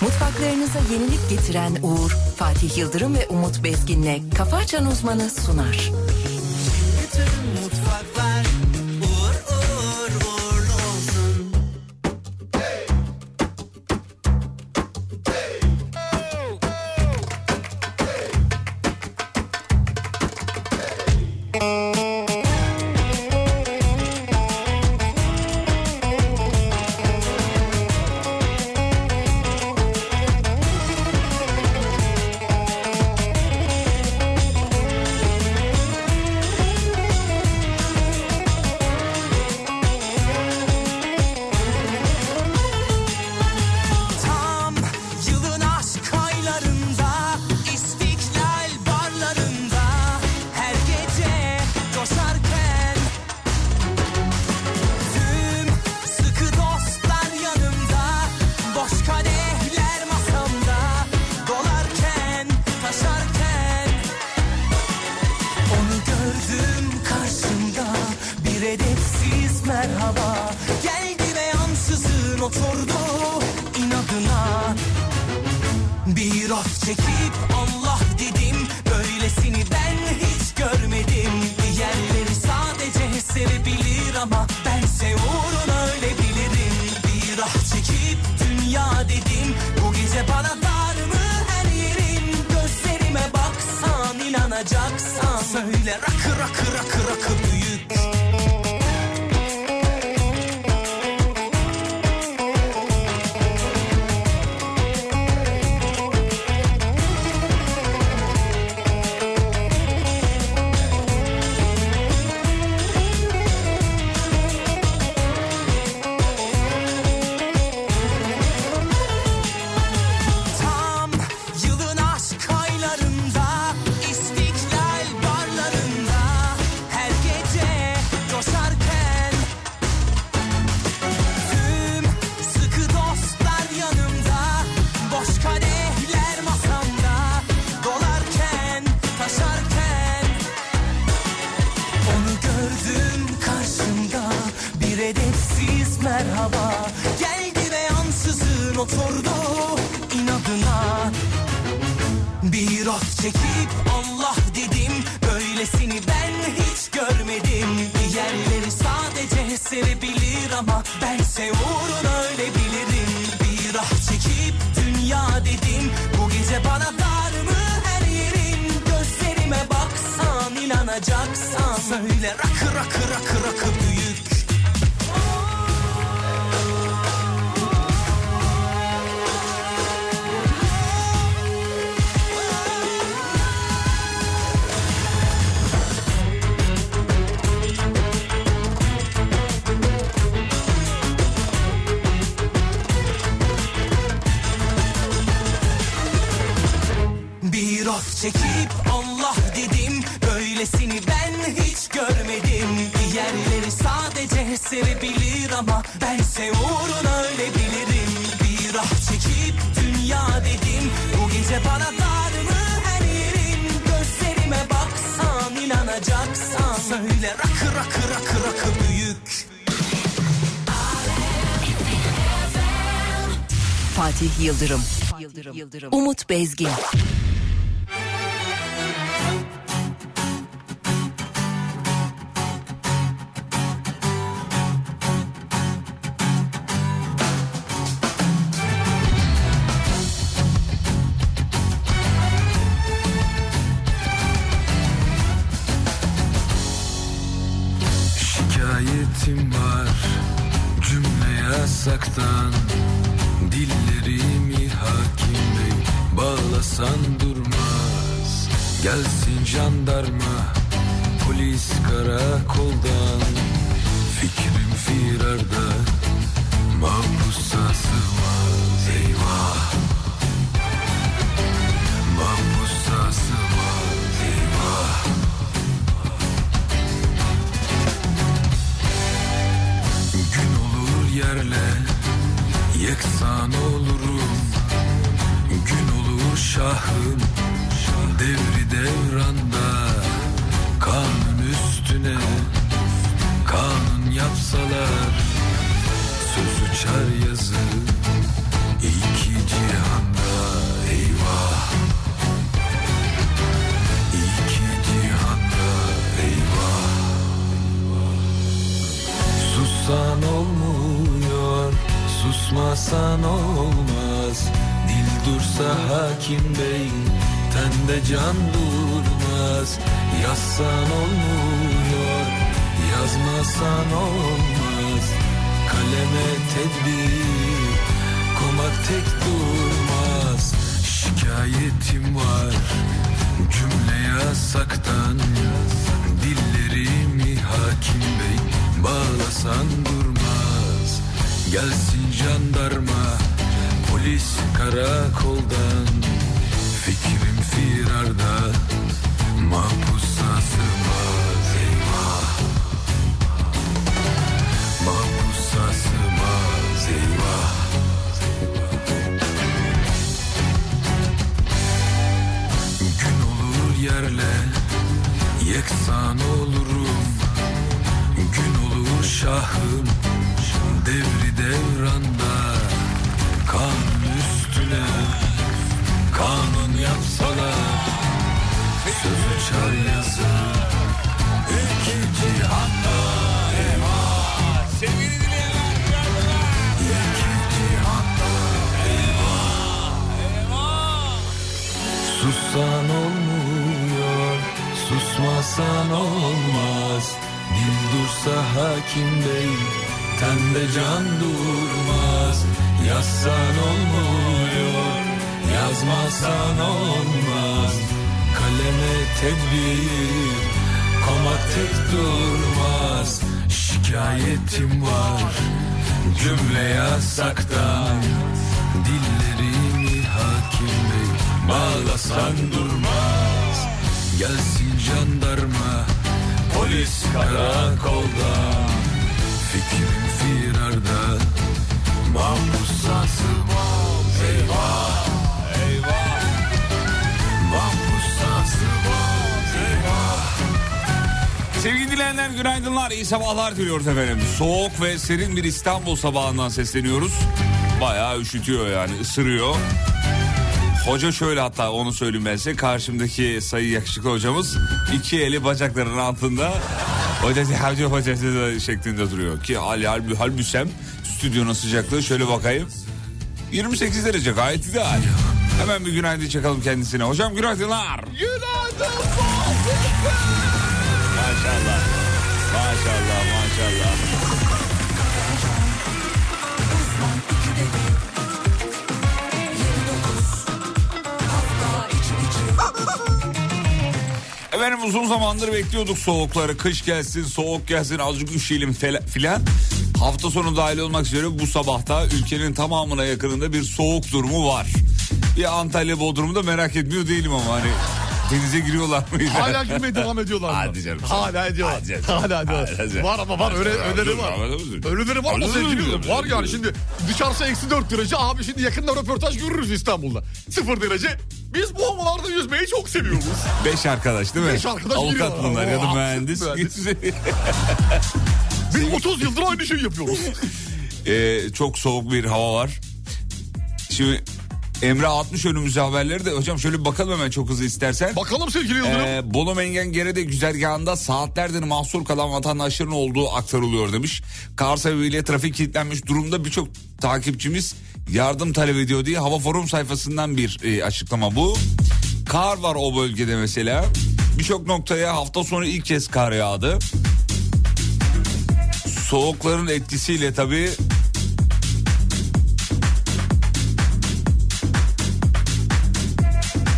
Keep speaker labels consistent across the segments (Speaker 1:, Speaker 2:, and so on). Speaker 1: Mutfaklarınıza yenilik getiren Uğur, Fatih Yıldırım ve Umut Bezgin'le Kafa Açan Uzmanı sunar.
Speaker 2: Tam yılın aşk aylarında İstiklal barlarında Her gece coşarken Tüm sıkı dostlar yanımda Boş kadehler masamda Dolarken, taşarken Onu gördüm karşımda Bir edepsiz merhaba Geldi ve ansızın oturdu inadına Bir of çekip Allah dedim Böylesini ben hiç görmedim Diğerleri sadece sevebilir ama Bense uğruna ölebilirim Bir ah çekip dünya dedim Bu gece bana dar mı her yerin Gözlerime baksan inanacaksan Söyle rakı rakı rakı rakı büyük Tam yılın aşk aylarında İstiklal barlarında Her gece coşarken Tüm sıkı dostlar yanımda Boş kadehler masamda Dolarken, taşarken onu gördüm karşımda bir edepsiz merhaba Geldi ve ansızın oturdu inadına Bir of çekip Allah dedim Böylesini ben hiç görmedim Diğerleri sadece sevebilir ama Bense uğruna ölebilirim Bir ah çekip dünya dedim Bu gece bana dar mı her yerin Gözlerime baksan inanacaksan Söyle rakı rakı rakı rakı büyük Bir of çekip Allah dedim Böylesini ben hiç görmedim Diğerleri sadece sevebilir ama Bense uğruna ölebilirim Bir ah çekip dünya dedim Bu gece bana dar mı her yerin Gözlerime baksan inanacaksan Söyle rakı rakı rakı rakı büyük
Speaker 1: Fatih Yıldırım, Umut Bezgin.
Speaker 3: Şikayetim var cümle yasaktan Dillerimi hakim bey bağlasan durmaz Gelsin jandarma polis karakoldan Fikrim firarda mahpusa sığmaz Eyvah mahpusa sığmaz Eyvah Gün olur yerle yeksan olurum Gün olur şahım devri devranda Kanun üstüne kanun yapsalar Söz uçar yazı iki cihan can olmaz Dil dursa hakim bey Tende can durmaz Yazsan olmuyor Yazmasan olmaz Kaleme tedbir Komak tek durmaz Şikayetim var Cümle yasaktan Dillerimi hakim bey Bağlasan durmaz Gelsin jandarma Polis karakoldan Fikrim firarda Mahpusa sığmaz Eyvah Mahpusa sığmaz Eyvah Gün olur yerle yeksan olurum Gün olur şahım devri devranda Kanun üstüne kanun yapsalar Sözü çar yazar iki cihanda Sussan olmuyor, susmasan olmaz. Dil dursa hakim bey, tende can durmaz. Yazsan olmuyor, yazmasan olmaz. Kaleme tedbir, komak tek durmaz. Şikayetim var, cümle yasaktan. Dillerimi hakim bey, bağlasan durmaz. Gelsin jandarma, polis karakolda. Fikrim firarda, mahpusa sığmaz. Eyvah, eyvah. Mahpusa sığmaz. Eyvah.
Speaker 4: Sevgili dinleyenler günaydınlar, iyi sabahlar diliyoruz efendim. Soğuk ve serin bir İstanbul sabahından sesleniyoruz. Bayağı üşütüyor yani, ısırıyor. Hoca şöyle hatta onu söyleyeyim ben size. Karşımdaki sayı yakışıklı hocamız iki eli bacaklarının altında hoca hoca hoca hoca şeklinde duruyor. Ki hal hal halbüsem stüdyonun sıcaklığı şöyle bakayım. 28 derece gayet ideal. Hemen bir günaydın çakalım kendisine. Hocam günaydınlar. Maşallah. Maşallah maşallah. Efendim uzun zamandır bekliyorduk soğukları. Kış gelsin, soğuk gelsin, azıcık üşüyelim fela- filan. Hafta sonu dahil olmak üzere bu sabahta ülkenin tamamına yakınında bir soğuk durumu var. Bir Antalya Bodrum'u da merak etmiyor değilim ama hani denize giriyorlar mıydı?
Speaker 5: Hala gülmeye devam ediyorlar mı?
Speaker 4: Hadi canım.
Speaker 5: Hala ediyorlar.
Speaker 4: Hadi canım.
Speaker 5: Hala
Speaker 4: Hadi
Speaker 5: ediyorlar.
Speaker 4: canım.
Speaker 5: Var ama var. Öyle,
Speaker 4: Hadi canım.
Speaker 5: öleri var.
Speaker 4: Hadi canım.
Speaker 5: Öleri var ama
Speaker 4: Hadi
Speaker 5: sevgili
Speaker 4: canım.
Speaker 5: dinleyiciler, Var yani şimdi dışarısı eksi 4 derece. Abi şimdi yakında röportaj görürüz İstanbul'da. 0 derece. Biz bu havalarda yüzmeyi çok seviyoruz.
Speaker 4: Beş arkadaş değil mi?
Speaker 5: Beş arkadaş
Speaker 4: Avukat
Speaker 5: giriyorlar.
Speaker 4: bunlar ya da
Speaker 5: Oo,
Speaker 4: mühendis.
Speaker 5: mühendis. Biz 30 yıldır aynı şeyi yapıyoruz.
Speaker 4: Ee, çok soğuk bir hava var. Şimdi Emre 60 önümüze haberleri de hocam şöyle bir bakalım hemen çok hızlı istersen.
Speaker 5: Bakalım sevgili Yıldırım.
Speaker 4: Ee, Bolu Mengengere'de güzergahında saatlerdir mahsur kalan vatandaşların olduğu aktarılıyor demiş. Kar sebebiyle trafik kilitlenmiş durumda birçok takipçimiz yardım talep ediyor diye Hava Forum sayfasından bir e, açıklama bu. Kar var o bölgede mesela. Birçok noktaya hafta sonu ilk kez kar yağdı. Soğukların etkisiyle tabii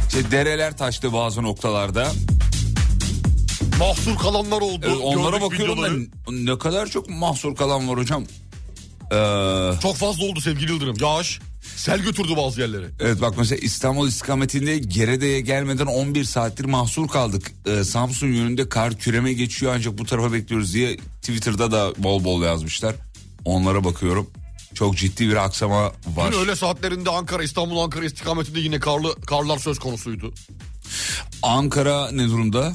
Speaker 4: işte dereler taştı bazı noktalarda.
Speaker 5: Mahsur kalanlar oldu.
Speaker 4: Ee, onlara
Speaker 5: Gördük
Speaker 4: bakıyorum da
Speaker 5: videoları.
Speaker 4: n- ne kadar çok mahsur kalan var hocam. Ee,
Speaker 5: Çok fazla oldu sevgili Yıldırım. Yağış. Sel götürdü bazı yerleri.
Speaker 4: evet bak mesela İstanbul istikametinde Gerede'ye gelmeden 11 saattir mahsur kaldık. Ee, Samsun yönünde kar küreme geçiyor ancak bu tarafa bekliyoruz diye Twitter'da da bol bol yazmışlar. Onlara bakıyorum. Çok ciddi bir aksama var.
Speaker 5: Dün öğle saatlerinde Ankara, İstanbul, Ankara istikametinde yine karlı karlar söz konusuydu.
Speaker 4: Ankara ne durumda?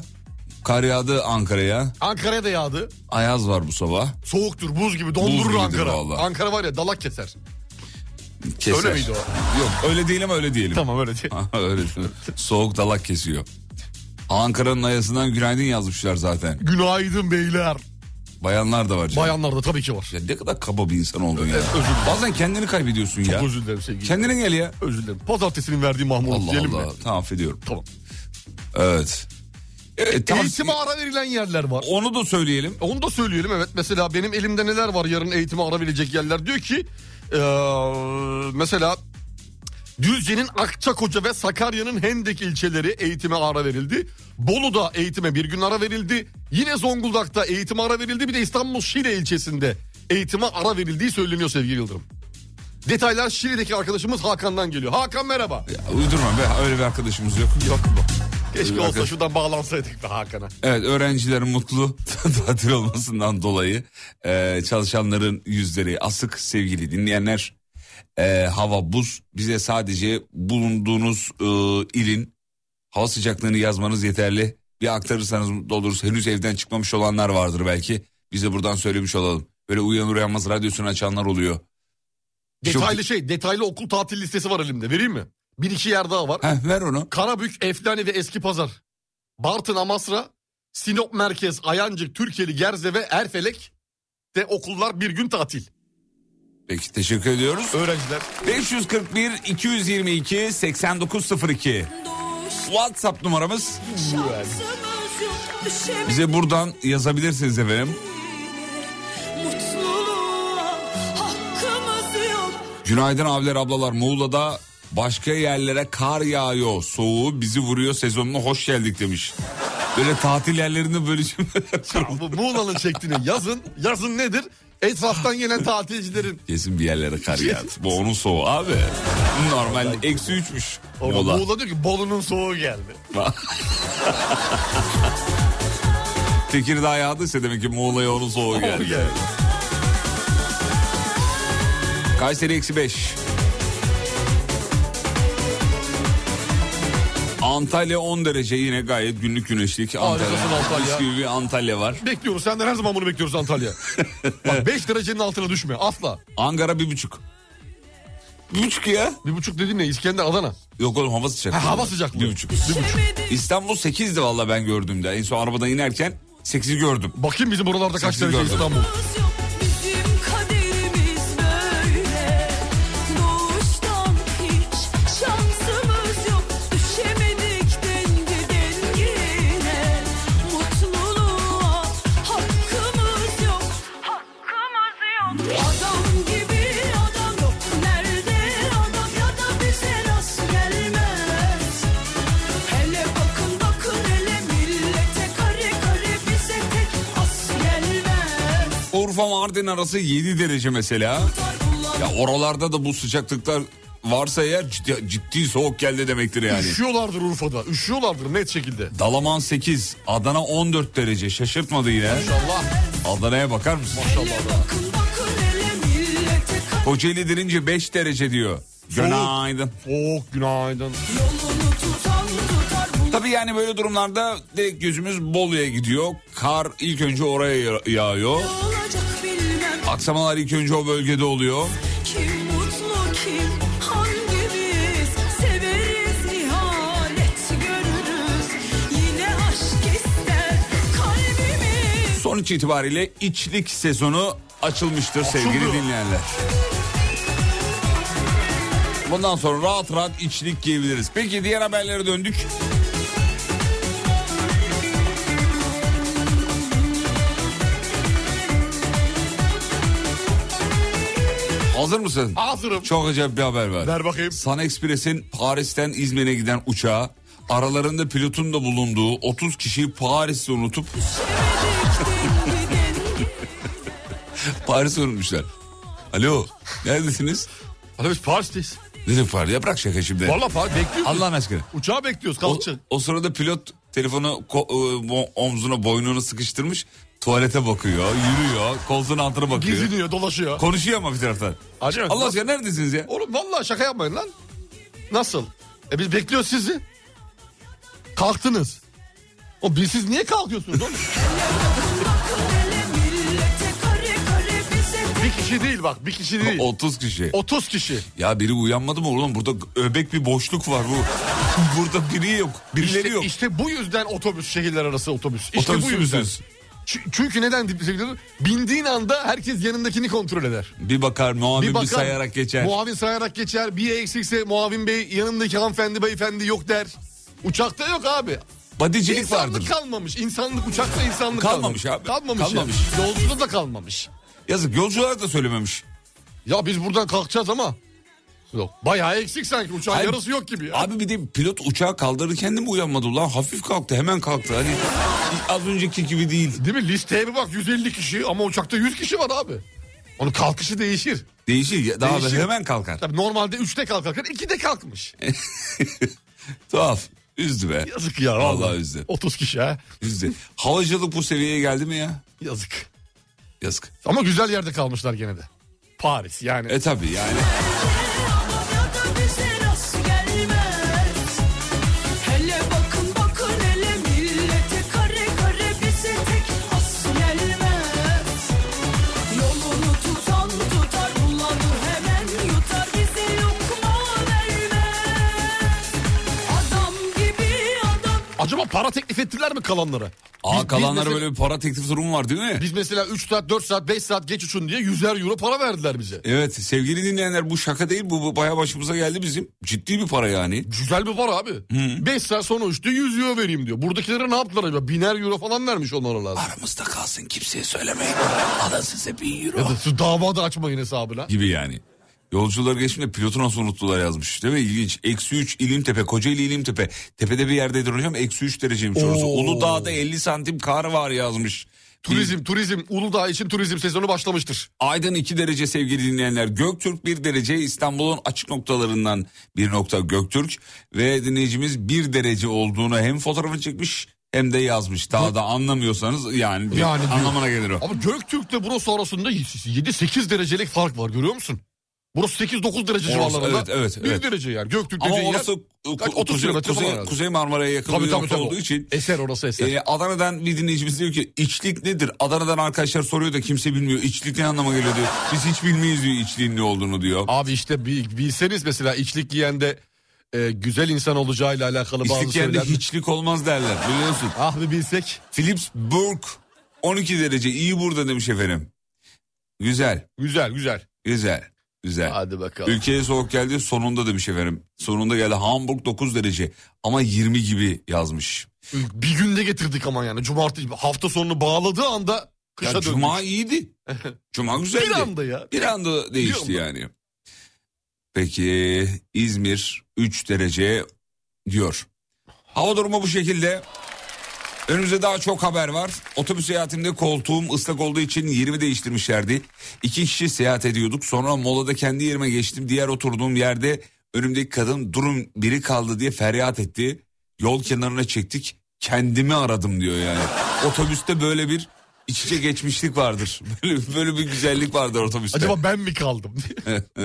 Speaker 4: Kar yağdı Ankara'ya.
Speaker 5: Ankara'ya da yağdı.
Speaker 4: Ayaz var bu sabah.
Speaker 5: Soğuktur, buz gibi dondurur
Speaker 4: gibidir
Speaker 5: Ankara.
Speaker 4: vallahi.
Speaker 5: Ankara var ya dalak keser.
Speaker 4: Keser.
Speaker 5: Öyle miydi o?
Speaker 4: Yok öyle değil ama öyle diyelim.
Speaker 5: Tamam öyle değil.
Speaker 4: Öyle değil mi? Soğuk dalak kesiyor. Ankara'nın ayasından günaydın yazmışlar zaten.
Speaker 5: Günaydın beyler.
Speaker 4: Bayanlar da var canım.
Speaker 5: Bayanlar da tabii ki var.
Speaker 4: Ya ne kadar kaba bir insan oldun ya.
Speaker 5: Evet, özür dilerim.
Speaker 4: Bazen kendini kaybediyorsun ya.
Speaker 5: Çok özür dilerim sevgili.
Speaker 4: Kendine gel ya.
Speaker 5: Özür dilerim. Pazartesinin verdiği mahmurluk
Speaker 4: Allah
Speaker 5: diyelim
Speaker 4: Allah.
Speaker 5: mi?
Speaker 4: Tamam affediyorum.
Speaker 5: Tamam.
Speaker 4: Evet. Evet E, tamam.
Speaker 5: Eğitime ara verilen yerler var. E,
Speaker 4: Onu da söyleyelim.
Speaker 5: Onu da söyleyelim evet. Mesela benim elimde neler var yarın eğitime ara verecek yerler. Diyor ki eee, mesela Düzce'nin Akçakoca ve Sakarya'nın Hendek ilçeleri eğitime ara verildi. Bolu'da eğitime bir gün ara verildi. Yine Zonguldak'ta eğitime ara verildi. Bir de İstanbul Şile ilçesinde eğitime ara verildiği söyleniyor sevgili Yıldırım. Detaylar Şile'deki arkadaşımız Hakan'dan geliyor. Hakan merhaba.
Speaker 4: Ya, uydurma be öyle bir arkadaşımız yok.
Speaker 5: Yok mu? Keşke olsa
Speaker 4: arkadaş-
Speaker 5: şuradan bağlansaydık da Hakan'a.
Speaker 4: Evet öğrenciler mutlu tatil olmasından dolayı e, çalışanların yüzleri asık sevgili dinleyenler. E, hava buz bize sadece bulunduğunuz e, ilin hava sıcaklığını yazmanız yeterli. Bir aktarırsanız mutlu oluruz. Henüz evden çıkmamış olanlar vardır belki. Bize buradan söylemiş olalım. Böyle uyanır uyanmaz radyosunu açanlar oluyor.
Speaker 5: Detaylı şey, detaylı okul tatil listesi var elimde. Vereyim mi? Bir iki yer daha var.
Speaker 4: Heh, ver onu.
Speaker 5: Karabük, Eflani ve Eski Pazar. Bartın, Amasra, Sinop Merkez, Ayancık, Türkeli, Gerze ve Erfelek de okullar bir gün tatil.
Speaker 4: Peki teşekkür ediyoruz.
Speaker 5: Öğrenciler.
Speaker 4: 541 222 8902 WhatsApp numaramız. Bize buradan yazabilirsiniz efendim. Günaydın abiler ablalar Muğla'da başka yerlere kar yağıyor. Soğuğu bizi vuruyor sezonuna hoş geldik demiş. Böyle tatil yerlerinde böyle cümleler kuruldu.
Speaker 5: Bu Muğla'nın şey- şeklini yazın. Yazın nedir? Etraftan gelen tatilcilerin.
Speaker 4: Kesin bir yerlere kar yağdı. Bu onun soğuğu abi. Normal eksi üçmüş.
Speaker 5: Orada
Speaker 4: Muğla.
Speaker 5: Muğla. diyor ki Bolu'nun soğuğu geldi.
Speaker 4: Tekirdağ yağdıysa demek ki Muğla'ya onun soğuğu geldi.
Speaker 5: geldi.
Speaker 4: Kayseri eksi 5. Antalya 10 derece yine gayet günlük güneşlik.
Speaker 5: Harikasın
Speaker 4: Mis
Speaker 5: Antalya.
Speaker 4: gibi bir Antalya var.
Speaker 5: Bekliyoruz. Senden her zaman bunu bekliyoruz Antalya. Bak 5 derecenin altına düşme. Asla.
Speaker 4: Ankara 1,5. 1,5 ya.
Speaker 5: Bir buçuk dedin ne? İskender, Adana.
Speaker 4: Yok oğlum hava sıcak.
Speaker 5: Ha, hava sıcaklığı.
Speaker 4: 1,5. İstanbul 8'di valla ben gördüğümde. En son arabadan inerken 8'i gördüm.
Speaker 5: Bakayım bizim buralarda kaç
Speaker 4: Sizi
Speaker 5: derece
Speaker 4: gördüm.
Speaker 5: İstanbul.
Speaker 6: Bizim kaderimiz böyle Doğuştan hiç şansımız yok Düşemedik denge dengine Mutluluğa hakkımız yok Hakkımız yok Adam gibi adam yok Nerede adam ya da bize nasıl gelmez Hele bakın bakın hele millete kare kare bize tek as gelmez
Speaker 4: Urfa Mardin arası 7 derece mesela. Ya oralarda da bu sıcaklıklar varsa eğer ciddi, ciddi soğuk geldi demektir yani.
Speaker 5: Üşüyorlardır Urfa'da. Üşüyorlardır net şekilde.
Speaker 4: Dalaman 8, Adana 14 derece. Şaşırtmadı yine.
Speaker 5: Allah.
Speaker 4: Adana'ya bakar mısın?
Speaker 6: Bakın bakın hele millete kare
Speaker 4: Kocaeli dirince 5 derece diyor. Günaydın.
Speaker 5: Soğuk günaydın.
Speaker 6: yolunu tutan tutar bu
Speaker 4: Tabii yani böyle durumlarda direkt gözümüz Bolu'ya gidiyor. Kar ilk önce oraya ya- yağıyor.
Speaker 6: olacak bilmem
Speaker 4: Aksamalar ilk önce o bölgede oluyor.
Speaker 6: kim mutlu kim hangimiz severiz ihanet görürüz yine aşk ister kalbimiz
Speaker 4: Sonuç itibariyle içlik sezonu açılmıştır sevgili dinleyenler. Bundan sonra rahat rahat içlik giyebiliriz. Peki diğer haberlere döndük. Hazır mısın?
Speaker 5: Hazırım.
Speaker 4: Çok acayip bir haber var.
Speaker 5: Ver bakayım.
Speaker 4: Sun Express'in Paris'ten İzmir'e giden uçağı aralarında pilotun da bulunduğu 30 kişiyi Paris'te unutup Paris'e unutmuşlar. Alo neredesiniz?
Speaker 5: Hadi biz Paris'teyiz.
Speaker 4: Dedim Paris ya bırak şaka şimdi.
Speaker 5: Valla Paris bekliyoruz.
Speaker 4: Allah'ın aşkına.
Speaker 5: Uçağı bekliyoruz
Speaker 4: O,
Speaker 5: kalkacak.
Speaker 4: o sırada pilot telefonu ko- e, bo- omzuna boynunu sıkıştırmış tuvalete bakıyor yürüyor koltuğun altına bakıyor.
Speaker 5: Geziniyor dolaşıyor.
Speaker 4: Konuşuyor ama bir taraftan.
Speaker 5: Acaba-
Speaker 4: Allah aşkına neredesiniz ya?
Speaker 5: Oğlum valla şaka yapmayın lan. Nasıl? E biz bekliyoruz sizi. Kalktınız. O biz siz niye kalkıyorsunuz oğlum?
Speaker 6: hele millete kare kare bize
Speaker 5: bir kişi değil bak bir kişi değil.
Speaker 4: 30 kişi.
Speaker 5: 30 kişi.
Speaker 4: Ya biri uyanmadı mı oğlum? Burada öbek bir boşluk var bu. Burada biri yok. Birileri
Speaker 5: İşte,
Speaker 4: yok.
Speaker 5: işte bu yüzden otobüs şehirler arası otobüs. İşte bu
Speaker 4: Otobüsümüzüz.
Speaker 5: yüzden. Ç- Çünkü neden dip sevgili dinleyiciler? Bindiğin anda herkes yanındakini kontrol eder.
Speaker 4: Bir bakar muavin bir,
Speaker 5: bakar,
Speaker 4: sayarak geçer.
Speaker 5: Muavin sayarak geçer. Bir eksikse muavin bey yanındaki hanımefendi beyefendi yok der. Uçakta yok abi.
Speaker 4: Badicilik
Speaker 5: İnsanlık
Speaker 4: vardır.
Speaker 5: kalmamış. İnsanlık uçakta insanlık
Speaker 4: Kalmamış
Speaker 5: kalmamış.
Speaker 4: abi.
Speaker 5: Kalmamış.
Speaker 4: Kalmamış.
Speaker 5: Ya. Yolculukta da kalmamış.
Speaker 4: Yazık yolcular da söylememiş.
Speaker 5: Ya biz buradan kalkacağız ama. Yok. Bayağı eksik sanki uçağın
Speaker 4: Hayır.
Speaker 5: yarısı yok gibi ya.
Speaker 4: Abi bir de pilot uçağı kaldırırken de mi uyanmadı ulan? Hafif kalktı hemen kalktı. Hani az önceki gibi değil.
Speaker 5: Değil mi? Listeye bir bak 150 kişi ama uçakta 100 kişi var abi. Onun kalkışı değişir.
Speaker 4: Değişir. ya, Daha
Speaker 5: Değişir.
Speaker 4: hemen kalkar.
Speaker 5: Tabii normalde 3'te kalkarken 2'de kalkmış.
Speaker 4: Tuhaf. Üzdü be.
Speaker 5: Yazık ya
Speaker 4: Vallahi
Speaker 5: vallahi.
Speaker 4: üzdü.
Speaker 5: 30 kişi ha.
Speaker 4: Üzdü. Havacılık bu seviyeye geldi mi ya?
Speaker 5: Yazık.
Speaker 4: Yazık.
Speaker 5: Ama güzel yerde kalmışlar gene de. Paris yani.
Speaker 4: E tabi yani.
Speaker 6: Havada bize rast gelmez Hele bakın bakın hele millete kare kare bize tek has gelmez Yolunu tutan tutar bulanı hemen yutar bize lokma vermez Adam gibi adam
Speaker 5: Acaba para teklif ettiler mi kalanlara?
Speaker 4: Aa kalanlara
Speaker 5: mesela,
Speaker 4: böyle bir para teklif durumu var değil mi?
Speaker 5: Biz mesela 3 saat 4 saat 5 saat geç uçun diye 100'er euro para verdiler bize.
Speaker 4: Evet sevgili dinleyenler bu şaka değil bu, bu bayağı başımıza geldi bizim. Ciddi bir para yani.
Speaker 5: Güzel bir para abi. 5 saat sonra uçtu 100 euro vereyim diyor. Buradakilere ne yaptılar acaba? Biner euro falan vermiş onlara lazım.
Speaker 4: Aramızda kalsın kimseye söylemeyin. Alın size bin euro.
Speaker 5: Ya da şu davada açmayın hesabına.
Speaker 4: gibi yani. Yolcular geçimde pilotu nasıl unuttular yazmış. Değil mi? İlginç. Eksi 3 İlimtepe. Kocaeli İlimtepe. Tepede bir yerdeydi hocam. Eksi 3 dereceymiş orası.
Speaker 5: Oo.
Speaker 4: Uludağ'da 50 santim kar var yazmış.
Speaker 5: Turizm, turizm, Uludağ için turizm sezonu başlamıştır.
Speaker 4: Aydın 2 derece sevgili dinleyenler. Göktürk 1 derece. İstanbul'un açık noktalarından bir nokta Göktürk. Ve dinleyicimiz 1 derece olduğunu hem fotoğrafını çekmiş hem de yazmış. Daha da anlamıyorsanız yani, bir
Speaker 5: Yani diyor.
Speaker 4: anlamına gelir o.
Speaker 5: Ama Göktürk'le burası arasında 7-8 derecelik fark var görüyor musun? Burası 8-9 derece
Speaker 4: Orası-
Speaker 5: civarlarında.
Speaker 4: evet, evet,
Speaker 5: 1
Speaker 4: evet.
Speaker 5: derece yani. Göktürk
Speaker 4: Ama
Speaker 5: dediğin yer-
Speaker 4: orası ku-
Speaker 5: kaç,
Speaker 4: ku-
Speaker 5: 30
Speaker 4: kuzey,
Speaker 5: kilometre falan
Speaker 4: kuzey,
Speaker 5: herhalde.
Speaker 4: kuzey Marmara'ya yakın
Speaker 5: Tabii,
Speaker 4: bir
Speaker 5: tabii,
Speaker 4: nokta
Speaker 5: tabii.
Speaker 4: olduğu için.
Speaker 5: Eser orası eser.
Speaker 4: Ee, Adana'dan bir dinleyicimiz diyor ki içlik nedir? Adana'dan arkadaşlar soruyor da kimse bilmiyor. İçlik ne anlama geliyor diyor. Biz hiç bilmeyiz diyor içliğin ne olduğunu diyor.
Speaker 5: Abi işte bi- bilseniz mesela içlik giyen de e, güzel insan olacağıyla alakalı bazı
Speaker 4: İçlik yerinde
Speaker 5: şeyler.
Speaker 4: hiçlik olmaz derler biliyorsun.
Speaker 5: Ah bir bilsek.
Speaker 4: Philips Burg 12 derece iyi burada demiş efendim. Güzel,
Speaker 5: Güzel güzel.
Speaker 4: güzel, güzel.
Speaker 5: Hadi bakalım.
Speaker 4: Ülkeye soğuk geldi sonunda demiş efendim. Sonunda geldi Hamburg 9 derece ama 20 gibi yazmış.
Speaker 5: Bir günde getirdik ama yani. Cumartesi hafta sonunu bağladığı anda
Speaker 4: Ya
Speaker 5: kışa döndük.
Speaker 4: Cuma iyiydi. Cuma güzeldi.
Speaker 5: Bir anda ya.
Speaker 4: Bir anda değişti
Speaker 5: Bir
Speaker 4: yani. Peki İzmir 3 derece diyor. Hava durumu bu şekilde. Önümüzde daha çok haber var. Otobüs seyahatimde koltuğum ıslak olduğu için yerimi değiştirmişlerdi. İki kişi seyahat ediyorduk. Sonra molada kendi yerime geçtim. Diğer oturduğum yerde önümdeki kadın durum biri kaldı diye feryat etti. Yol kenarına çektik. Kendimi aradım diyor yani. Otobüste böyle bir iç içe geçmişlik vardır. Böyle, böyle bir güzellik vardır otobüste.
Speaker 5: Acaba ben mi kaldım diye.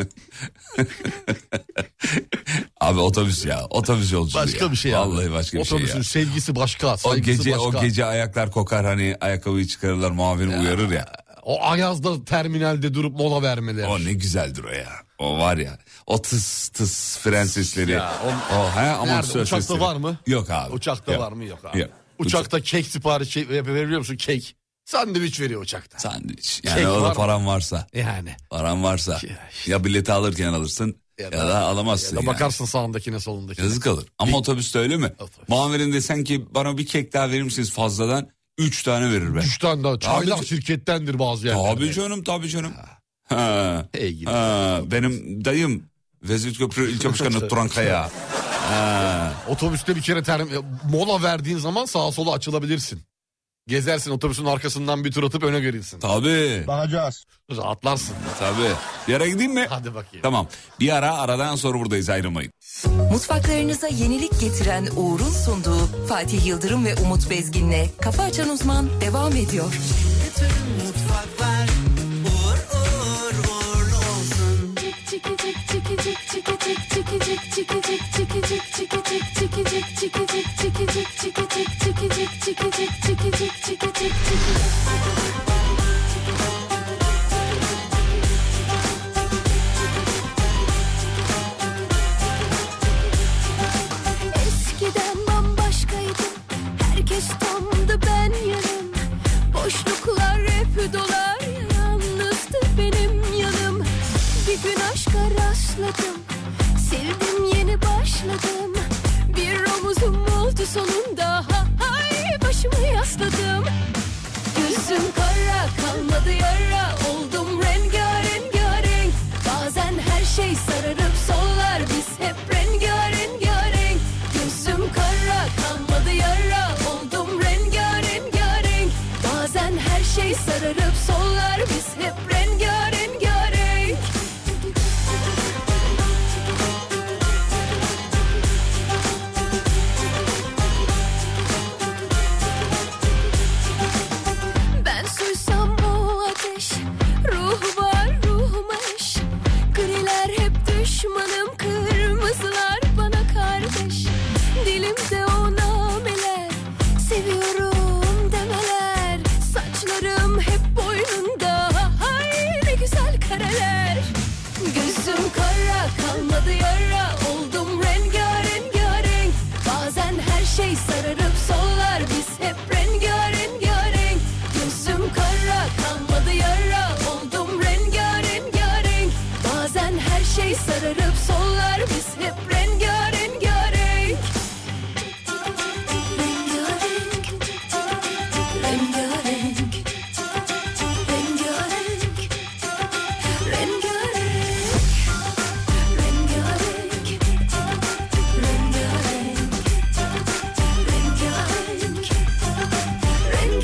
Speaker 4: Abi otobüs ya. Otobüs yolculuğu.
Speaker 5: Başka
Speaker 4: ya.
Speaker 5: bir şey abi.
Speaker 4: Vallahi başka bir şey ya.
Speaker 5: Otobüsün sevgisi başka,
Speaker 4: O
Speaker 5: saygısı
Speaker 4: gece
Speaker 5: başka.
Speaker 4: o gece ayaklar kokar hani ayakkabıyı çıkarırlar muavin uyarır ya.
Speaker 5: O ayazda terminalde durup mola vermeleri.
Speaker 4: O ne güzeldir o ya. O var ya. O tıs tıs fren sesleri.
Speaker 5: Ya,
Speaker 4: o, ha, aman
Speaker 5: Nerede?
Speaker 4: söz
Speaker 5: Uçakta
Speaker 4: sesleri.
Speaker 5: var mı?
Speaker 4: Yok abi.
Speaker 5: Uçakta
Speaker 4: Yok.
Speaker 5: var mı? Yok abi.
Speaker 4: Yok.
Speaker 5: Uçakta kek sipariş şey, veriyor musun? Kek. Sandviç veriyor uçakta.
Speaker 4: Sandviç. Yani
Speaker 5: Kek
Speaker 4: o
Speaker 5: var
Speaker 4: da
Speaker 5: mı? E
Speaker 4: paran varsa.
Speaker 5: Yani.
Speaker 4: Paran varsa.
Speaker 5: Ya
Speaker 4: Ya bileti alırken alırsın ya,
Speaker 5: Ya
Speaker 4: da,
Speaker 5: da-
Speaker 4: alamazsın.
Speaker 5: Ya da
Speaker 4: yani.
Speaker 5: bakarsın sağındakine solundakine.
Speaker 4: Yazık olur. Ama otobüste öyle mi?
Speaker 5: Otobüs.
Speaker 4: Muavirin desen ki bana bir kek daha verir misiniz fazladan? Üç tane verir be.
Speaker 5: Üç tane daha çaylak
Speaker 4: Tabii.
Speaker 5: şirkettendir bazı yerlerde.
Speaker 4: Tabii canım tabii canım. Ha.
Speaker 5: Ey gidi.
Speaker 4: Ha, benim dayım Vezir Köprü ilçe başkanı Turan Kaya. Ha.
Speaker 5: Otobüste bir kere ter- mola verdiğin zaman sağa sola açılabilirsin. Gezersin otobüsün arkasından bir tur atıp öne gerilsin.
Speaker 4: Tabii
Speaker 5: Rahatlarsın.
Speaker 4: tabii. Bir ara gideyim mi?
Speaker 5: Hadi bakayım.
Speaker 4: Tamam. Bir ara aradan sonra buradayız ayrılmayın.
Speaker 1: Mutfaklarınıza yenilik getiren Uğur'un sunduğu Fatih Yıldırım ve Umut Bezgin'le Kafa Açan Uzman devam ediyor.
Speaker 6: Eskiden bambaşkaydım Herkes tamdı ben yarım Boş
Speaker 7: sonunda ha hay başımı yasladım. Gözüm kara kalmadı yara oldum rengarenk. Bazen her şey sararıp sollar biz hep rengarenk. Gözüm kara kalmadı yara oldum rengarenk. Bazen her şey sararıp sollar biz hep rengarenk. Ben suysam bu ateş Ruhu var ruhuma eş Griler hep düşmanım Kırmızılar bana kardeş Dilimde o nameler Seviyorum demeler Saçlarım hep boynunda Ay ne güzel kareler Gözüm kara kalmadı yara Oldum rengarenk Bazen her şey sararıp sollar Biz hep rengarenk Gözüm kara kalmadı yara Oldum rengarenk Bazen her şey sararıp sollar Biz hep rengarenk Rengarenk Rengarenk Rengarenk Rengarenk Rengarenk Rengarenk Rengarenk Rengarenk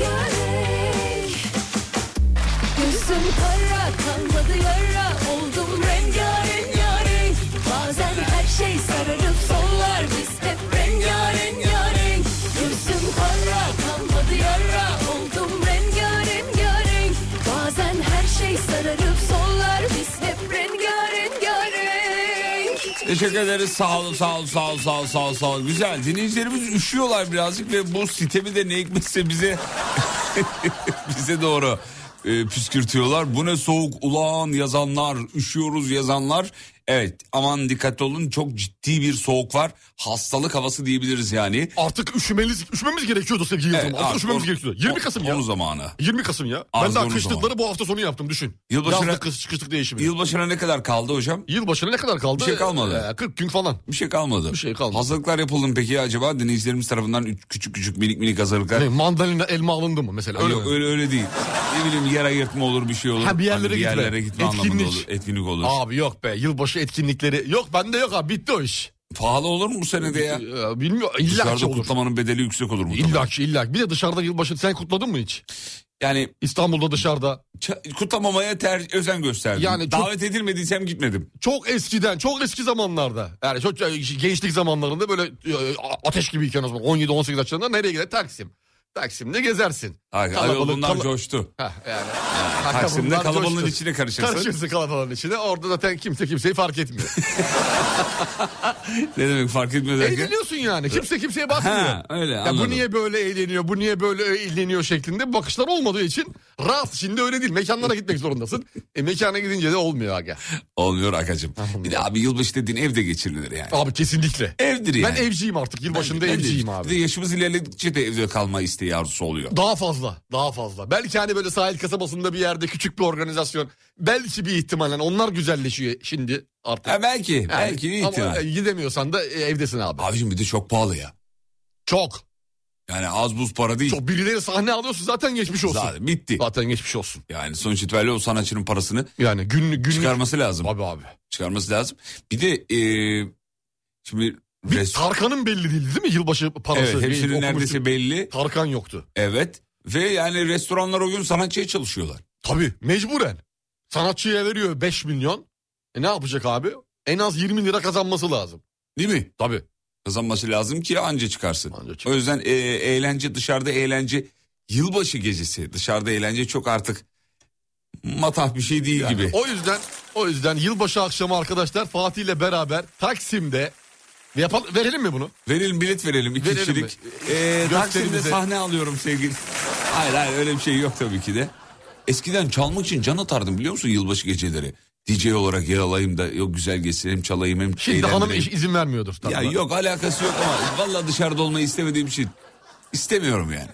Speaker 7: Gözüm kara kalmadı yara Oldum rengarenk yarenk Bazen her şey sararıp sollar Biz hep rengarenk yarenk Gözüm kara kalmadı yara Oldum rengarenk yarenk Bazen her şey sararıp sollar Biz hep rengarenk yarenk
Speaker 4: Teşekkür ederiz. Sağ olun, sağ olun, sağ olun, sağ olun, sağ olun, sağ olun. Güzel. Dinleyicilerimiz üşüyorlar birazcık ve bu sitemi de ne hikmetse bize bize doğru e, püskürtüyorlar. Bu ne soğuk ulan yazanlar, üşüyoruz yazanlar. Evet aman dikkat olun çok ciddi bir soğuk var. Hastalık havası diyebiliriz yani.
Speaker 5: Artık üşümeliz, üşümemiz gerekiyordu sevgili
Speaker 4: Evet,
Speaker 5: Yıldırım. Artık
Speaker 4: artık
Speaker 5: üşümemiz
Speaker 4: o-
Speaker 5: gerekiyordu. 20 Kasım ya.
Speaker 4: Onun zamanı.
Speaker 5: 20 Kasım ya. ben
Speaker 4: Ağzı
Speaker 5: daha
Speaker 4: onun
Speaker 5: kışlıkları bu hafta sonu yaptım düşün.
Speaker 4: Yılbaşına-
Speaker 5: Yazlık kış, kışlık değişimi.
Speaker 4: Yılbaşına ne kadar kaldı hocam?
Speaker 5: Yılbaşına ne kadar kaldı?
Speaker 4: Bir şey kalmadı.
Speaker 5: Ee, 40 gün falan.
Speaker 4: Bir şey kalmadı.
Speaker 5: Bir şey kalmadı.
Speaker 4: Hazırlıklar yapıldı mı peki acaba? Denizcilerimiz tarafından üç- küçük küçük minik minik hazırlıklar.
Speaker 5: Ne, mandalina elma alındı mı mesela? Öyle
Speaker 4: Yok
Speaker 5: mi?
Speaker 4: öyle öyle değil. Ne bileyim yer ayırtma olur bir şey olur.
Speaker 5: Ha, bir yerlere gitme.
Speaker 4: yerlere gitme anlamında
Speaker 5: Etkinlik.
Speaker 4: olur. Etkinlik olur.
Speaker 5: Abi yok be yılbaşı etkinlikleri. Yok bende yok abi bitti o iş.
Speaker 4: Pahalı olur mu bu sene de ya?
Speaker 5: Ee, Bilmiyorum illa ki
Speaker 4: Dışarıda
Speaker 5: olur.
Speaker 4: kutlamanın bedeli yüksek olur mu?
Speaker 5: İlla ki illa ki. Bir de dışarıda yılbaşı sen kutladın mı hiç?
Speaker 4: Yani
Speaker 5: İstanbul'da dışarıda.
Speaker 4: ça- kutlamamaya ter- özen gösterdim.
Speaker 5: Yani çok-
Speaker 4: Davet edilmediysem gitmedim.
Speaker 5: Çok eskiden çok eski zamanlarda. Yani çok gençlik zamanlarında böyle e, ateş gibiyken o zaman 17-18 yaşlarında nereye gider? Taksim. Taksim'de gezersin.
Speaker 4: Hayır,
Speaker 5: Kalabalık,
Speaker 4: bunlar
Speaker 5: kala-
Speaker 4: coştu.
Speaker 5: Heh, yani.
Speaker 4: Taksim'de
Speaker 5: Bunlar
Speaker 4: kalabalığın
Speaker 5: coştu.
Speaker 4: içine karışırsın.
Speaker 5: Karışırsın kalabalığın içine. Orada zaten kimse kimseyi fark etmiyor.
Speaker 4: Ne demek fark etmez derken?
Speaker 5: Eğleniyorsun E, yani. Kimse kimseye bakmıyor.
Speaker 4: Ha, öyle,
Speaker 5: ya bu
Speaker 4: anladım.
Speaker 5: niye böyle eğleniyor, bu niye böyle eğleniyor şeklinde bakışlar olmadığı için rahat. Şimdi öyle değil. Mekanlara gitmek zorundasın. E mekana gidince de olmuyor aga.
Speaker 4: Olmuyor akacım. Bir de abi yılbaşı dediğin evde geçirilir yani.
Speaker 5: Abi kesinlikle.
Speaker 4: Evdir yani.
Speaker 5: Ben evciyim artık. Yılbaşında
Speaker 4: Ben de-
Speaker 5: evciyim abi.
Speaker 4: Bir de yaşımız ilerledikçe de evde kalma isteği arzusu oluyor.
Speaker 5: Daha fazla, daha fazla. Belki hani böyle sahil kasabasında bir yerde küçük bir organizasyon. Belki bir ihtimalen onlar güzelleşiyor şimdi artık.
Speaker 4: Ha, belki, belki
Speaker 5: Yani,
Speaker 4: bir ihtimal.
Speaker 5: Ama e, gidemiyorsan da e, evdesin abi.
Speaker 4: Abicim bir de çok pahalı ya.
Speaker 5: Çok.
Speaker 4: Yani az buz para değil.
Speaker 5: Çok birileri sahne alıyorsun zaten geçmiş olsun. Zaten,
Speaker 4: Zaten bitti.
Speaker 5: geçmiş olsun.
Speaker 4: Yani sonuç itibariyle o sanatçının parasını
Speaker 5: Yani günlük günlük.
Speaker 4: çıkarması lazım.
Speaker 5: Abi abi.
Speaker 4: Çıkarması lazım. Bir de e, şimdi res-
Speaker 5: Tarkan'ın belli değil değil mi yılbaşı parası?
Speaker 4: evet,
Speaker 5: Bir
Speaker 4: hepsinin
Speaker 5: okumuştuk.
Speaker 4: neredeyse belli.
Speaker 5: Tarkan yoktu.
Speaker 4: Evet. Ve yani restoranlar o gün sanatçıya çalışıyorlar.
Speaker 5: Tabii mecburen. Sanatçıya veriyor 5 milyon. E ne yapacak abi? En az 20 lira kazanması lazım.
Speaker 4: Değil mi?
Speaker 5: Tabii.
Speaker 4: E, Kazanması lazım ki anca çıkarsın.
Speaker 5: Anca çık-
Speaker 4: O yüzden e, eğlence dışarıda eğlence yılbaşı gecesi dışarıda eğlence çok artık matah bir şey değil
Speaker 5: Yani
Speaker 4: gibi.
Speaker 5: O yüzden o yüzden yılbaşı akşamı arkadaşlar Fatih ile beraber Taksim'de yapalım, verelim mi bunu?
Speaker 4: Verelim bilet verelim iki
Speaker 5: Verelim
Speaker 4: kişilik.
Speaker 5: mi?
Speaker 4: Ee,
Speaker 5: Gösterimize-
Speaker 4: Taksim'de sahne alıyorum sevgili. Hayır hayır öyle bir şey yok tabii ki de. Eskiden çalmak için can atardım biliyor musun yılbaşı geceleri. DJ olarak yer alayım da yok güzel geçsin hem çalayım hem
Speaker 5: Şimdi
Speaker 4: eğlendireyim.
Speaker 5: hanım iş, izin vermiyordur. tabii.
Speaker 4: Ya yok alakası yok ama valla dışarıda olmayı istemediğim için istemiyorum yani.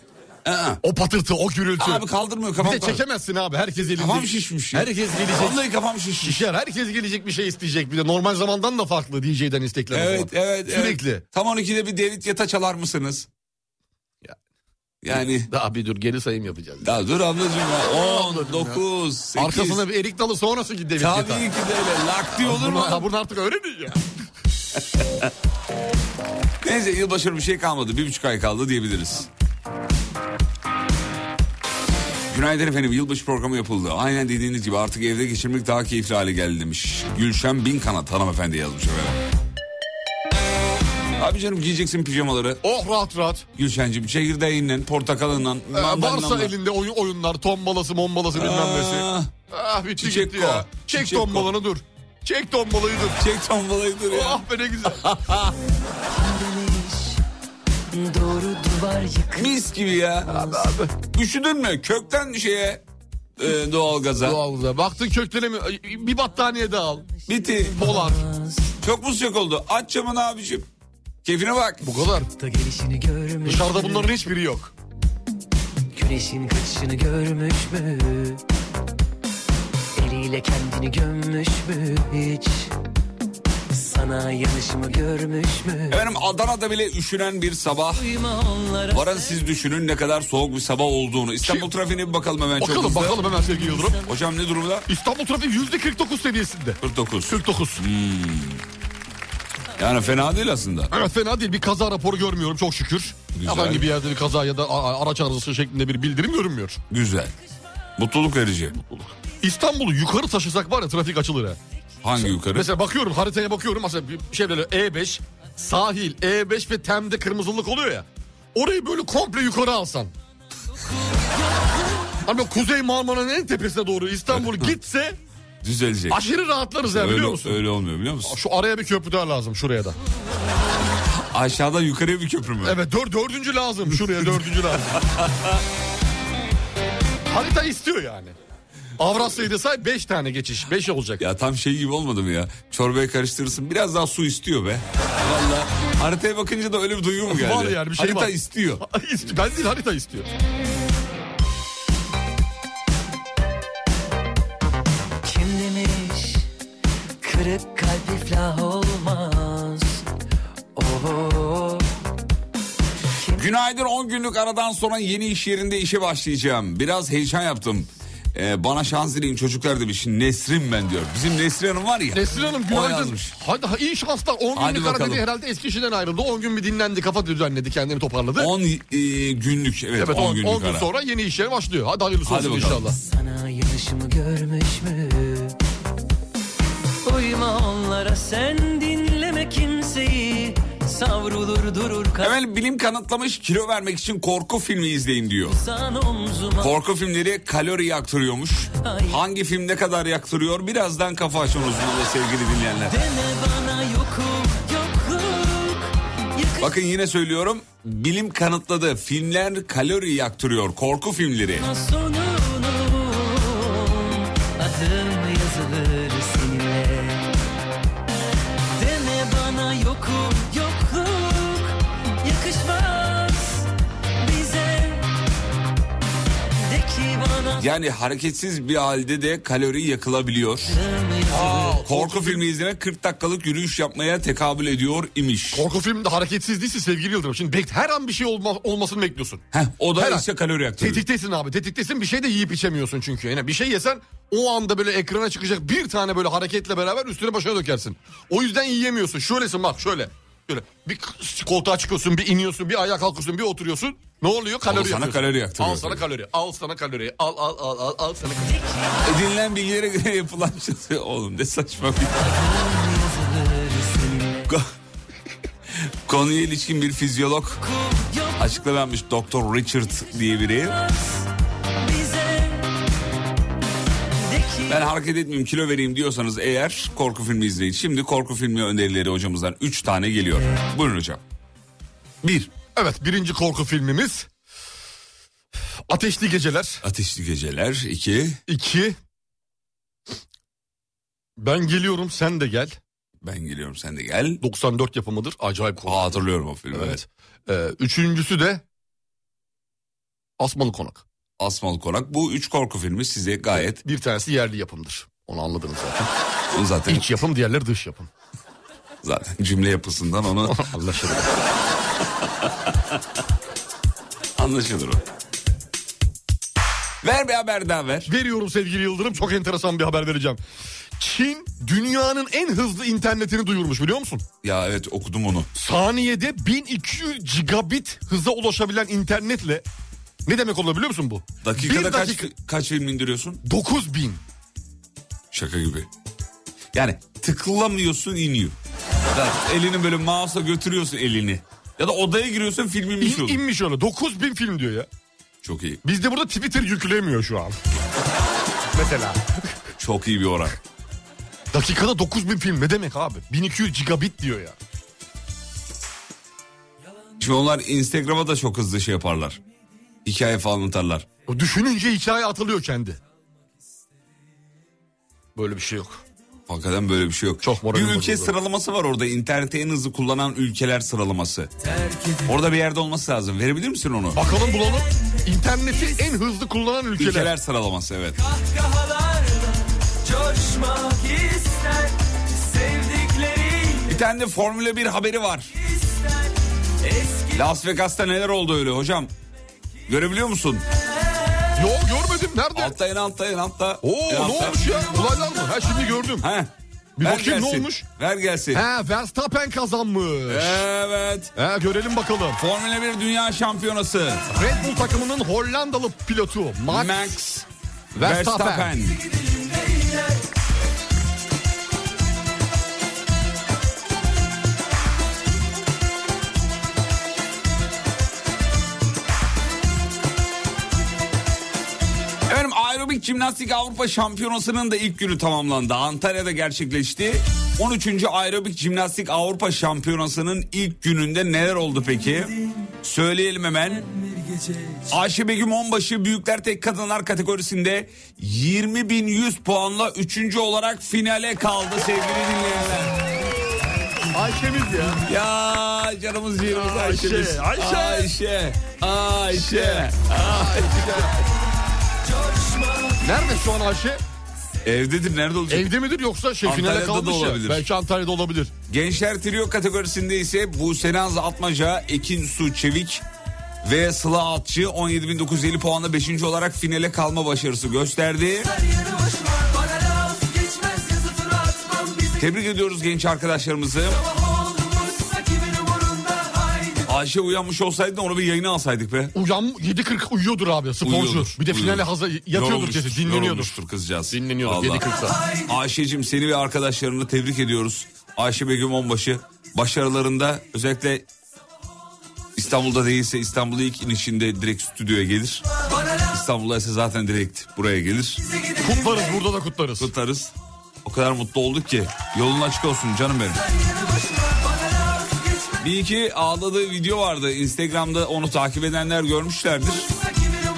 Speaker 4: Aa.
Speaker 5: O patırtı, o gürültü.
Speaker 4: Ee, Abi kaldırmıyor
Speaker 5: bir
Speaker 4: kafam.
Speaker 5: de çekemezsin abi. Herkes elinde.
Speaker 4: Kafam şişmiş ya.
Speaker 5: Herkes gelecek.
Speaker 4: Vallahi kafam şişmiş.
Speaker 5: Şişer. Herkes gelecek bir şey isteyecek. Bir de normal zamandan da farklı DJ'den istekler. o
Speaker 4: Evet
Speaker 5: zaman.
Speaker 4: evet.
Speaker 5: Sürekli.
Speaker 4: evet. Tam 12'de bir David Yata çalar mısınız?
Speaker 5: Ya.
Speaker 4: Yani
Speaker 5: Daha bir dur geri sayım yapacağız.
Speaker 4: daha dur ablacığım ya. 10, 9, 8.
Speaker 5: Arkasına bir erik dalı sonrası gidip David
Speaker 4: Tabii ki
Speaker 5: Guetta.
Speaker 4: de öyle. Lak diye olur mu?
Speaker 5: Bunu, ya bunu artık öğrenin ya.
Speaker 4: Neyse yılbaşına bir şey kalmadı. Bir buçuk ay kaldı diyebiliriz. Günaydın efendim yılbaşı programı yapıldı. Aynen dediğiniz gibi artık evde geçirmek daha keyifli hale geldi demiş. Gülşen Binkanat hanımefendi yazmış efendim. Abi canım giyeceksin pijamaları.
Speaker 5: Oh rahat rahat.
Speaker 4: Gülşen'cim çekirdeğinle, portakalından,
Speaker 5: Ee,
Speaker 4: mandalinanla.
Speaker 5: varsa elinde oyun, oyunlar, tombalası, mombalası bilmem nesi.
Speaker 4: Aa,
Speaker 5: Ah bitti
Speaker 4: Çiçek
Speaker 5: gitti ya.
Speaker 4: ko.
Speaker 5: Çek
Speaker 4: Çiçek
Speaker 5: tombalanı dur. Çek tombalayı dur.
Speaker 4: Çek tombalayıdır ya.
Speaker 5: Ah be ne güzel.
Speaker 1: Doğru duvar yıkı.
Speaker 4: Mis gibi ya. Üşüdün mü? Kökten şeye e, doğalgaza.
Speaker 5: Doğal güzel. Baktın kökleri mi? Ay, Bir battaniye daha al.
Speaker 4: Bitti.
Speaker 5: Polar.
Speaker 4: Çok mu sıcak oldu? Aç camını abicim. Keyfine bak.
Speaker 5: Bu kadar.
Speaker 8: Da gelişini görmüş
Speaker 5: Dışarıda
Speaker 8: mü?
Speaker 5: bunların hiçbiri yok.
Speaker 8: Güneşin kaçışını görmüş mü? Eliyle kendini gömmüş mü hiç? Sana yanışımı görmüş mü?
Speaker 4: Efendim Adana'da bile üşünen bir sabah.
Speaker 8: Duyma onlara
Speaker 4: Varın siz düşünün ne kadar soğuk bir sabah olduğunu. İstanbul trafiğine bir bakalım hemen çok
Speaker 5: Bakalım
Speaker 4: hızlı.
Speaker 5: bakalım hemen sevgili Yıldırım.
Speaker 4: Hocam ne durumda?
Speaker 5: İstanbul trafiği yüzde 49 seviyesinde.
Speaker 4: 49.
Speaker 5: 49.
Speaker 4: Hmm. Yani fena değil aslında.
Speaker 5: Evet fena değil. Bir kaza raporu görmüyorum çok şükür.
Speaker 4: Güzel.
Speaker 5: Herhangi bir yerde bir kaza ya da a- araç arızası şeklinde bir bildirim görünmüyor.
Speaker 4: Güzel. Mutluluk verici.
Speaker 5: İstanbul'u yukarı taşısak var ya trafik açılır ha.
Speaker 4: Hangi yukarı?
Speaker 5: Mesela bakıyorum haritaya bakıyorum mesela bir şey böyle E5, sahil, E5 ve Tem'de kırmızılık oluyor ya. Orayı böyle komple yukarı alsan. Ama Kuzey Marmara'nın en tepesine doğru İstanbul gitse
Speaker 4: Düzelecek.
Speaker 5: aşırı rahatlarız ya biliyor
Speaker 4: Öyle,
Speaker 5: musun?
Speaker 4: öyle olmuyor biliyor musun?
Speaker 5: Şu araya bir köprü daha lazım şuraya da.
Speaker 4: Aşağıdan yukarıya bir köprü mü?
Speaker 5: Evet dör, dördüncü lazım şuraya dördüncü lazım. Harita istiyor yani. Avrasya'yı da say 5 tane geçiş 5 olacak.
Speaker 4: Ya tam şey gibi olmadı mı ya? Çorbaya karıştırırsın biraz daha su istiyor be. Valla haritaya bakınca da öyle bir duygu mu geldi?
Speaker 5: Var yani, bir şey
Speaker 4: Harita
Speaker 5: var.
Speaker 4: istiyor.
Speaker 5: İst- ben değil harita istiyor.
Speaker 8: kim demiş? Kırık kalp iflah olmaz. Oo.
Speaker 4: Günaydın 10 günlük aradan sonra yeni iş yerinde işe başlayacağım. Biraz heyecan yaptım. Ee, bana şans dileyin çocuklar demiş. Nesrin ben diyor. Bizim Nesrin Hanım var ya.
Speaker 5: Nesrin Hanım
Speaker 4: O
Speaker 5: günaydın.
Speaker 4: yazmış.
Speaker 5: Hadi ha- iyi şanslar. 10
Speaker 4: Hadi
Speaker 5: günlük ara
Speaker 4: bakalım.
Speaker 5: dedi herhalde eski işinden ayrıldı. 10 gün bir dinlendi kafa düzenledi kendini toparladı.
Speaker 4: 10 e, günlük şey, evet,
Speaker 5: evet
Speaker 4: 10
Speaker 5: 10
Speaker 4: günlük
Speaker 5: gün
Speaker 4: ara.
Speaker 5: sonra yeni işe başlıyor. Hadi hayırlısı
Speaker 4: Hadi
Speaker 5: olsun
Speaker 4: bakalım.
Speaker 5: inşallah.
Speaker 8: Sana yanışımı görmüş mü? Uyma onlara sen dinleme kimseyi. Savrulur durur
Speaker 4: Hemen bilim kanıtlamış kilo vermek için korku filmi izleyin diyor.
Speaker 8: kazan omzuma.
Speaker 4: Korku filmleri kalori yaktırıyormuş. Hangi film ne kadar yaktırıyor birazdan kafa açın uzmanı sevgili dinleyenler.
Speaker 8: Deme bana yokum yokluk. Yakış
Speaker 4: Bakın yine söylüyorum bilim kanıtladı filmler kalori yaktırıyor korku filmleri.
Speaker 8: sonunu. Adım yazılır seninle. Deme bana yokum yokluk. Yakışmaz bize. De ki bana
Speaker 4: Yani hareketsiz bir halde de kalori yakılabiliyor. korku filmi izlemek 40 dakikalık yürüyüş yapmaya tekabül ediyor imiş.
Speaker 5: Korku filminde hareketsiz değilse sevgili Yıldırım. Şimdi bek- her an bir şey olma- olmasını bekliyorsun.
Speaker 4: Heh, o da
Speaker 5: Her an.
Speaker 4: işte kalori yaktırıyor.
Speaker 5: Tetiktesin abi tetiktesin bir şey de yiyip içemiyorsun çünkü. Yani bir şey yesen o anda böyle ekrana çıkacak bir tane böyle hareketle beraber üstüne başına dökersin. O yüzden yiyemiyorsun. Şöylesin bak şöyle. Şöyle bir koltuğa çıkıyorsun bir iniyorsun bir ayağa kalkıyorsun bir oturuyorsun. Ne oluyor? Kalori
Speaker 4: Al sana
Speaker 5: yakıyorsun.
Speaker 4: kalori yaktırıyor.
Speaker 5: Al sana kalori. Al sana kalori. Al al al al al sana kalori.
Speaker 4: Edinilen E, bilgilere göre yapılan şey. Oğlum ne saçma bir... Ko- Konuya ilişkin bir fizyolog açıklamanmış Doktor Richard diye biri.
Speaker 8: bize. De ki
Speaker 4: Ben hareket etmeyeyim kilo vereyim diyorsanız eğer korku filmi izleyin. Şimdi korku filmi önerileri hocamızdan 3 tane geliyor. Buyurun hocam. 1.
Speaker 5: Evet birinci korku filmimiz. Ateşli Geceler.
Speaker 4: Ateşli Geceler. 2.
Speaker 5: İki. Ben geliyorum sen de gel.
Speaker 4: Ben geliyorum sen de gel.
Speaker 5: 94 yapımıdır. Acayip korku.
Speaker 4: Aa, hatırlıyorum o filmi.
Speaker 5: Evet. Ee, üçüncüsü de Asmalı Konak.
Speaker 4: Asmalı Konak. Bu üç korku filmi size gayet
Speaker 5: Bir tanesi yerli yapımdır. Onu anladınız zaten.
Speaker 4: zaten
Speaker 5: İç yapım diğerleri dış yapım.
Speaker 4: zaten cümle yapısından onu
Speaker 5: Anlaşıldı.
Speaker 4: anlaşılır o. Ver bir haber daha ver.
Speaker 5: Veriyorum sevgili Yıldırım çok enteresan bir haber vereceğim. Çin dünyanın en hızlı internetini duyurmuş biliyor musun?
Speaker 4: Ya evet okudum onu.
Speaker 5: Saniyede 1200 gigabit hıza ulaşabilen internetle ne demek olabilir biliyor musun bu?
Speaker 4: Dakikada
Speaker 5: Bir dakika-
Speaker 4: kaç kaç film indiriyorsun?
Speaker 5: 9000.
Speaker 4: Şaka gibi. Yani tıklamıyorsun iniyor. Ya elini böyle mouse'a götürüyorsun elini. Ya da odaya giriyorsun film inmiş
Speaker 5: İn,
Speaker 4: oluyor.
Speaker 5: inmiş öyle 9000 film diyor ya.
Speaker 4: Çok iyi.
Speaker 5: Bizde burada Twitter yüklemiyor şu an. Mesela.
Speaker 4: Çok iyi bir oran.
Speaker 5: Dakikada 9000 film ne demek abi? 1200 gigabit diyor ya.
Speaker 4: Şimdi onlar Instagram'a da çok hızlı şey yaparlar. Hikaye falan atarlar.
Speaker 5: O düşününce hikaye atılıyor kendi. Böyle bir şey yok.
Speaker 4: Hakikaten böyle bir şey yok.
Speaker 5: Çok
Speaker 4: bir
Speaker 5: moralim
Speaker 4: ülke
Speaker 5: bozuldu.
Speaker 4: sıralaması var orada. İnterneti en hızlı kullanan ülkeler sıralaması. Orada bir yerde olması lazım. Verebilir misin onu?
Speaker 5: Bakalım bulalım. İnterneti en hızlı kullanan ülkeler.
Speaker 4: Ülkeler sıralaması evet.
Speaker 2: Kahkahalarla coşmak ister Sevdikleri
Speaker 4: Bir tane de Formula 1 haberi var.
Speaker 2: ister Eski
Speaker 4: Las Vegas'ta neler oldu öyle hocam? Görebiliyor musun?
Speaker 5: Yo görmedim nerede?
Speaker 4: Altta en altta en altta.
Speaker 5: Oo
Speaker 4: en
Speaker 5: ne
Speaker 4: altta.
Speaker 5: olmuş ya? Olaylar mı? Ha şimdi gördüm.
Speaker 4: He.
Speaker 5: Bir
Speaker 4: Ver
Speaker 5: bakayım ne
Speaker 4: gelsin.
Speaker 5: olmuş?
Speaker 4: Ver gelsin.
Speaker 5: He Verstappen kazanmış.
Speaker 4: Evet.
Speaker 5: He görelim bakalım.
Speaker 4: Formula 1 Dünya Şampiyonası.
Speaker 5: Red Bull takımının Hollandalı pilotu Max,
Speaker 4: Max
Speaker 5: Verstappen.
Speaker 4: Verstappen. Efendim aerobik jimnastik Avrupa Şampiyonası'nın da ilk günü tamamlandı. Antalya'da gerçekleşti. 13. aerobik jimnastik Avrupa Şampiyonası'nın ilk gününde neler oldu peki? Söyleyelim hemen. Ayşe Begüm Onbaşı Büyükler Tek Kadınlar kategorisinde 20.100 puanla 3. olarak finale kaldı sevgili dinleyenler.
Speaker 5: Ayşemiz ya.
Speaker 4: Ya canımız ciğerimiz
Speaker 5: Ayşe,
Speaker 4: Ayşe'miz.
Speaker 5: Ayşe.
Speaker 4: Ayşe. Ayşe.
Speaker 5: Nerede şu an Ayşe?
Speaker 4: Evdedir nerede olacak?
Speaker 5: Evde midir yoksa şey finale
Speaker 4: Antalya'da da
Speaker 5: kalmış ya.
Speaker 4: olabilir.
Speaker 5: Belki Antalya'da olabilir.
Speaker 4: Gençler Trio kategorisinde ise Buse Naz Atmaca, Ekin Su Çevik ve Sıla Atçı 17.950 puanla 5. olarak finale kalma başarısı gösterdi.
Speaker 2: her yanı boş var Bana laf geçmez yazıtını atmam Bizi
Speaker 4: Tebrik ediyoruz genç arkadaşlarımızı.
Speaker 2: sabah olduğumuzsa kimin umurunda Haydi
Speaker 4: Ayşe uyanmış olsaydı da onu bir yayına alsaydık be.
Speaker 5: Uyan 7.40 uyuyordur abi sporcu.
Speaker 4: Uyuyordur,
Speaker 5: bir de finale
Speaker 4: uyuyordur.
Speaker 5: hazır yatıyordur
Speaker 4: Yorulmuştur,
Speaker 5: kesin dinleniyordur.
Speaker 4: Yorulmuştur kızcağız.
Speaker 5: Dinleniyordur
Speaker 4: Vallahi.
Speaker 5: 7.40'da.
Speaker 4: Ayşe'cim seni ve arkadaşlarını tebrik ediyoruz. Ayşe Begüm Onbaşı başarılarında özellikle İstanbul'da değilse İstanbul'da ilk inişinde direkt stüdyoya gelir. İstanbul'da ise zaten direkt buraya gelir.
Speaker 5: Kutlarız burada da kutlarız.
Speaker 4: Tutarız. O kadar mutlu olduk ki. Yolun açık olsun canım benim. Bir iki ağladığı video vardı. Instagram'da onu takip edenler görmüşlerdir.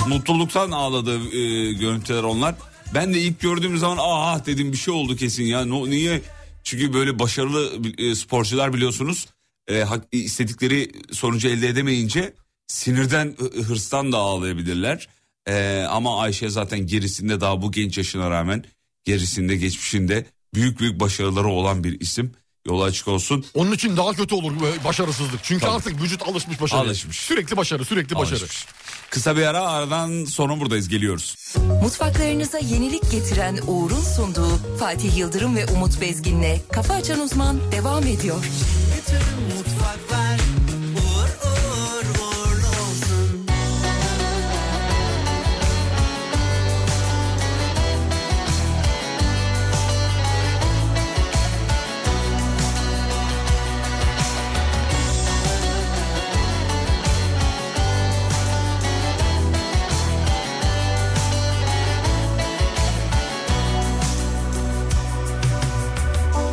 Speaker 4: Mutluluktan ağladığı e, görüntüler onlar. Ben de ilk gördüğüm zaman ah dedim bir şey oldu kesin ya. No, niye? Çünkü böyle başarılı e, sporcular biliyorsunuz e, hak- istedikleri sonucu elde edemeyince sinirden e, hırstan da ağlayabilirler. E, ama Ayşe zaten gerisinde daha bu genç yaşına rağmen gerisinde geçmişinde büyük büyük başarıları olan bir isim. Yolu açık olsun.
Speaker 5: Onun için daha kötü olur bu başarısızlık. Çünkü
Speaker 4: Tabii.
Speaker 5: artık vücut alışmış başarıya.
Speaker 4: Alışmış.
Speaker 5: Sürekli başarı, sürekli başarı.
Speaker 4: Alışmış. Kısa bir ara aradan sonra buradayız geliyoruz.
Speaker 1: Mutfaklarınıza yenilik getiren Uğur'un sunduğu Fatih Yıldırım ve Umut Bezgin'le Kafa Açan Uzman devam ediyor.
Speaker 2: bütün mutfaklar Uğur uğur uğurlu olsun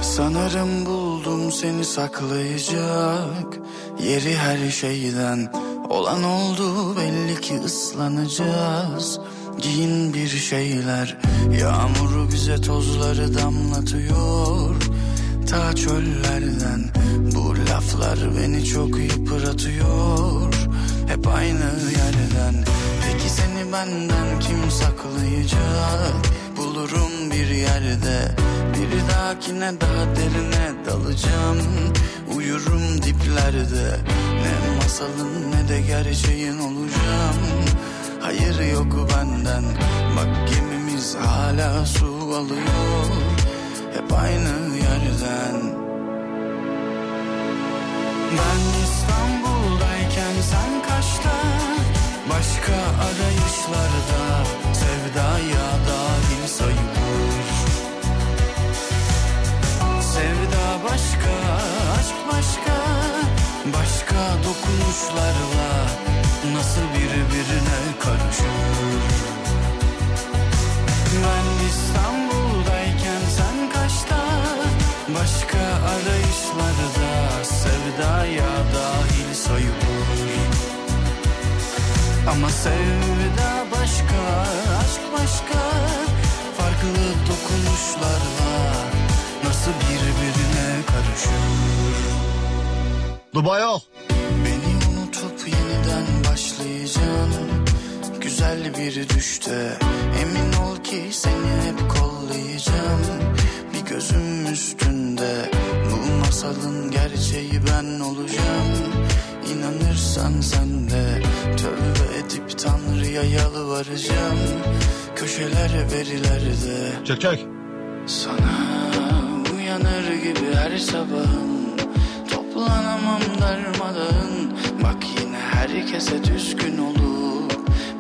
Speaker 9: Sanırım buldum seni saklayacak Yeri her şeyden Olan oldu belli ki ıslanacağız Giyin bir şeyler Yağmuru bize tozları damlatıyor Ta çöllerden Bu laflar beni çok yıpratıyor Hep hep aynı yerden Peki seni benden kim saklayacak Bulurum bir yerde Bir dahakine daha derine dalacağım Uyurum diplerde Ne masalın ne de gerçeğin olacağım Hayır yok benden Bak gemimiz hala su alıyor Hep aynı yerden ben İstanbul'dayken sen kaçta Başka arayışlarda Sevdaya dalim sayılır Sevda başka, aşk başka Başka dokunuşlarla Nasıl birbirine karışır Ben İstanbul'dayken sen kaçta Başka arayışlarda sevdaya dahil sayılır Ama sevda başka, aşk başka Farklı dokunuşlarla nasıl birbirine karışır
Speaker 5: Dubai al.
Speaker 9: Beni unutup yeniden başlayacağım Güzel bir düşte Emin ol ki seni hep kollayacağım Bir gözüm üstünde Bu masalın gerçeği ben olacağım İnanırsan sen de Tövbe edip Tanrı'ya yalvaracağım Köşeler verilerde
Speaker 5: Çek çek.
Speaker 9: sana uyanır gibi her sabahın Toplanamam darmadağın Bak yine herkese düzgün olup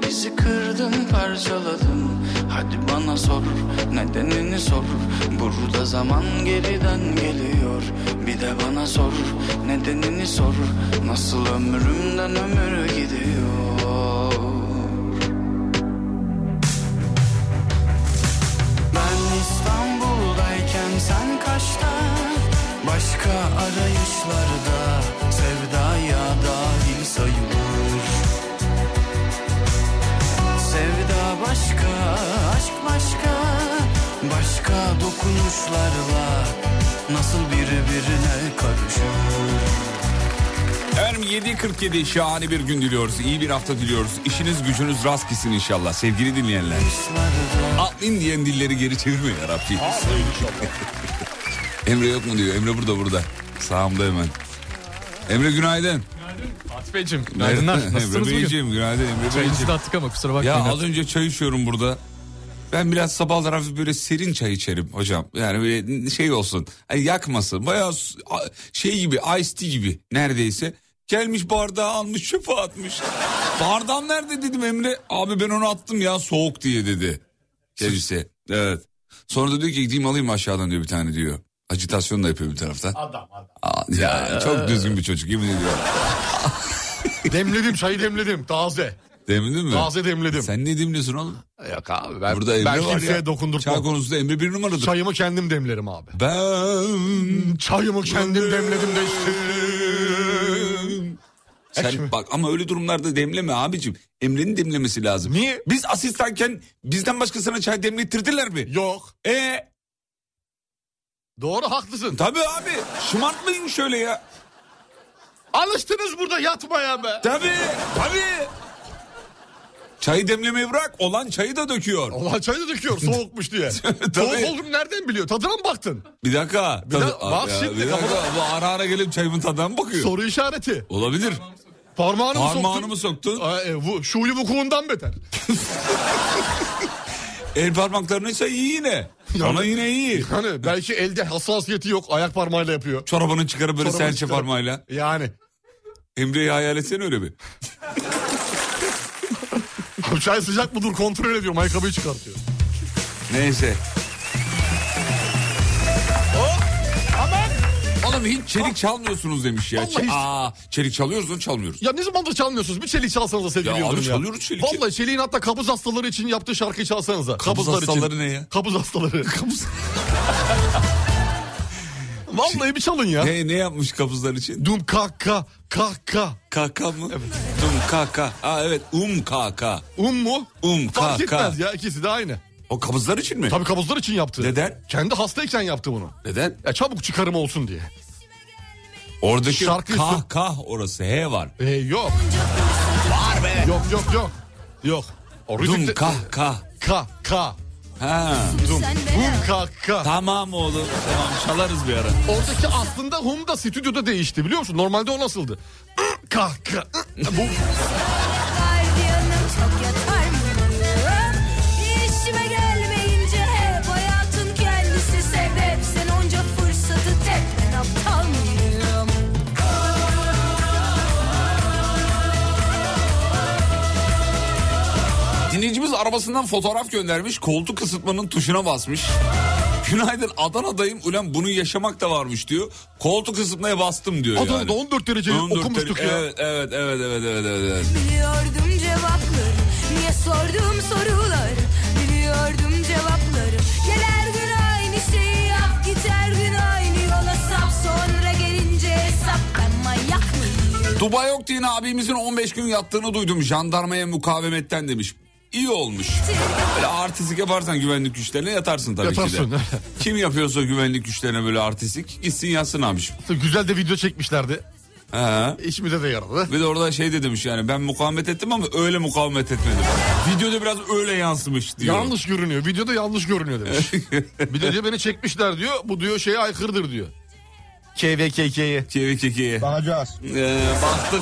Speaker 9: Bizi kırdın parçaladın Hadi bana sor nedenini sor Burada zaman geriden geliyor Bir de bana sor nedenini sor Nasıl ömrümden ömür gidiyor Ben İstanbul'dayken sen kaçta Başka arayışlarda Sevdaya dahil sayılır Sevda başka, aşk başka Başka dokunuşlarla Nasıl birbirine karışır
Speaker 4: Efendim 7.47 şahane bir gün diliyoruz. İyi bir hafta diliyoruz. İşiniz gücünüz rast gitsin inşallah sevgili dinleyenler. Atlayın diyen dilleri geri çevirme yarabbim. Emre yok mu diyor. Emre burada burada. Sağımda hemen. Emre günaydın.
Speaker 10: Fatih Beyciğim
Speaker 4: Nerede?
Speaker 10: günaydınlar. Nasılsınız
Speaker 4: Emre
Speaker 10: bugün?
Speaker 4: Beyciğim günaydın Emre
Speaker 10: Çayınızı
Speaker 4: Beyciğim.
Speaker 10: da attık ama kusura bakmayın.
Speaker 4: Ya
Speaker 10: artık.
Speaker 4: az önce çay içiyorum burada. Ben biraz sabahlar hafif böyle serin çay içerim hocam. Yani böyle şey olsun. Hani yakmasın. Bayağı s- a- şey gibi iced tea gibi neredeyse. Gelmiş bardağı almış çöpe atmış. Bardağım nerede dedim Emre. Abi ben onu attım ya soğuk diye dedi. Kendisi. Evet. Sonra da diyor ki gideyim alayım aşağıdan diyor bir tane diyor. Acitasyon da yapıyor bir taraftan.
Speaker 10: Adam adam.
Speaker 4: Aa, ya, çok düzgün bir çocuk yemin ediyorum.
Speaker 5: E, demledim çayı demledim. Taze.
Speaker 4: Demledin mi?
Speaker 5: Taze demledim.
Speaker 4: Sen ne demliyorsun oğlum?
Speaker 5: Yok abi ben,
Speaker 4: Burada Emre
Speaker 5: ben
Speaker 4: var
Speaker 5: kimseye
Speaker 4: ya. Çay
Speaker 5: dokundurtmam.
Speaker 4: konusunda Emre bir numaradır.
Speaker 5: Çayımı kendim demlerim abi.
Speaker 4: Ben
Speaker 5: Çayımı kendim demledim de içtim.
Speaker 4: sen bak ama öyle durumlarda demleme abicim. Emre'nin demlemesi lazım.
Speaker 5: Niye?
Speaker 4: Biz asistanken bizden başkasına çay demlettirdiler mi?
Speaker 5: Yok.
Speaker 4: E
Speaker 5: Doğru haklısın.
Speaker 4: tabii abi şımartmayın şöyle ya.
Speaker 5: Alıştınız burada yatmaya be.
Speaker 4: Tabii tabii. Çayı demlemeyi bırak olan çayı da döküyor.
Speaker 5: Allah çayı da döküyor soğukmuş diye. Soğuk
Speaker 4: Tabii.
Speaker 5: oldum nereden biliyor? Tadına mı baktın?
Speaker 4: Bir dakika.
Speaker 5: Bir
Speaker 4: tadı-
Speaker 5: da- bak
Speaker 4: Ya,
Speaker 5: şimdi
Speaker 4: bir dakika,
Speaker 5: kafada-
Speaker 4: bu ara ara gelip çayımın tadına mı bakıyor?
Speaker 5: Soru işareti.
Speaker 4: Olabilir.
Speaker 5: Parmağını mı soktun?
Speaker 4: Parmağını mı soktun?
Speaker 5: Aa, e, bu, şuyu vukuundan beter.
Speaker 4: El parmaklarınıysa iyi yine. Ona yine iyi.
Speaker 5: Hani belki elde hassasiyeti yok. Ayak parmağıyla yapıyor.
Speaker 4: Çorabını çıkarıp böyle
Speaker 5: Çorabını
Speaker 4: serçe
Speaker 5: çıkarıp-
Speaker 4: parmağıyla.
Speaker 5: Yani.
Speaker 4: Emre'yi hayal etsene öyle bir.
Speaker 5: Abi çay sıcak mı dur kontrol ediyorum. Ayakkabıyı çıkartıyor.
Speaker 4: Neyse. Oğlum hiç çelik çalmıyorsunuz demiş ya.
Speaker 5: Vallahi hiç-
Speaker 4: Aa, çelik çalıyoruz onu çalmıyoruz.
Speaker 5: Ya ne zamandır çalmıyorsunuz? Bir çelik çalsanız da sevgili
Speaker 4: Ya abi
Speaker 5: Yıldırım
Speaker 4: çalıyoruz çeliği.
Speaker 5: Vallahi çeliğin hatta kabız hastaları için yaptığı şarkıyı çalsanız da.
Speaker 4: Kabız hastaları ne ya?
Speaker 5: Kabız hastaları. Kabız... Vallahi bir çalın ya.
Speaker 4: Ne, ne yapmış kabızlar için?
Speaker 5: Dum kaka kaka.
Speaker 4: Kaka mı? Um kaka. Aa evet um kaka.
Speaker 5: Um mu?
Speaker 4: Um
Speaker 5: Fark
Speaker 4: kaka.
Speaker 5: etmez ya ikisi de aynı.
Speaker 4: O kabızlar için mi?
Speaker 5: Tabii kabızlar için yaptı.
Speaker 4: Neden?
Speaker 5: Kendi hastayken yaptı bunu.
Speaker 4: Neden?
Speaker 5: Ya çabuk çıkarım olsun diye.
Speaker 4: Oradaki
Speaker 5: Şarkı
Speaker 4: kah
Speaker 5: sö-
Speaker 4: kah orası he var.
Speaker 5: E, yok.
Speaker 4: Var be.
Speaker 5: Yok yok yok. Yok.
Speaker 4: Dum kah kah.
Speaker 5: Ka ka.
Speaker 4: Ha.
Speaker 5: Dum. Hum ka ka.
Speaker 4: Tamam oğlum. Tamam çalarız bir ara.
Speaker 5: Oradaki aslında hum da stüdyoda değişti biliyor musun? Normalde o nasıldı? Ka ka. Bu
Speaker 7: Gardiyanım çok yatar mıyım? İşime gelmeyince hep hayatın kendisi sebep Sen onca fırsatı tek ben aptal mıyım?
Speaker 4: Dinleyicimiz arabasından fotoğraf göndermiş. Koltuk ısıtmanın tuşuna basmış. Günaydın Adana'dayım. Ulan bunu yaşamak da varmış diyor. Koltuk ısıtmaya bastım diyor
Speaker 5: Adana'da
Speaker 4: yani.
Speaker 5: 14 dereceyi
Speaker 4: 14
Speaker 5: okumuştuk
Speaker 4: derece-
Speaker 5: ya.
Speaker 4: Evet evet evet evet evet. evet, evet.
Speaker 7: Biliyordum cevapları Niye sordum soruları Biliyordum cevapları Gel her gün aynı şeyi yap Git her gün aynı yola sap Sonra gelince hesap Ben manyak mıyım?
Speaker 4: Dubai Oktin abimizin 15 gün yattığını duydum jandarmaya mukavemetten demiş. İyi olmuş. Böyle artistik yaparsan güvenlik güçlerine yatarsın tabii ki
Speaker 5: Yatarsın,
Speaker 4: de. Kim yapıyorsa güvenlik güçlerine böyle artistik gitsin yatsın abiciğim.
Speaker 5: güzel de video çekmişlerdi.
Speaker 4: He.
Speaker 5: İşimize de yaradı.
Speaker 4: Bir de orada şey de demiş yani ben mukavemet ettim ama öyle mukavemet etmedim. Videoda biraz öyle yansımış diyor.
Speaker 5: Yanlış görünüyor. Videoda yanlış görünüyor demiş. bir de diyor beni çekmişler diyor. Bu diyor şeye aykırıdır diyor. KVKK'ye.
Speaker 4: Çevik ikiye.
Speaker 5: Bakacağız.
Speaker 4: Ee, bastık.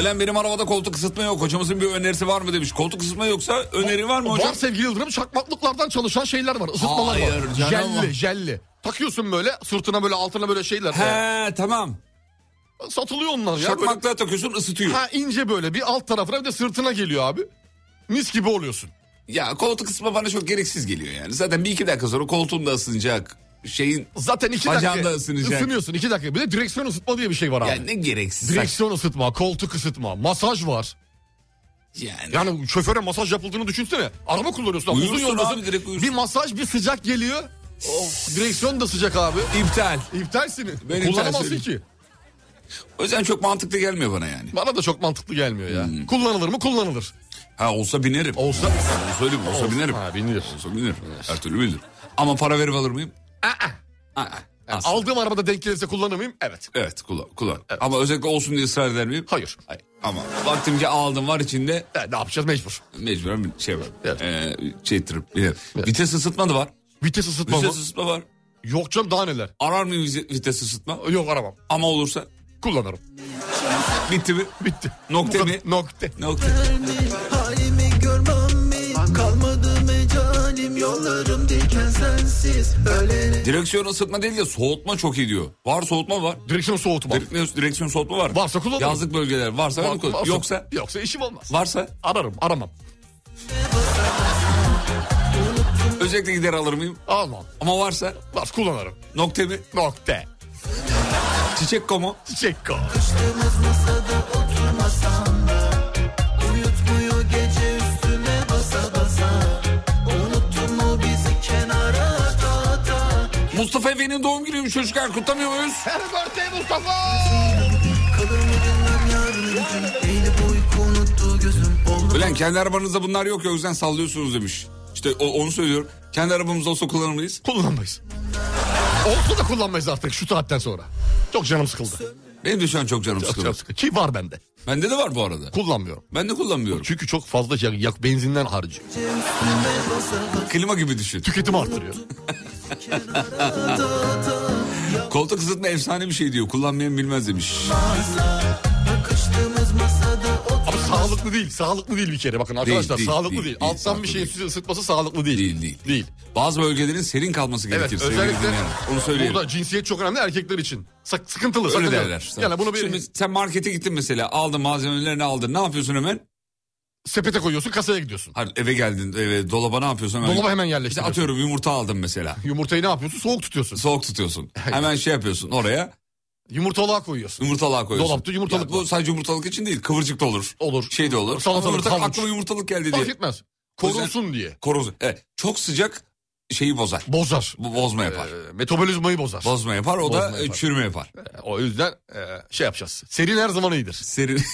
Speaker 4: Ulan benim arabada koltuk ısıtma yok. Hocamızın bir önerisi var mı demiş. Koltuk ısıtma yoksa öneri var mı hocam?
Speaker 5: Var sevgili Yıldırım çakmaklıklardan çalışan şeyler var. Isıtmalar
Speaker 4: Hayır
Speaker 5: var.
Speaker 4: canım.
Speaker 5: Jelli jelli. Takıyorsun böyle sırtına böyle altına böyle şeyler. Ee,
Speaker 4: He tamam.
Speaker 5: Satılıyor onlar ya.
Speaker 4: Çakmakla takıyorsun ısıtıyor.
Speaker 5: Böyle, ha ince böyle bir alt tarafına bir de sırtına geliyor abi. Mis gibi oluyorsun.
Speaker 4: Ya koltuk ısıtma bana çok gereksiz geliyor yani. Zaten bir iki dakika sonra koltuğum da ısınacak. Şeyin
Speaker 5: Zaten iki
Speaker 4: Bacağın
Speaker 5: dakika
Speaker 4: da ısınacak.
Speaker 5: ısınıyorsun iki dakika. Bir de direksiyon ısıtma diye bir şey var abi.
Speaker 4: ya ne gereksiz. saç-
Speaker 5: direksiyon ısıtma, koltuk ısıtma, masaj var.
Speaker 4: Yani.
Speaker 5: Yani şoföre masaj yapıldığını düşünsene. Araba kullanıyorsun.
Speaker 4: Uyursun
Speaker 5: uzun yoldasın.
Speaker 4: abi, direkt uyursun.
Speaker 5: Bir masaj bir sıcak geliyor. Of, direksiyon da sıcak abi.
Speaker 4: İptal.
Speaker 5: İptalsini.
Speaker 4: Ben
Speaker 5: Kullanamazsın
Speaker 4: iptal
Speaker 5: ki.
Speaker 4: O yüzden çok mantıklı gelmiyor bana yani.
Speaker 5: Bana da çok mantıklı gelmiyor ya. Kullanılır mı? Kullanılır.
Speaker 4: Hmm. Ha olsa binerim.
Speaker 5: Olsa
Speaker 4: Onu söyleyeyim olsa, binerim.
Speaker 5: Ha, biniyorsun.
Speaker 4: Olsa binerim. Her türlü binerim. Ama para verip alır mıyım? Aa. Aa. Asla.
Speaker 5: Aldığım arabada denk gelirse kullanır mıyım? Evet.
Speaker 4: Evet kullan. kullan. Ama özellikle olsun diye ısrar eder miyim?
Speaker 5: Hayır.
Speaker 4: Hayır. Ama vaktimce aldım var içinde
Speaker 5: E, ne yapacağız mecbur.
Speaker 4: mecburen bir şey var.
Speaker 5: Evet.
Speaker 4: Ee, şey trip. binerim. Vites ısıtma da var.
Speaker 5: Vites ısıtma
Speaker 4: Vites
Speaker 5: mı?
Speaker 4: ısıtma var.
Speaker 5: Yok canım daha neler.
Speaker 4: Arar mıyım vize- vites ısıtma?
Speaker 5: Yok aramam.
Speaker 4: Ama olursa
Speaker 5: Kullanırım.
Speaker 4: bitti mi?
Speaker 5: Bitti.
Speaker 4: Nokte
Speaker 5: Bu
Speaker 4: mi?
Speaker 5: kadar. Nokta.
Speaker 4: Nokta.
Speaker 2: Halimi görmem mi? Kalmadı mecalim yollarım diken sensiz. Ölene
Speaker 4: Direksiyon ısıtma değil de soğutma çok iyi diyor. Var soğutma var.
Speaker 5: Direksiyon soğutma.
Speaker 4: Direksiyon, direksiyon soğutma var.
Speaker 5: Varsa kullanırım.
Speaker 4: Yazlık bölgeler varsa, ben
Speaker 5: Var-
Speaker 4: kullanırım.
Speaker 5: varsa-
Speaker 4: yoksa
Speaker 5: Yoksa işim olmaz.
Speaker 4: varsa
Speaker 5: Ararım aramam.
Speaker 4: özellikle gider alır mıyım?
Speaker 5: Almam.
Speaker 4: Ama varsa
Speaker 5: Var kullanırım.
Speaker 4: nokta mi?
Speaker 5: Nokta.
Speaker 4: Çiçek komu.
Speaker 5: Çiçek kal.
Speaker 2: uyutmuyor gece üstüme basa basa. Unuttun mu bizi kenara ata ata?
Speaker 4: Mustafa Efe'nin doğum günüymüş çocuklar kutlamıyor muyuz?
Speaker 5: Her birthday Mustafa.
Speaker 2: Kalır mı bilmem yarın gün. Eğilip uyku unuttu gözüm. Oldu
Speaker 4: Ulan kendi arabanızda bunlar yok ya o yüzden sallıyorsunuz demiş. İşte o- onu söylüyorum. Kendi arabamız olsa kullanır mıyız?
Speaker 5: Kullanmayız. Olsa da kullanmayız artık şu saatten sonra. Çok canım sıkıldı.
Speaker 4: Benim de şu an çok canım
Speaker 5: Çok canım
Speaker 4: sıkıldı.
Speaker 5: sıkıldı. Ki var bende.
Speaker 4: Bende de var bu arada.
Speaker 5: Kullanmıyorum.
Speaker 4: Ben de kullanmıyorum.
Speaker 5: Çünkü çok fazla yak, yak benzinden harcıyor.
Speaker 4: Klima gibi düşün.
Speaker 5: Tüketimi arttırıyor.
Speaker 4: Koltuk ısıtma efsane bir şey diyor. Kullanmayan bilmez demiş.
Speaker 2: bakıştığımız masada
Speaker 5: Ama sağlıklı değil. Sağlıklı değil bir kere. Bakın arkadaşlar
Speaker 4: değil,
Speaker 5: sağlıklı
Speaker 4: değil,
Speaker 5: değil.
Speaker 4: değil,
Speaker 5: Alttan bir şey-
Speaker 4: sağlıklı
Speaker 5: şeyin
Speaker 4: değil.
Speaker 5: sizi ısıtması sağlıklı değil.
Speaker 4: Değil, değil.
Speaker 5: Değil.
Speaker 4: Bazı bölgelerin serin kalması
Speaker 5: Evet
Speaker 4: gerekir. sevgili
Speaker 5: özellikle
Speaker 4: dinleyenler. Onu söyleyeyim.
Speaker 5: burada cinsiyet çok önemli erkekler için. Sak- sıkıntılı.
Speaker 4: Öyle
Speaker 5: sakıncalı.
Speaker 4: derler.
Speaker 5: Yani bunu bir
Speaker 4: Şimdi sen markete gittin mesela aldın malzemelerini aldın. Ne yapıyorsun hemen?
Speaker 5: sepete koyuyorsun kasaya gidiyorsun.
Speaker 4: Hayır, eve geldin eve dolaba ne yapıyorsun hemen?
Speaker 5: Dolaba hemen
Speaker 4: İşte
Speaker 5: yerleştiriyorsun.
Speaker 4: atıyorum yumurta aldın mesela.
Speaker 5: Yumurtayı ne yapıyorsun? Soğuk tutuyorsun.
Speaker 4: Soğuk tutuyorsun. Hemen şey yapıyorsun oraya
Speaker 5: Yumurtalığa koyuyorsun.
Speaker 4: yumurtalığa koyuyorsun.
Speaker 5: Dolapta yumurtalık
Speaker 4: Ya bu
Speaker 5: var.
Speaker 4: sadece yumurtalık için değil kıvırcık da olur.
Speaker 5: Olur.
Speaker 4: Şey de olur.
Speaker 5: Salatalık,
Speaker 4: Ama yumurtalık-
Speaker 5: havuç.
Speaker 4: aklıma yumurtalık geldi diye.
Speaker 5: Fark etmez.
Speaker 4: O yüzden-
Speaker 5: Korunsun diye.
Speaker 4: Koroz. Evet, çok sıcak şeyi bozar.
Speaker 5: Bozar.
Speaker 4: Bu bozma yapar.
Speaker 5: Ee, metabolizmayı bozar.
Speaker 4: bozma yapar o da
Speaker 5: bozma yapar.
Speaker 4: çürüme yapar.
Speaker 5: O yüzden e, şey yapacağız. Serin her zaman iyidir.
Speaker 4: Serin.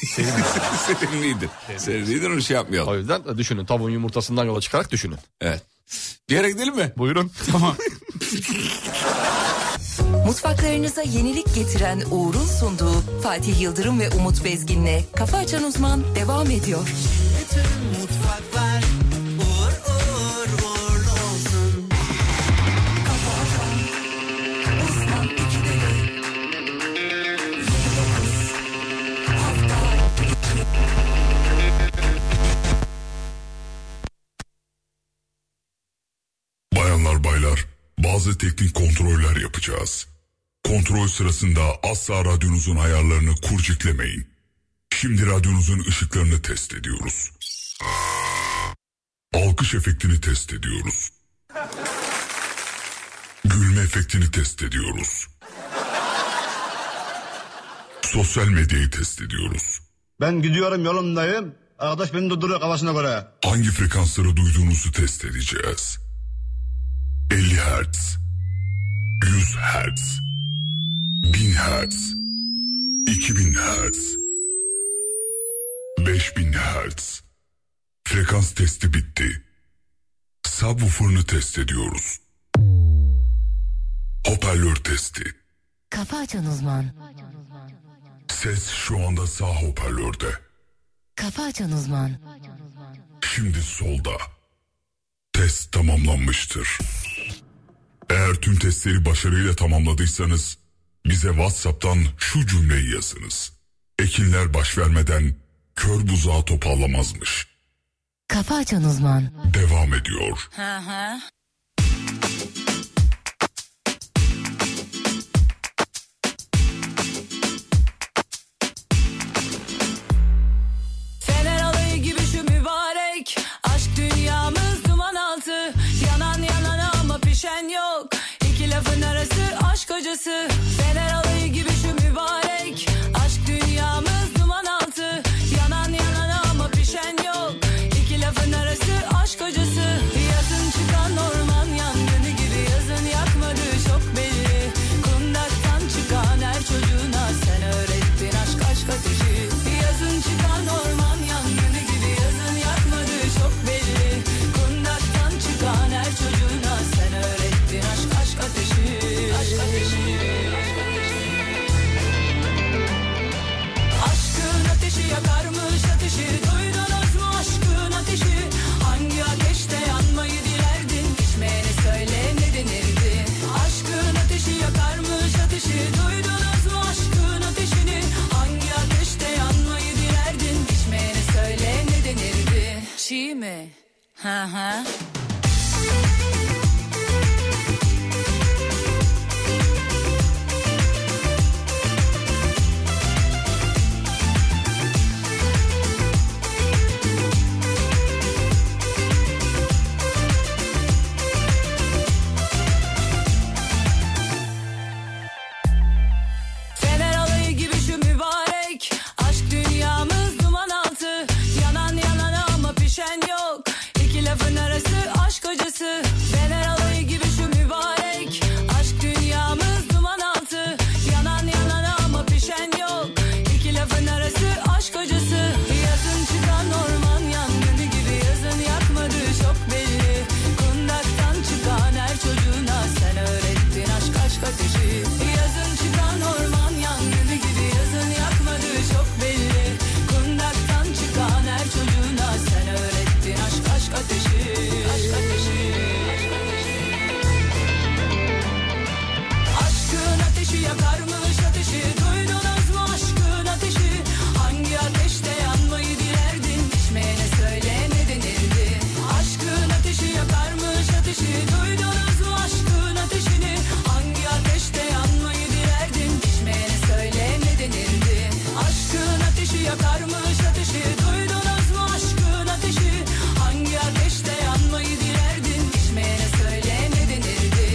Speaker 4: Serinliğidir. Serinliğidir onu şey yapmayalım.
Speaker 5: O yüzden düşünün tavuğun yumurtasından yola çıkarak düşünün.
Speaker 4: Evet. Bir yere gidelim mi?
Speaker 5: Buyurun.
Speaker 4: Tamam.
Speaker 1: Mutfaklarınıza yenilik getiren Uğur'un sunduğu Fatih Yıldırım ve Umut Bezgin'le Kafa Açan Uzman devam ediyor.
Speaker 6: Mutfaklar uğur uğur uğurlu olsun. Uzman ikide dön. Yedi dokuz. Hafta iki.
Speaker 11: Bayanlar baylar, bazı teknik kontroller yapacağız. Kontrol sırasında asla radyonuzun ayarlarını kurciklemeyin. Şimdi radyonuzun ışıklarını test ediyoruz. Alkış efektini test ediyoruz. Gülme efektini test ediyoruz. Sosyal medyayı test ediyoruz.
Speaker 12: Ben gidiyorum yolumdayım. Arkadaş beni durduruyor kafasına göre.
Speaker 11: Hangi frekansları duyduğunuzu test edeceğiz. 50 Hz, 100 Hz, 1000 Hz, 2000 Hz, 5000 Hz. Frekans testi bitti. Subwoofer'ını test ediyoruz. Hoparlör testi.
Speaker 1: Kafa Açan Uzman.
Speaker 11: Ses şu anda sağ hoparlörde.
Speaker 1: Kafa Açan Uzman.
Speaker 11: Şimdi solda. Test tamamlanmıştır. Eğer tüm testleri başarıyla tamamladıysanız bize WhatsApp'tan şu cümleyi yazınız. Ekinler baş vermeden kör buzağı topallamazmış.
Speaker 1: Kafa Açan Uzman.
Speaker 11: Devam ediyor.
Speaker 7: Hı hı.
Speaker 6: Fener alayı gibi şu mübarek Aşk dünyamız duman altı Yanan yanana ama pişen yok İki lafın arası aşk hocası Fener alayı gibi şu mübarek Aşk dünyamız duman altı Yanan yanana ama pişen yok İki lafın arası aşk hocası Yazın çıkan orman yangını gibi Yazın yakmadı çok belli Kundaktan çıkan her çocuğuna Sen öğrettin aşk aşk ateşi Yazın çıkan orman yangını gibi Yazın yakmadı çok belli Kundaktan çıkan her çocuğuna Sen öğrettin aşk aşk ateşi Aşk ateşi Aşkın ateşi yakarmış ateşi Duydunuz mu aşkın ateşi Hangi ateşte yanmayı dilerdin Pişmeyene söyle ne denirdi Aşkın ateşi yakarmış ateşi Duydunuz mu aşkın ateşini Hangi ateşte yanmayı dilerdin Pişmeyene söyle ne denirdi Çiğ mi? Hı hı. Fener alayı gibi şu mübarek Aşk dünyamız duman altı Yanan yanana ama pişen yok İki lafın arası aşk hocası Fener alayı gibi şu mübarek Aşk dünyamız duman altı Yanan yanana ama pişen yok İki lafın arası aşk hocası Yazın çıkan orman yangını gibi Yazın yakmadı çok belli Kundaktan çıkan her çocuğuna Sen öğrettin aşk aşk ateşi Yazın çıkan orman yangını gibi Yazın yakmadı çok belli Kundaktan çıkan her çocuğuna Sen öğrettin aşk aşk ateşi Aşk ateşi Aşkın ateşi yakarmış ateşi Duydunuz mu aşkın ateşi Hangi ateşte yanmayı dilerdin Pişmeyene söyle ne denirdi Aşkın ateşi yakarmış ateşi Duydunuz mu aşkın ateşini Hangi ateşte yanmayı dilerdin Pişmeyene söyle ne denirdi Aşkın ateşi yakarmış ateşi Duydunuz mu aşkın ateşi Hangi ateşte yanmayı dilerdin Pişmeyene söyle ne denirdi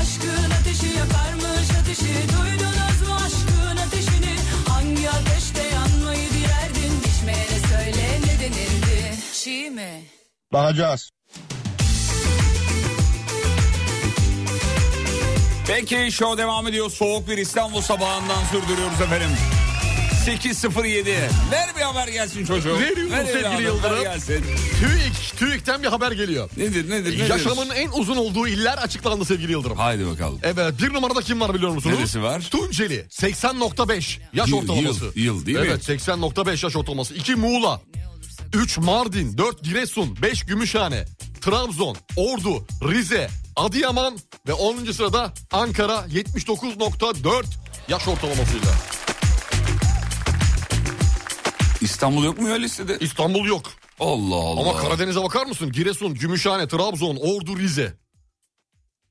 Speaker 6: Aşkın ateşi yakarmış ateşi Duydunuz mu aşkın ateşini Hangi ateşte yanmayı dilerdin Pişmeyene söyle ne denirdi Çiğ mi?
Speaker 12: Bakacağız.
Speaker 4: Peki show devam ediyor. Soğuk bir İstanbul sabahından sürdürüyoruz efendim. 807. Ver bir haber gelsin çocuğum.
Speaker 5: Veriyorum
Speaker 4: Ver evladım,
Speaker 5: sevgili
Speaker 4: ver
Speaker 5: Yıldırım.
Speaker 4: gelsin.
Speaker 5: TÜİK, TÜİK'ten bir haber geliyor.
Speaker 4: Nedir nedir? nedir?
Speaker 5: Yaşamın en uzun olduğu iller açıklandı sevgili Yıldırım.
Speaker 4: Haydi bakalım.
Speaker 5: Evet bir numarada kim var biliyor musunuz?
Speaker 4: Neresi var?
Speaker 5: Tunceli 80.5 yaş
Speaker 4: Yıl-
Speaker 5: ortalaması.
Speaker 4: yıl- yıl değil mi?
Speaker 5: Evet 80.5 yaş ortalaması. 2 Muğla, 3 Mardin, 4 Giresun, 5 Gümüşhane, Trabzon, Ordu, Rize, Adıyaman ve 10. sırada Ankara 79.4 yaş ortalamasıyla.
Speaker 4: İstanbul yok mu ya listede?
Speaker 5: İstanbul yok.
Speaker 4: Allah Allah.
Speaker 5: Ama Karadeniz'e bakar mısın? Giresun, Gümüşhane, Trabzon, Ordu, Rize.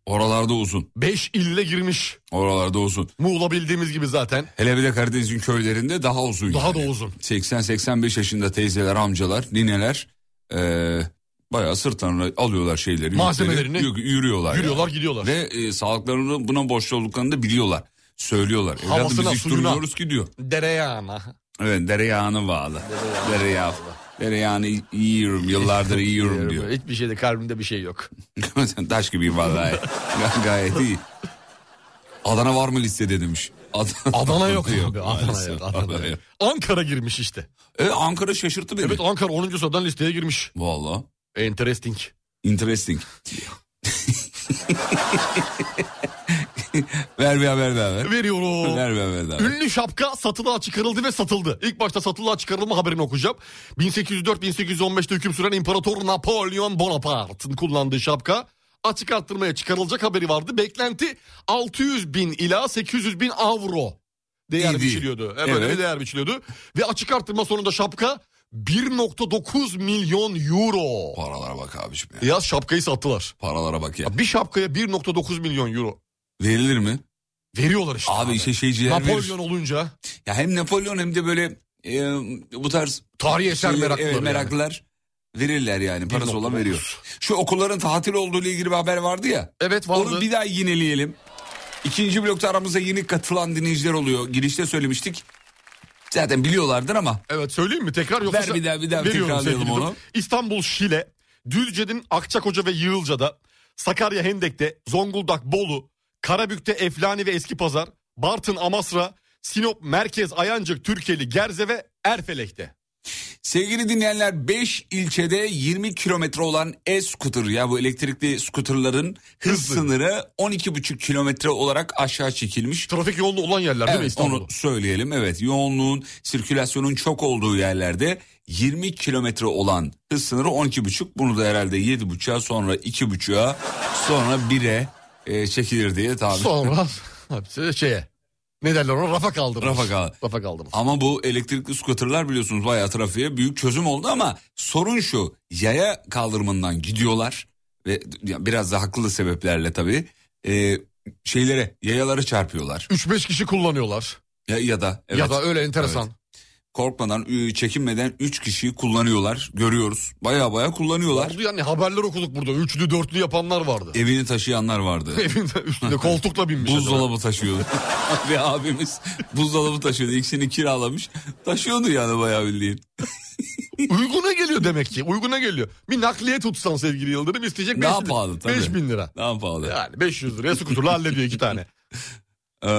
Speaker 4: Oralarda uzun.
Speaker 5: 5 ille girmiş.
Speaker 4: Oralarda uzun.
Speaker 5: Muğla bildiğimiz gibi zaten.
Speaker 4: Hele bir de Karadeniz'in köylerinde daha uzun.
Speaker 5: Daha da uzun.
Speaker 4: 80-85 yaşında teyzeler, amcalar, nineler ee, bayağı sırtlarına alıyorlar şeyleri.
Speaker 5: Malzemelerini.
Speaker 4: yükleri, yü- yürüyorlar.
Speaker 5: Yürüyorlar,
Speaker 4: gidiyorlar. Ve e, sağlıklarını buna borçlu olduklarını da biliyorlar. Söylüyorlar. Evladım
Speaker 5: Havasına,
Speaker 4: biz hiç
Speaker 5: suyuna.
Speaker 4: durmuyoruz ki diyor.
Speaker 5: Dereyağına.
Speaker 4: Evet dereyağına bağlı. Dereyağı. Dereyağını yiyorum yıllardır yiyorum diyor.
Speaker 5: Hiçbir şeyde kalbimde bir şey yok.
Speaker 4: Taş gibi vallahi. Ga- Gayet iyi. Adana var mı listede demiş. Adana,
Speaker 5: Adana yok abi, Adana
Speaker 4: maalesef.
Speaker 5: yok, Adana yok. Ankara girmiş işte.
Speaker 4: E, Ankara şaşırttı beni.
Speaker 5: Evet Ankara 10. sıradan listeye girmiş.
Speaker 4: Valla.
Speaker 5: E, Interesting.
Speaker 4: Interesting. Ver bir haber daha ver.
Speaker 5: Veriyorum.
Speaker 4: Ver bir haber daha ver.
Speaker 5: Ünlü şapka satılığa çıkarıldı ve satıldı. İlk başta satılığa çıkarılma haberini okuyacağım. 1804-1815'te hüküm süren İmparator Napolyon Bonaparte'ın kullandığı şapka açık arttırmaya çıkarılacak haberi vardı. Beklenti 600 bin ila 800 bin avro değer
Speaker 4: İyi değil.
Speaker 5: biçiliyordu. Evet, Böyle
Speaker 4: Evet.
Speaker 5: bir değer biçiliyordu. Ve açık arttırma sonunda şapka 1.9 milyon euro.
Speaker 4: Paralara bak abiciğim.
Speaker 5: Ya. şapkayı sattılar.
Speaker 4: Paralara bak ya.
Speaker 5: Ya Bir şapkaya 1.9 milyon euro.
Speaker 4: Verilir mi?
Speaker 5: Veriyorlar işte.
Speaker 4: Abi işte şeyciler verir.
Speaker 5: Napolyon olunca.
Speaker 4: Ya hem Napolyon hem de böyle e, bu tarz
Speaker 5: Tarihi eser
Speaker 4: şeyler-
Speaker 5: meraklıları
Speaker 4: evet,
Speaker 5: yani.
Speaker 4: meraklılar verirler yani parası olan
Speaker 5: 1.9.
Speaker 4: veriyor. Şu okulların tatil olduğu ile ilgili bir haber vardı ya.
Speaker 5: Evet vardı.
Speaker 4: Onu bir daha yineleyelim. İkinci blokta aramıza yeni katılan dinleyiciler oluyor. Girişte söylemiştik. Zaten biliyorlardır ama.
Speaker 5: Evet söyleyeyim mi tekrar yoksa
Speaker 4: Ver bir daha, bir daha
Speaker 5: Veriyorum
Speaker 4: tekrarlayalım
Speaker 5: sevgili
Speaker 4: onu.
Speaker 5: dostum. İstanbul Şile, Düzce'nin Akçakoca ve Yığılca'da, Sakarya Hendek'te, Zonguldak Bolu, Karabük'te Eflani ve Eskipazar, Bartın Amasra, Sinop Merkez Ayancık Türkeli Gerze ve Erfelek'te.
Speaker 4: Sevgili dinleyenler 5 ilçede 20 kilometre olan e-scooter ya bu elektrikli scooterların hız sınırı 12,5 kilometre olarak aşağı çekilmiş.
Speaker 5: Trafik yoğunluğu olan yerler değil mi
Speaker 4: Evet,
Speaker 5: İstanbul'da?
Speaker 4: Onu söyleyelim evet yoğunluğun sirkülasyonun çok olduğu yerlerde 20 kilometre olan hız sınırı 12,5 bunu da herhalde 7,5'a sonra 2,5'a sonra 1'e e, çekilir diye tahmin.
Speaker 5: Sonra hepsi şeye ne derler ona rafa kaldırmış.
Speaker 4: Rafa kaldı.
Speaker 5: Rafa kaldırmış.
Speaker 4: Ama bu elektrikli scooterlar biliyorsunuz bayağı trafiğe büyük çözüm oldu ama sorun şu yaya kaldırımından gidiyorlar ve ya biraz da haklı sebeplerle tabii e, şeylere yayalara çarpıyorlar
Speaker 5: 3-5 kişi kullanıyorlar
Speaker 4: ya, ya da
Speaker 5: ya
Speaker 4: evet.
Speaker 5: da öyle enteresan.
Speaker 4: Evet. Korkmadan, ü- çekinmeden 3 kişiyi kullanıyorlar. Görüyoruz. Baya baya kullanıyorlar.
Speaker 5: Oldu yani haberler okuduk burada. Üçlü dörtlü yapanlar vardı.
Speaker 4: Evini taşıyanlar vardı.
Speaker 5: Evinde üstünde koltukla binmiş.
Speaker 4: Buzdolabı taşıyordu. Ve abimiz buzdolabı taşıyordu. İkisini kiralamış. Taşıyordu yani bayağı bildiğin.
Speaker 5: Uyguna geliyor demek ki. Uyguna geliyor. Bir nakliye tutsan sevgili Yıldırım isteyecek
Speaker 4: Daha
Speaker 5: 5
Speaker 4: pahalı tabii.
Speaker 5: 5000 lira.
Speaker 4: Daha pahalı.
Speaker 5: Yani 500 liraya skuturla hallediyor iki tane.
Speaker 4: Ee,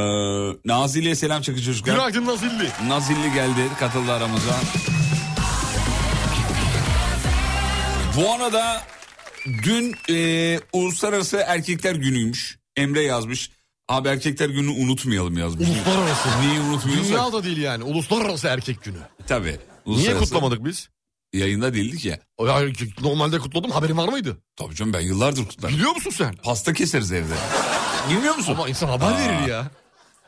Speaker 4: Nazilli'ye selam çakın çocuklar.
Speaker 5: Günaydın Nazilli.
Speaker 4: Nazilli geldi katıldı aramıza. Bu arada dün e, Uluslararası Erkekler Günü'ymüş. Emre yazmış. Abi Erkekler Günü'nü unutmayalım yazmış.
Speaker 5: Uluslararası.
Speaker 4: Niye unutmuyorsak?
Speaker 5: Dünya da değil yani. Uluslararası Erkek Günü.
Speaker 4: Tabii.
Speaker 5: Niye
Speaker 4: uluslararası-
Speaker 5: kutlamadık biz?
Speaker 4: Yayında değildik ya.
Speaker 5: Ya, normalde kutladım haberin var mıydı?
Speaker 4: Tabii canım ben yıllardır kutlarım.
Speaker 5: Biliyor musun sen?
Speaker 4: Pasta keseriz evde. Bilmiyor musun?
Speaker 5: Ama insan haber
Speaker 4: Aa.
Speaker 5: verir ya.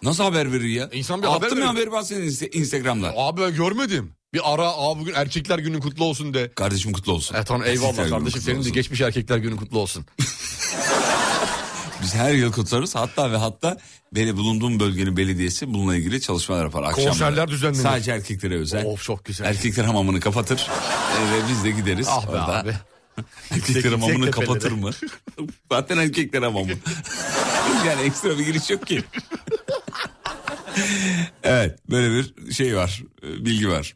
Speaker 4: Nasıl haber verir ya?
Speaker 5: İnsan bir
Speaker 4: Attım
Speaker 5: haber
Speaker 4: ya
Speaker 5: verir.
Speaker 4: haberi ben senin inst- Instagram'da.
Speaker 5: Abi ben görmedim. Bir ara abi bugün erkekler günün kutlu olsun de.
Speaker 4: Kardeşim kutlu olsun.
Speaker 5: E tamam
Speaker 4: Erkekler
Speaker 5: eyvallah
Speaker 4: Günü
Speaker 5: kardeşim
Speaker 4: kutlu
Speaker 5: senin de
Speaker 4: olsun.
Speaker 5: geçmiş erkekler günün kutlu olsun.
Speaker 4: Biz her yıl kutlarız. Hatta ve hatta beni bulunduğum bölgenin belediyesi bununla ilgili çalışmalar yapar. Akşamları.
Speaker 5: Konserler düzenlenir.
Speaker 4: Sadece erkeklere özel.
Speaker 5: of çok güzel.
Speaker 4: Erkekler hamamını kapatır e, ve biz de gideriz.
Speaker 5: ah be
Speaker 4: orada.
Speaker 5: abi.
Speaker 4: Erkekler hamamını
Speaker 5: Tek tepelere.
Speaker 4: kapatır mı? Zaten erkekler hamamı. yani ekstra bir giriş yok ki. evet böyle bir şey var. e, Bilgi var.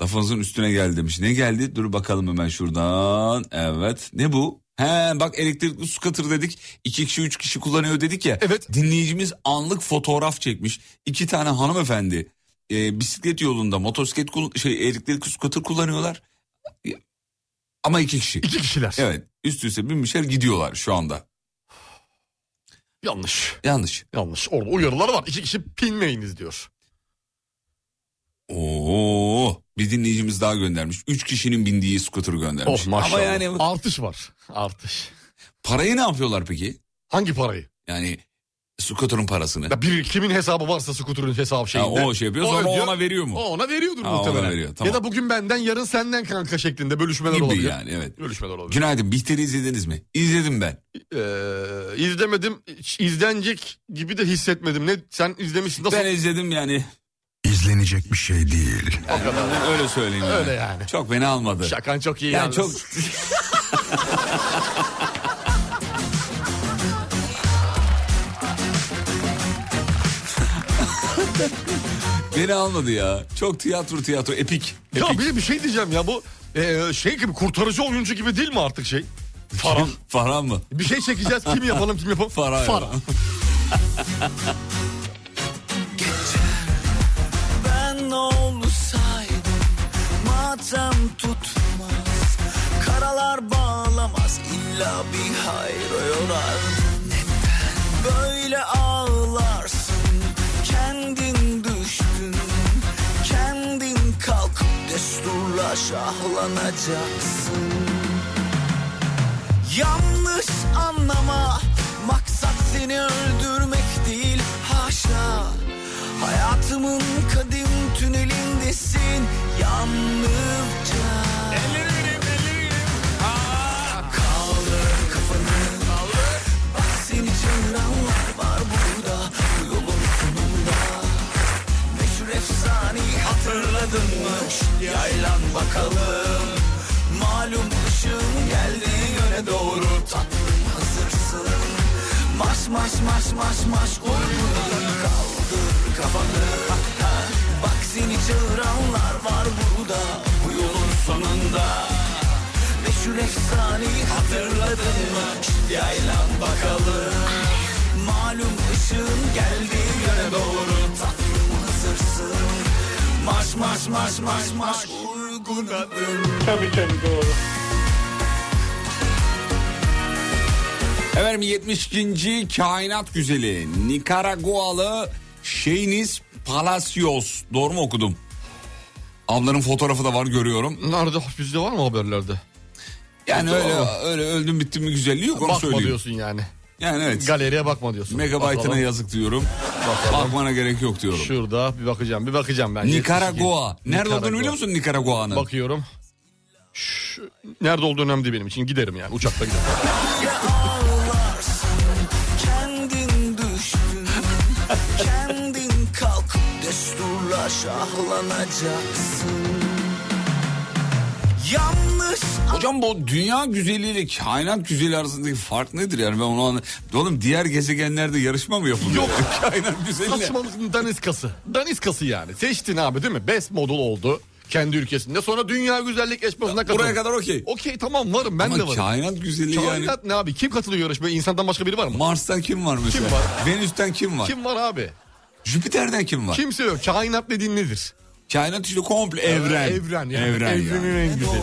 Speaker 4: Lafınızın üstüne geldi demiş. Ne geldi? Dur bakalım hemen şuradan. Evet. Ne bu? He bak elektrikli scooter dedik. iki kişi üç kişi kullanıyor dedik ya.
Speaker 5: Evet.
Speaker 4: Dinleyicimiz anlık fotoğraf çekmiş. İki tane hanımefendi. e, bisiklet yolunda motosiklet kul- şey elektrikli scooter kullanıyorlar. E, Ama iki kişi. İki
Speaker 5: kişiler.
Speaker 4: Evet. Üst üste binmişler gidiyorlar şu anda.
Speaker 5: Yanlış.
Speaker 4: Yanlış.
Speaker 5: Yanlış. Orada uyarılar var. İki kişi pinmeyiniz diyor.
Speaker 4: Oo, bir dinleyicimiz daha göndermiş. Üç kişinin bindiği scooter göndermiş.
Speaker 5: Oh maşallah.
Speaker 4: Ama yani
Speaker 5: Artış var. Artış.
Speaker 4: parayı ne yapıyorlar peki?
Speaker 5: Hangi parayı?
Speaker 4: Yani scooter'ın parasını.
Speaker 5: Ya bir kimin hesabı varsa skuturun hesabı şeyinde.
Speaker 4: Ha, o şey yapıyor, sonra
Speaker 5: ödüyor.
Speaker 4: ona veriyor mu?
Speaker 5: O ona veriyordur
Speaker 4: Ha, ona
Speaker 5: muhtemelen.
Speaker 4: veriyor, tamam.
Speaker 5: Ya da bugün benden yarın senden kanka şeklinde bölüşmeler
Speaker 4: Gibi
Speaker 5: olabilir.
Speaker 4: yani evet.
Speaker 5: Görüşmeler olabilir.
Speaker 4: Günaydın Bihter'i izlediniz mi? İzledim ben.
Speaker 5: Ee, izlemedim. Hiç izlenecek gibi de hissetmedim. Ne sen izlemişsin nasıl?
Speaker 4: Ben izledim yani.
Speaker 13: İzlenecek bir şey değil.
Speaker 4: Yani öyle söyleyeyim.
Speaker 5: Öyle yani.
Speaker 4: Çok beni almadı.
Speaker 5: Şakan çok iyi
Speaker 4: Yani
Speaker 5: yalnız.
Speaker 4: çok beni almadı ya. Çok tiyatro tiyatro epik.
Speaker 5: Ya bir de bir şey diyeceğim ya bu e, şey gibi kurtarıcı oyuncu gibi değil mi artık şey? Farhan.
Speaker 4: Farhan mı?
Speaker 5: Bir şey çekeceğiz kim yapalım kim yapalım.
Speaker 4: Farhan.
Speaker 5: Farhan.
Speaker 8: Ben olsaydım matem tutmaz Karalar bağlamaz illa bir hayra yorar Neden böyle ağlarsın Kendin düştün Kendin kalkıp desturla şahlanacaksın Yanlış anlama Maksat seni öldürmek değil haşa Hayatımın kadim tünelindesin yalnızca Ellerim ellerim Kaldır kafanı Kaldır Bak seni çağıranlar var burada Bu yolun sonunda Meşhur efsaneyi hatırladın mı? Yaylan bakalım Malum ışığın geldiği yöne doğru Tatlım hazırsın Maş maş maş maş maş uykudan kaldır kafanı Ha, Bak seni çağıranlar var burada bu yolun sonunda Meşhur efsaneyi hatırladın mı? Şşt, Yaylan bakalım Malum ışığın geldiği yöne doğru Tatlım hazırsın Maş maş maş maş maş uyguna dön Tabii tabii doğru
Speaker 4: Efendim 72. Kainat Güzeli Nikaragualı Şeynis Palacios. Doğru mu okudum? Ablanın fotoğrafı da var görüyorum.
Speaker 5: Nerede bizde var mı haberlerde?
Speaker 4: Yani
Speaker 5: Bizde
Speaker 4: öyle
Speaker 5: var mı?
Speaker 4: öyle öldüm bittim mi güzelliği yok onu
Speaker 5: bakma
Speaker 4: söyleyeyim.
Speaker 5: diyorsun yani.
Speaker 4: Yani evet.
Speaker 5: Galeriye bakma diyorsun.
Speaker 4: Megabaytına
Speaker 5: Bakalım.
Speaker 4: yazık diyorum. Bakmana gerek yok diyorum.
Speaker 5: Şurada bir bakacağım bir bakacağım ben.
Speaker 4: Nikaragua. Nerede
Speaker 5: Nikaragua.
Speaker 4: olduğunu biliyor musun Nikaragua'nın?
Speaker 5: Bakıyorum. Şu- nerede olduğu önemli değil benim için giderim yani uçakla giderim.
Speaker 8: Kendin düştün Kendin kalkıp desturla şahlanacaksın Yanlış
Speaker 4: Hocam bu dünya güzeliyle kainat güzeli arasındaki fark nedir yani ben onu anlamadım. Oğlum diğer gezegenlerde yarışma mı yapılıyor?
Speaker 5: Yok.
Speaker 4: kainat güzeli.
Speaker 5: Saçmalık daniskası. Daniskası yani. Seçtin abi değil mi? Best model oldu kendi ülkesinde. Sonra dünya güzellik yarışmasına katıldı.
Speaker 4: buraya kadar okey.
Speaker 5: Okey tamam varım ben
Speaker 4: Ama
Speaker 5: de varım.
Speaker 4: kainat güzeli yani.
Speaker 5: Kainat ne abi? Kim katılıyor yarışmaya? İnsandan başka biri var mı?
Speaker 4: Mars'tan kim var mesela?
Speaker 5: Kim var?
Speaker 4: Venüs'ten kim var?
Speaker 5: Kim var abi?
Speaker 4: Jüpiter'den kim var?
Speaker 5: Kimse yok. Kainat dediğin nedir?
Speaker 4: Kainat işte komple evren.
Speaker 5: Evren yani.
Speaker 4: Evren
Speaker 5: Evrenin en güzeli.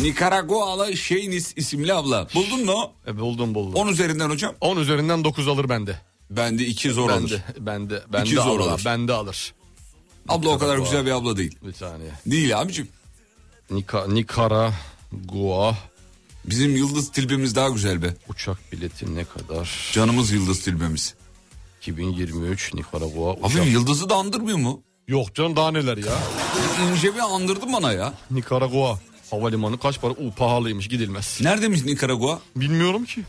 Speaker 4: Nikaragualı Şeynis isimli abla. Buldun mu?
Speaker 5: E, buldum buldum.
Speaker 4: 10 üzerinden hocam.
Speaker 5: 10 üzerinden 9 alır bende.
Speaker 4: Bende 2 zor
Speaker 5: bende,
Speaker 4: alır.
Speaker 5: Bende, bende
Speaker 4: İki zor
Speaker 5: alır.
Speaker 4: alır.
Speaker 5: Bende alır.
Speaker 4: Abla o kadar güzel bir abla değil.
Speaker 5: Bir saniye.
Speaker 4: Değil abicim.
Speaker 5: Nika, Nikara Gua.
Speaker 4: Bizim yıldız tilbimiz daha güzel be.
Speaker 5: Uçak bileti ne kadar?
Speaker 4: Canımız yıldız tilbimiz.
Speaker 5: 2023 Nikaragua uçak.
Speaker 4: Abim yıldızı da andırmıyor mu?
Speaker 5: Yok canım daha neler ya.
Speaker 4: İnce bir andırdın bana ya.
Speaker 5: Nikaragua havalimanı kaç para? U pahalıymış gidilmez.
Speaker 4: Neredeymiş Nikaragua?
Speaker 5: Bilmiyorum ki.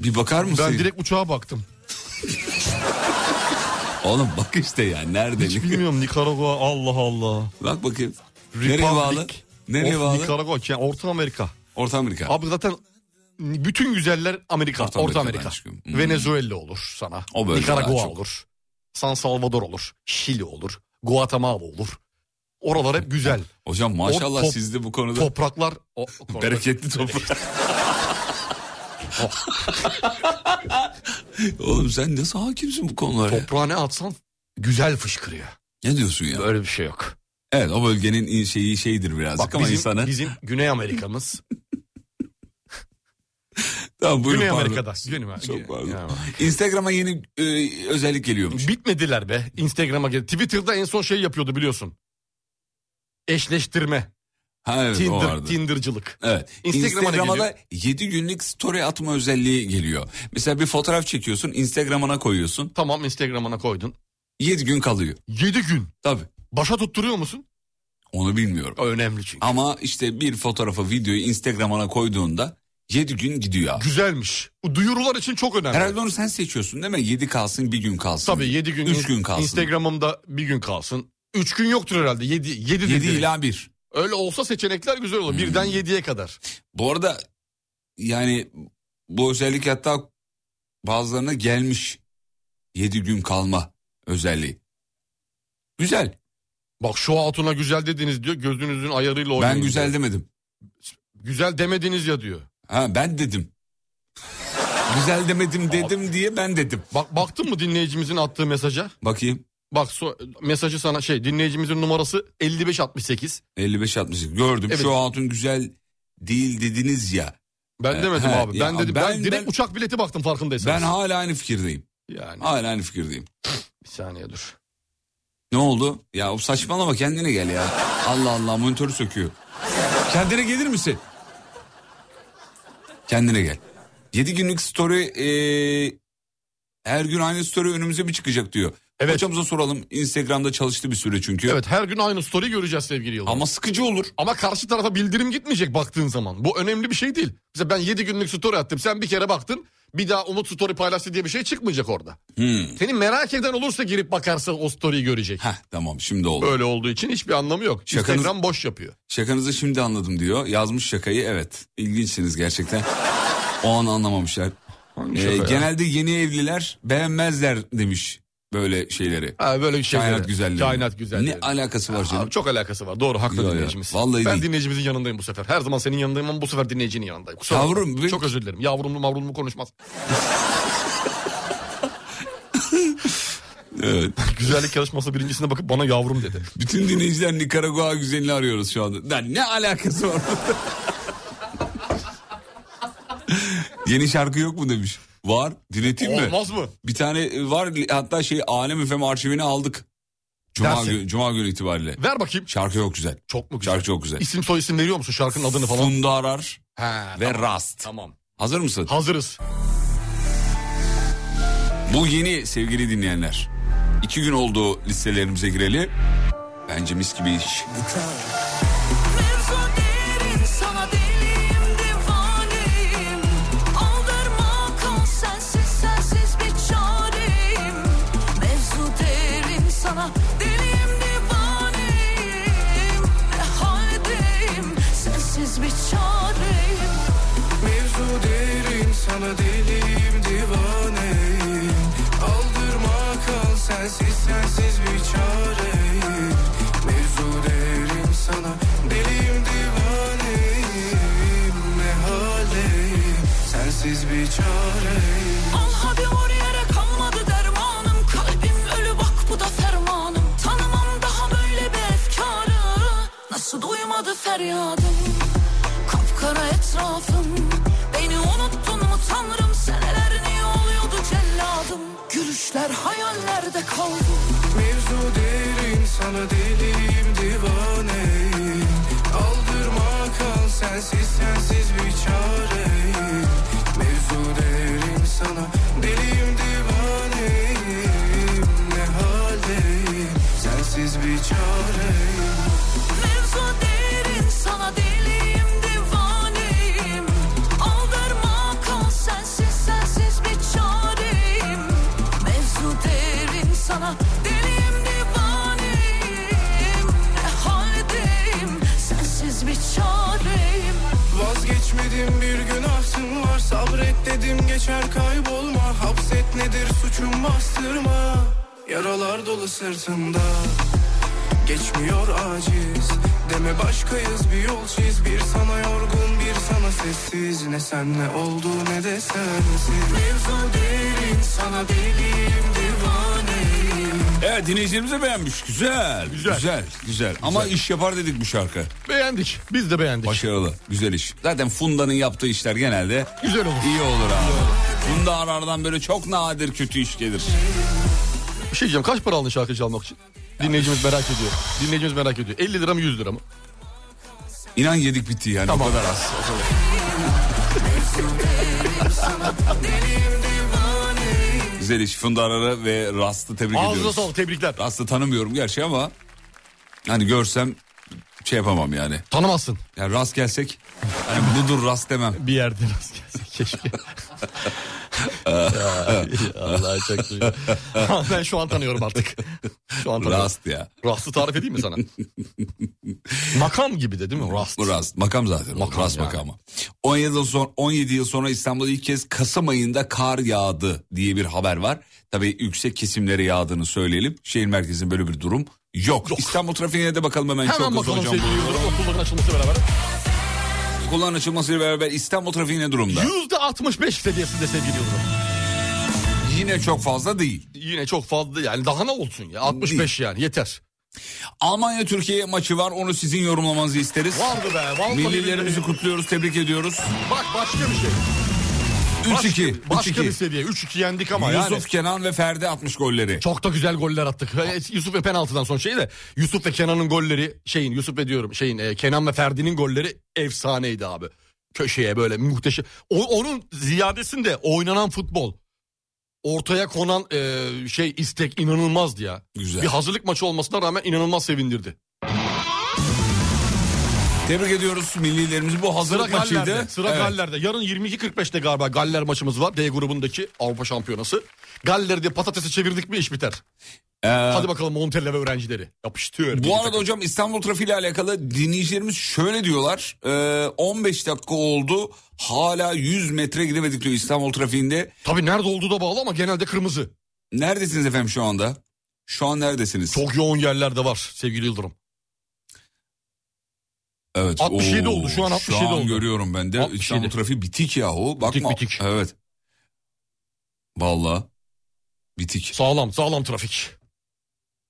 Speaker 4: Bir bakar mısın?
Speaker 5: Ben direkt uçağa baktım.
Speaker 4: Oğlum bak işte ya nerede?
Speaker 5: Hiç bilmiyorum Nikaragua Allah Allah.
Speaker 4: Bak bakayım. Nereye
Speaker 5: Republic
Speaker 4: bağlı? Nereye
Speaker 5: of
Speaker 4: bağlı?
Speaker 5: Nikaragua yani Orta Amerika.
Speaker 4: Orta Amerika.
Speaker 5: Abi zaten bütün güzeller Amerika,
Speaker 4: Orta
Speaker 5: Orta,
Speaker 4: Amerika'dan
Speaker 5: Amerika.
Speaker 4: çıkıyor. Hmm.
Speaker 5: Venezuela olur sana.
Speaker 4: O bölge daha
Speaker 5: Nikaragua
Speaker 4: çok.
Speaker 5: olur. San Salvador olur. Şili olur. Guatemala olur. Oralar hep güzel.
Speaker 4: Hocam maşallah
Speaker 5: O top-
Speaker 4: sizde bu konuda
Speaker 5: Topraklar o, o konuda-
Speaker 4: bereketli toprak. Oğlum sen nasıl hakimsin bu konulara?
Speaker 5: Toprağa ne atsan güzel fışkırıyor.
Speaker 4: Ne diyorsun ya?
Speaker 5: Böyle bir şey yok.
Speaker 4: Evet o bölgenin in- şeyi şeydir birazcık ama
Speaker 5: bizim,
Speaker 4: insanı.
Speaker 5: bizim Güney Amerika'mız.
Speaker 4: Tamam, buyurun,
Speaker 5: Güney
Speaker 4: pardon.
Speaker 5: Amerika'da. Güney
Speaker 4: Çok pardon. Instagram'a yeni e, özellik geliyormuş.
Speaker 5: Bitmediler be Instagram'a gel. Twitter'da en son şey yapıyordu biliyorsun. Eşleştirme.
Speaker 4: Ha, evet, o
Speaker 5: Tinder,
Speaker 4: vardı.
Speaker 5: Tinder'cılık.
Speaker 4: Evet.
Speaker 5: Instagram'a
Speaker 4: Instagram'a,
Speaker 5: da
Speaker 4: da 7 günlük story atma özelliği geliyor. Mesela bir fotoğraf çekiyorsun Instagram'ına koyuyorsun.
Speaker 5: Tamam Instagram'ına koydun.
Speaker 4: 7 gün kalıyor.
Speaker 5: 7 gün?
Speaker 4: Tabii.
Speaker 5: Başa tutturuyor musun?
Speaker 4: Onu bilmiyorum.
Speaker 5: Önemli çünkü.
Speaker 4: Ama işte bir fotoğrafı videoyu Instagram'ına koyduğunda 7 gün gidiyor abi.
Speaker 5: Güzelmiş. Bu duyurular için çok önemli.
Speaker 4: Herhalde onu sen seçiyorsun değil mi? 7 kalsın bir gün kalsın.
Speaker 5: Tabii 7 gün.
Speaker 4: 3 gün kalsın.
Speaker 5: Instagram'ımda bir gün kalsın. 3 gün yoktur herhalde. 7 7
Speaker 4: 7 ila 1.
Speaker 5: Öyle olsa seçenekler güzel olur. Birden 7'ye kadar.
Speaker 4: Bu arada yani bu özellik hatta bazılarına gelmiş. 7 gün kalma özelliği. Güzel.
Speaker 5: Bak şu hatuna güzel dediniz diyor. Gözünüzün ayarıyla oynayın.
Speaker 4: Ben güzel
Speaker 5: diyor.
Speaker 4: demedim.
Speaker 5: Güzel demediniz ya diyor.
Speaker 4: Ha ben dedim. güzel demedim dedim diye ben dedim.
Speaker 5: Bak baktın mı dinleyicimizin attığı mesaja?
Speaker 4: Bakayım.
Speaker 5: Bak so- mesajı sana şey dinleyicimizin numarası 5568.
Speaker 4: 55 60 gördüm.
Speaker 5: Evet.
Speaker 4: Şu hatun güzel değil dediniz ya.
Speaker 5: Ben
Speaker 4: Ee,
Speaker 5: demedim
Speaker 4: he,
Speaker 5: abi.
Speaker 4: ya
Speaker 5: Ben dedim ben, direkt uçak bileti baktım farkındaysanız.
Speaker 4: ben hala aynı fikirdeyim.
Speaker 5: Yani.
Speaker 4: Hala aynı fikirdeyim.
Speaker 5: Bir saniye dur.
Speaker 4: Ne oldu? Ya o saçmalama kendine gel ya. Allah Allah monitörü söküyor. Kendine gelir misin? Kendine gel. 7 günlük story e, her gün aynı story önümüze bir çıkacak diyor. Evet. Hocamıza soralım. Instagram'da çalıştı bir süre çünkü.
Speaker 5: Evet her gün aynı story göreceğiz sevgili Yıldız.
Speaker 4: Ama sıkıcı olur.
Speaker 5: Ama karşı tarafa bildirim gitmeyecek baktığın zaman. Bu önemli bir şey değil. Mesela ben 7 günlük story attım. Sen bir kere baktın. Bir daha Umut story paylaştı diye bir şey çıkmayacak orada.
Speaker 4: Hmm.
Speaker 5: Seni merak eden olursa girip bakarsa o story'yi görecek.
Speaker 4: Tamam şimdi oldu.
Speaker 5: Böyle olduğu için hiçbir anlamı yok.
Speaker 4: Şakanız-
Speaker 5: Instagram boş yapıyor.
Speaker 4: Şakanızı şimdi anladım diyor. Yazmış şakayı evet. İlginçsiniz gerçekten. O an anlamamışlar. Ee,
Speaker 5: şaka ya?
Speaker 4: genelde yeni evliler beğenmezler demiş böyle şeyleri.
Speaker 5: Ha, böyle şeyleri.
Speaker 4: Kainat güzelleri.
Speaker 5: Kainat güzelleri.
Speaker 4: Ne alakası var canım?
Speaker 5: Abi çok alakası var. Doğru haklı
Speaker 4: Yok ya,
Speaker 5: dinleyicimiz.
Speaker 4: vallahi
Speaker 5: ben
Speaker 4: değil.
Speaker 5: dinleyicimizin yanındayım bu sefer. Her zaman senin yanındayım ama bu sefer dinleyicinin yanındayım. Kusura bakma.
Speaker 4: Yavrum, bir-
Speaker 5: Çok özür dilerim. Yavrumlu mavrumlu konuşmaz.
Speaker 4: Evet.
Speaker 5: Güzellik yarışması birincisine bakıp bana yavrum dedi.
Speaker 4: Bütün dinleyiciler Nikaragua güzelini arıyoruz şu anda. Lan ne alakası var? Yeni şarkı yok mu demiş. Var. Dinleteyim mi?
Speaker 5: Olmaz mı?
Speaker 4: Bir tane e, var hatta şey Alem FM arşivini aldık. Cuma,
Speaker 5: Dersin.
Speaker 4: günü, Cuma günü itibariyle.
Speaker 5: Ver bakayım.
Speaker 4: Şarkı çok güzel.
Speaker 5: Çok mu
Speaker 4: güzel? Şarkı çok güzel.
Speaker 5: İsim soy isim veriyor musun şarkının adını falan?
Speaker 4: Funda Arar
Speaker 5: He,
Speaker 4: ve
Speaker 5: tamam.
Speaker 4: Rast.
Speaker 5: Tamam.
Speaker 4: Hazır mısın?
Speaker 5: Hazırız.
Speaker 4: Bu yeni sevgili dinleyenler. İki gün oldu listelerimize gireli. Bence mis gibi
Speaker 8: Mevzu
Speaker 4: iş.
Speaker 8: derin sana deliyim divaneyim Aldırma kal sensiz sensiz bir çareyim Mevzu derin sana deliyim divaneyim Ne haldeyim sensiz bir çareyim
Speaker 13: Mevzu derin sana deliyim divaneyim Aldırma kal sensiz sensiz bir çareyim Mevzu derin sana deliyim divaneyim Ne haldeyim sensiz bir çareyim
Speaker 8: Al hadi oraya kalmadı dermanım Kalbim ölü bak bu da fermanım Tanımam daha böyle bir efkarı Nasıl duymadı feryadım Kapkara etrafım Beni unuttun mu tanrım Seneler niye oluyordu celladım Gülüşler hayallerde kaldı
Speaker 13: Mevzu derin sana deliyim divaneyim Aldırma kal sensiz sensiz bir çareyim Mevzu derin sana deliyim divaneyim Ne haldeyim sensiz bir çareyim
Speaker 8: Mevzu derin sana deliyim divaneyim Aldırma kal sensiz sensiz bir çareyim Mevzu derin sana deliyim divaneyim Ne haldeyim sensiz bir çareyim
Speaker 13: Vazgeçmedim bir günahsın var Sabret dedim geçer kaybolma Hapset nedir suçum bastırma Yaralar dolu sırtımda Geçmiyor aciz Deme başkayız bir yol çiz Bir sana yorgun bir sana sessiz Ne senle oldu ne de sensiz Mevzu derin sana deliyim divaneyim
Speaker 4: Evet dinleyicilerimiz de beğenmiş. Güzel. Güzel. Güzel. Ama iş yapar dedik bu şarkı.
Speaker 5: Beğendik. Biz de beğendik.
Speaker 4: Başarılı. Güzel iş. Zaten Funda'nın yaptığı işler genelde
Speaker 5: Güzel olur.
Speaker 4: iyi olur abi. Funda arardan böyle çok nadir kötü iş gelir.
Speaker 5: Bir şey diyeceğim kaç para aldın şarkı çalmak için? Dinleyicimiz merak ediyor. Dinleyicimiz merak ediyor. 50 lira mı 100 lira mı?
Speaker 4: İnan yedik bitti yani.
Speaker 5: Tamam.
Speaker 4: O kadar az. Güzel iş. Funda Arar'ı ve Rast'ı tebrik
Speaker 5: Ağzına
Speaker 4: ediyoruz.
Speaker 5: sağlık, tebrikler.
Speaker 4: Rast'ı tanımıyorum gerçi ama hani görsem şey yapamam yani.
Speaker 5: Tanımazsın.
Speaker 4: Yani Rast gelsek hani budur Rast demem.
Speaker 5: Bir yerde rast gelsek keşke. Allah çok güzel. ben şu an tanıyorum artık. Şu an tanıyorum.
Speaker 4: Rast ya.
Speaker 5: Rast'ı tarif edeyim mi sana? Makam gibi de değil mi? Rast.
Speaker 4: Bu Rast. Makam zaten. Makam Rast
Speaker 5: yani.
Speaker 4: makamı. 17 yıl, son, 17 yıl sonra İstanbul'da ilk kez Kasım ayında kar yağdı diye bir haber var. Tabii yüksek kesimlere yağdığını söyleyelim. Şehir merkezinde böyle bir durum yok. İstanbul trafiğine de bakalım hemen, çok
Speaker 5: Hemen
Speaker 4: hızlı
Speaker 5: bakalım
Speaker 4: hocam.
Speaker 5: sevgili
Speaker 4: buyurun.
Speaker 5: yıldırım okulların açılması beraber.
Speaker 4: Okulların açılmasıyla beraber İstanbul trafiği ne durumda?
Speaker 5: %65 seviyesinde sevgili yıldırım.
Speaker 4: Yine çok fazla değil.
Speaker 5: Yine çok fazla yani daha ne olsun ya 65 yani yeter.
Speaker 4: Almanya Türkiye maçı var. Onu sizin yorumlamanızı isteriz.
Speaker 5: Vardı be, vallahi
Speaker 4: Millilerimizi kutluyoruz, tebrik ediyoruz.
Speaker 5: Bak başka bir şey.
Speaker 4: 3-2.
Speaker 5: Başka
Speaker 4: 3-2.
Speaker 5: bir seviye. 3-2 yendik ama
Speaker 4: Yusuf
Speaker 5: yani.
Speaker 4: Kenan ve Ferdi atmış golleri.
Speaker 5: Çok da güzel goller attık. Ve Yusuf ve penaltıdan sonra şey de Yusuf ve Kenan'ın golleri şeyin Yusuf ve diyorum şeyin e, Kenan ve Ferdi'nin golleri efsaneydi abi. Köşeye böyle muhteşem. O- onun ziyadesinde oynanan futbol. Ortaya konan e, şey istek inanılmazdı ya.
Speaker 4: Güzel.
Speaker 5: Bir hazırlık maçı olmasına rağmen inanılmaz sevindirdi.
Speaker 4: Tebrik ediyoruz millilerimizi. Bu hazırlık
Speaker 5: Sıra
Speaker 4: maçıydı.
Speaker 5: Galler'de. Sıra
Speaker 4: Evet.
Speaker 5: Galler'de. Yarın 22.45'te galiba Galler maçımız var. D grubundaki Avrupa Şampiyonası. Galler'de patatesi çevirdik mi iş biter. Hadi bakalım Montella ve öğrencileri. Yapıştır.
Speaker 4: Ee, Bu arada hocam İstanbul trafiği ile alakalı dinleyicilerimiz şöyle diyorlar. e, 15 dakika oldu hala 100 metre gidemedik diyor İstanbul trafiğinde.
Speaker 5: Tabii nerede olduğu da bağlı ama genelde kırmızı.
Speaker 4: Neredesiniz efendim şu anda? Şu an neredesiniz?
Speaker 5: Çok yoğun yerlerde var sevgili Yıldırım.
Speaker 4: Evet.
Speaker 5: 67
Speaker 4: Oo,
Speaker 5: oldu, şu an 67
Speaker 4: Şu an
Speaker 5: oldu.
Speaker 4: görüyorum ben de.
Speaker 5: 67.
Speaker 4: İstanbul trafiği bitik yahu. Bakma.
Speaker 5: Bitik, bitik.
Speaker 4: Evet. Valla bitik.
Speaker 5: Sağlam sağlam trafik.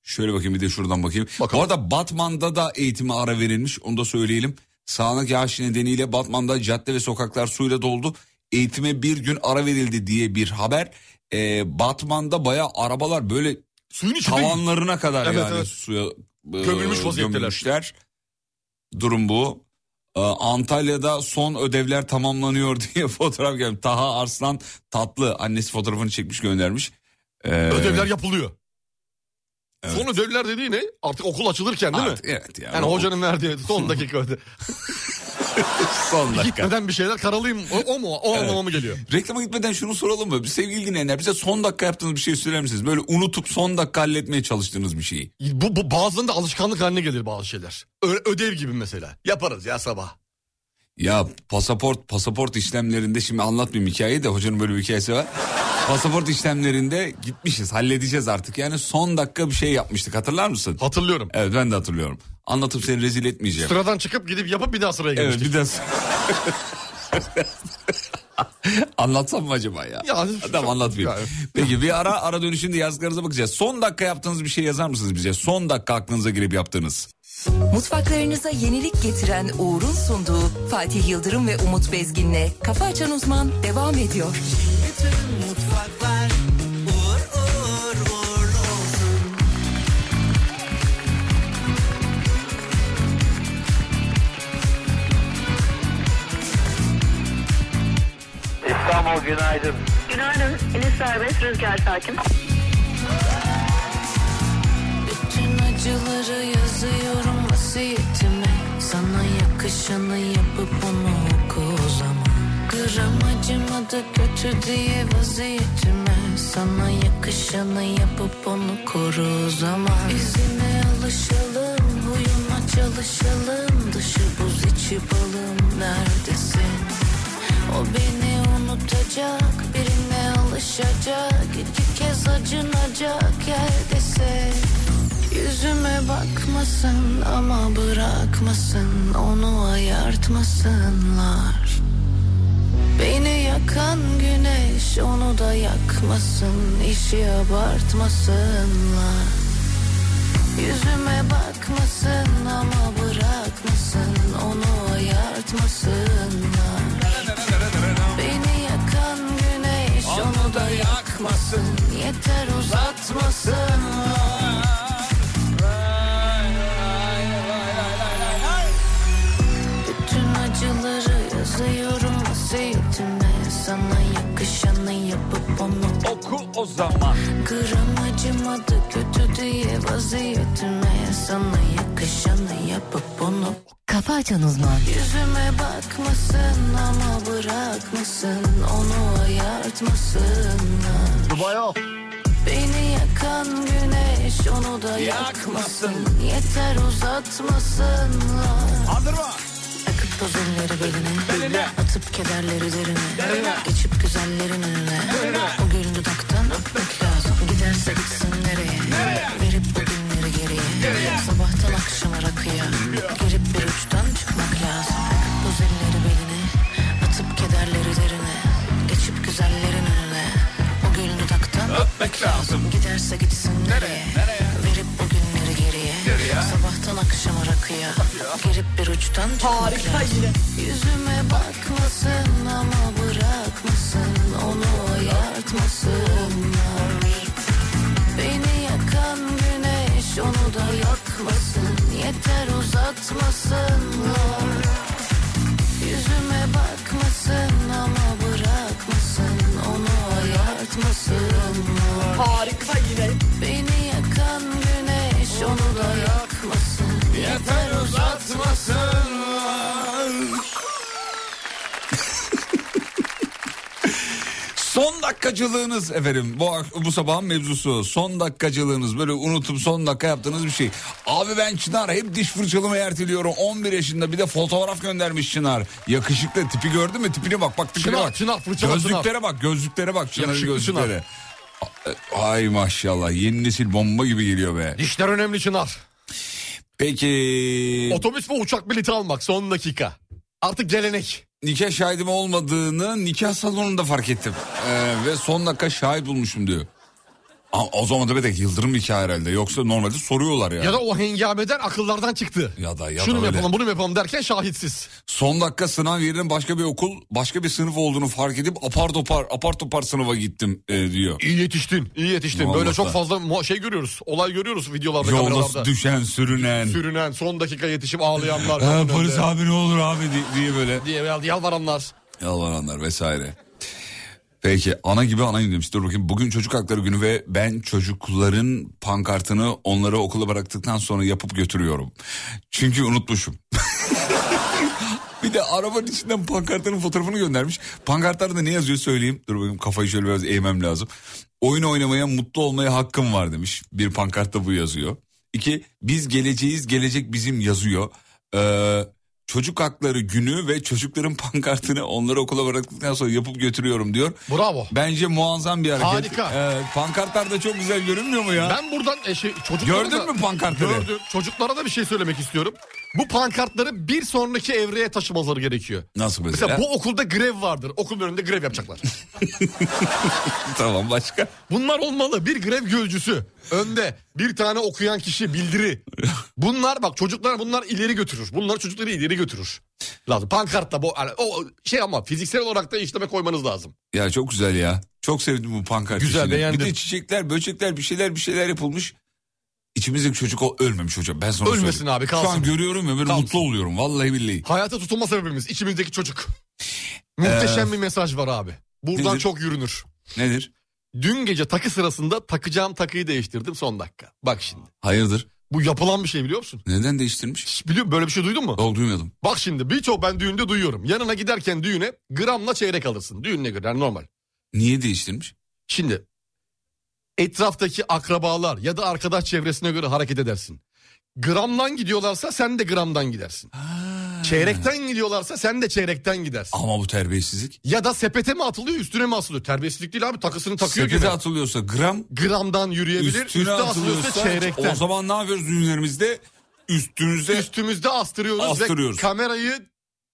Speaker 4: Şöyle bakayım bir de şuradan bakayım. Bu arada Batman'da da eğitime ara verilmiş. Onu da söyleyelim. Sağanak yağış nedeniyle Batman'da cadde ve sokaklar suyla doldu. Eğitime bir gün ara verildi diye bir haber. Ee, Batman'da bayağı arabalar böyle
Speaker 5: suyun içinde
Speaker 4: tavanlarına kadar
Speaker 5: Evet,
Speaker 4: yani
Speaker 5: evet.
Speaker 4: suya e,
Speaker 5: Gömülmüş vaziyetteler.
Speaker 4: gömülmüşler. Durum bu. Ee, Antalya'da son ödevler tamamlanıyor diye fotoğraf gelmiş. Taha Arslan Tatlı annesi fotoğrafını çekmiş göndermiş. Ee,
Speaker 5: Ödevler yapılıyor. Son ödevler dediği ne? Artık okul açılırken değil
Speaker 4: Artık,
Speaker 5: mi?
Speaker 4: evet ya.
Speaker 5: Yani, hocanın verdiği son dakika öde.
Speaker 4: son dakika.
Speaker 5: Gitmeden bir şeyler karalayayım. O, o mu? O anlama mı geliyor?
Speaker 4: Reklama gitmeden şunu soralım mı? Sevgili dinleyenler bize son dakika yaptığınız bir şey söyler misiniz? Böyle unutup son dakika halletmeye çalıştığınız bir şeyi.
Speaker 5: Bu, bu bazılarında alışkanlık haline gelir bazı şeyler. Ö- ödev gibi mesela. Yaparız ya sabah.
Speaker 4: Ya pasaport pasaport işlemlerinde şimdi anlatmayayım hikayeyi de hocanın böyle bir hikayesi var. pasaport işlemlerinde gitmişiz halledeceğiz artık. Yani son dakika bir şey yapmıştık hatırlar mısın?
Speaker 5: Hatırlıyorum.
Speaker 4: Evet ben de hatırlıyorum. Anlatıp seni rezil etmeyeceğim.
Speaker 5: Sıradan çıkıp gidip yapıp bir daha sıraya
Speaker 4: evet
Speaker 5: girmiştik.
Speaker 4: bir daha... Anlatsam mı acaba ya?
Speaker 5: Ya,
Speaker 4: Adam anlatmayayım. Peki bir ara ara dönüşünde yazdıklarınıza bakacağız. Son dakika yaptığınız bir şey yazar mısınız bize? Son dakika aklınıza girip yaptığınız.
Speaker 1: Mutfaklarınıza yenilik getiren Uğur'un sunduğu Fatih Yıldırım ve Umut Bezgin'le Kafa Açan Uzman devam ediyor.
Speaker 8: Mutfaklar uğur uğur uğur olsun.
Speaker 9: İstanbul günaydın.
Speaker 14: Günaydın. Enes Serbest, Rüzgar Sakin.
Speaker 15: Bütün acıları yazıyorum vasiyetime Sana yakışanı yapıp onu oku o zaman Gram acımadı kötü diye vaziyetime Sana yakışanı yapıp onu koru o zaman İzine alışalım, huyuna çalışalım Dışı buz içi balım neredesin? O beni unutacak, birine alışacak iki kez acınacak yerdesin Yüzüme bakmasın ama bırakmasın onu ayartmasınlar Beni yakan güneş onu da yakmasın işi abartmasınlar Yüzüme bakmasın ama bırakmasın onu ayartmasınlar Beni yakan güneş onu da yakmasın yeter uzatmasınlar Bütün acıları yazıyorum vasiyetime Sana yakışanı yapıp onu
Speaker 16: Oku o zaman
Speaker 15: Gram acımadı kötü diye vaziyetime Sana yakışanı yapıp onu
Speaker 17: Kafa açan uzman.
Speaker 15: Yüzüme bakmasın ama bırakmasın Onu ayartmasınlar
Speaker 8: Duba yok.
Speaker 15: Beni yakan güneş onu da
Speaker 8: Yakmasın.
Speaker 15: yakmasın Yeter uzatmasınlar
Speaker 8: Aldırma.
Speaker 15: Akıp tozunları beline, Atıp kederleri derine, Geçip güzellerin önüne O gül dudaktan öpmek lazım Giderse gitsin nereye, Verip bu günleri geriye, Sabahtan akşama rakıya Girip bir uçtan çıkmak lazım Akıp toz elleri beline Atıp kederleri derine Geçip güzellerin önüne O gül dudaktan
Speaker 8: Öpmek lazım.
Speaker 15: Giderse gitsin nereye, Verip bu günleri geriye, Sabahtan akşama rakıya Girip bir uçtan çıkmak
Speaker 8: Harika
Speaker 15: lazım
Speaker 8: yine.
Speaker 15: Yüzüme bakmasın ama bırakmasın Onu ayartmasınlar Beni yakan güneş onu da yakmasın Yeter uzatmasınlar Yüzüme bakmasın ama bırakmasın Onu ayartmasınlar
Speaker 8: Harika yine.
Speaker 15: Beni yakan güneş onu da yakmasın Yeter uzatmasınlar
Speaker 4: Son dakikacılığınız efendim bu, ak- bu sabahın mevzusu son dakikacılığınız böyle unutup son dakika yaptığınız bir şey. Abi ben Çınar hep diş fırçalımı erteliyorum 11 yaşında bir de fotoğraf göndermiş Çınar. Yakışıklı tipi gördün mü tipine bak bak tipine
Speaker 5: Çınar,
Speaker 4: bak.
Speaker 5: Çınar, fırçala
Speaker 4: Gözlüklere
Speaker 5: Çınar.
Speaker 4: bak gözlüklere bak Çınar'ın
Speaker 5: Yakışıklı Çınar.
Speaker 4: gözlükleri. e, Ay maşallah yeni nesil bomba gibi geliyor be.
Speaker 5: Dişler önemli Çınar.
Speaker 4: Peki.
Speaker 5: Otobüs ve uçak bileti almak son dakika. Artık gelenek.
Speaker 4: Nikah şahidim olmadığını nikah salonunda fark ettim. Ee, ve son dakika şahit bulmuşum diyor. A- o zaman da bir tek Yıldırım nikahı herhalde. Yoksa normalde soruyorlar ya.
Speaker 5: Ya da o hengameden akıllardan çıktı.
Speaker 4: Ya da- ya
Speaker 5: Şunu
Speaker 4: da
Speaker 5: mu
Speaker 4: öyle.
Speaker 5: yapalım bunu mu yapalım derken şahitsiz.
Speaker 4: Son dakika sınav yerinin başka bir okul, başka bir sınıf olduğunu fark edip apar topar, apar topar sınıfa gittim e, diyor.
Speaker 5: İyi yetiştin. İyi yetiştin. Böyle
Speaker 4: Vallahi.
Speaker 5: çok fazla mu- şey görüyoruz. Olay görüyoruz videolarda.
Speaker 4: Yolda
Speaker 5: kameralarda.
Speaker 4: düşen, sürünen.
Speaker 5: Sürünen son dakika yetişip ağlayanlar.
Speaker 4: "Ha,
Speaker 5: kapının
Speaker 4: polis
Speaker 5: önünde.
Speaker 4: abi ne olur abi di- diye böyle.
Speaker 5: Diye yal- yalvaranlar.
Speaker 4: Yalvaranlar vesaire. Peki ana gibi anayım demiş. Dur bakayım bugün çocuk hakları günü ve ben çocukların pankartını onları okula bıraktıktan sonra yapıp götürüyorum. Çünkü unutmuşum. bir de arabanın içinden pankartların fotoğrafını göndermiş. Pankartlarda ne yazıyor söyleyeyim. Dur bakayım kafayı şöyle biraz eğmem lazım. Oyun oynamaya mutlu olmaya hakkım var demiş. Bir pankartta bu yazıyor. İki biz geleceğiz gelecek bizim yazıyor. Ee, çocuk hakları günü ve çocukların pankartını onları okula bıraktıktan sonra yapıp götürüyorum diyor.
Speaker 5: Bravo.
Speaker 4: Bence muazzam bir hareket.
Speaker 5: Harika.
Speaker 4: Ee, pankartlar da çok güzel görünmüyor mu ya?
Speaker 5: Ben buradan e, şey, çocuklara
Speaker 4: Gördün
Speaker 5: da-
Speaker 4: mü pankartları?
Speaker 5: Gördüm. Çocuklara da bir şey söylemek istiyorum. Bu pankartları bir sonraki evreye taşımaları gerekiyor.
Speaker 4: Nasıl mesela?
Speaker 5: Mesela, bu okulda grev vardır. Okulun önünde grev yapacaklar.
Speaker 4: tamam başka.
Speaker 5: Bunlar olmalı. Bir grev gölcüsü. Önde bir tane okuyan kişi bildiri. Bunlar bak çocuklar bunlar ileri götürür. Bunlar çocukları ileri götürür. Lazım. Pankartla bu hani o şey ama fiziksel olarak da işleme koymanız lazım.
Speaker 4: Ya çok güzel ya. Çok sevdim bu pankart
Speaker 5: Güzel,
Speaker 4: işini.
Speaker 5: beğendim.
Speaker 4: Bir de çiçekler, böcekler bir şeyler bir şeyler yapılmış. İçimizdeki çocuk o ölmemiş hocam. Ben sana
Speaker 5: Ölmesin
Speaker 4: söyleyeyim.
Speaker 5: abi, kalsın.
Speaker 4: Şu an görüyorum ya böyle mutlu oluyorum vallahi billahi.
Speaker 5: Hayata tutulma sebebimiz içimizdeki çocuk. Muhteşem
Speaker 4: Ee,
Speaker 5: bir mesaj var abi. Buradan
Speaker 4: nedir?
Speaker 5: çok yürünür.
Speaker 4: Nedir?
Speaker 5: Dün gece takı sırasında takacağım takıyı değiştirdim son dakika. Bak şimdi.
Speaker 4: Hayırdır?
Speaker 5: Bu yapılan bir şey biliyor musun?
Speaker 4: Neden değiştirmiş?
Speaker 5: Biliyor böyle bir şey duydun mu?
Speaker 4: Yok duymadım.
Speaker 5: Bak şimdi birçok ben düğünde duyuyorum. Yanına giderken düğüne gramla çeyrek alırsın. Düğününe göre yani normal.
Speaker 4: Niye değiştirmiş?
Speaker 5: Şimdi etraftaki akrabalar ya da arkadaş çevresine göre hareket edersin. Gramdan gidiyorlarsa sen de gramdan gidersin. Çeyrekten gidiyorlarsa sen de çeyrekten gidersin.
Speaker 4: Ama bu terbiyesizlik.
Speaker 5: Ya da sepete mi atılıyor üstüne mi asılıyor? Terbiyesizlik değil abi takısını takıyor
Speaker 4: Sepete
Speaker 5: gibi.
Speaker 4: atılıyorsa gram,
Speaker 5: Gramdan yürüyebilir
Speaker 4: üstüne
Speaker 5: üstüne, asılıyorsa
Speaker 4: atılıyorsa
Speaker 5: çeyrekten.
Speaker 4: o zaman ne yapıyoruz düğünlerimizde? Üstünüze
Speaker 5: Üstümüzde astırıyoruz,
Speaker 4: Astırıyoruz.
Speaker 5: ve kamerayı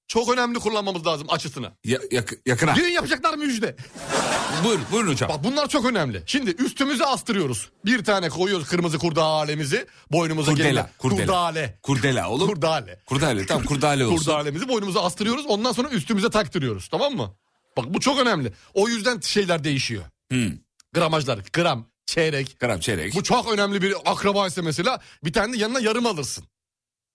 Speaker 5: çok önemli kullanmamız lazım açısını.
Speaker 4: Ya, yak- yakına.
Speaker 5: Düğün yapacaklar müjde.
Speaker 4: Buyur, buyurun hocam.
Speaker 5: Bak bunlar çok önemli. Şimdi üstümüze astırıyoruz. Bir tane koyuyoruz kırmızı kurdalemizi boynumuza
Speaker 4: Kurdela,
Speaker 5: gelene-
Speaker 4: kurdela.
Speaker 5: Kurdale.
Speaker 4: Kurdela oğlum.
Speaker 5: Kurdale.
Speaker 4: Kurdale tamam kurdale olsun.
Speaker 5: Kurdalemizi boynumuza astırıyoruz. Ondan sonra üstümüze taktırıyoruz. Tamam mı? Bak bu çok önemli. O yüzden şeyler değişiyor. Gramajlar. Gram, çeyrek.
Speaker 4: Gram, çeyrek.
Speaker 5: Bu çok önemli bir akraba ise mesela bir tane de yanına yarım alırsın.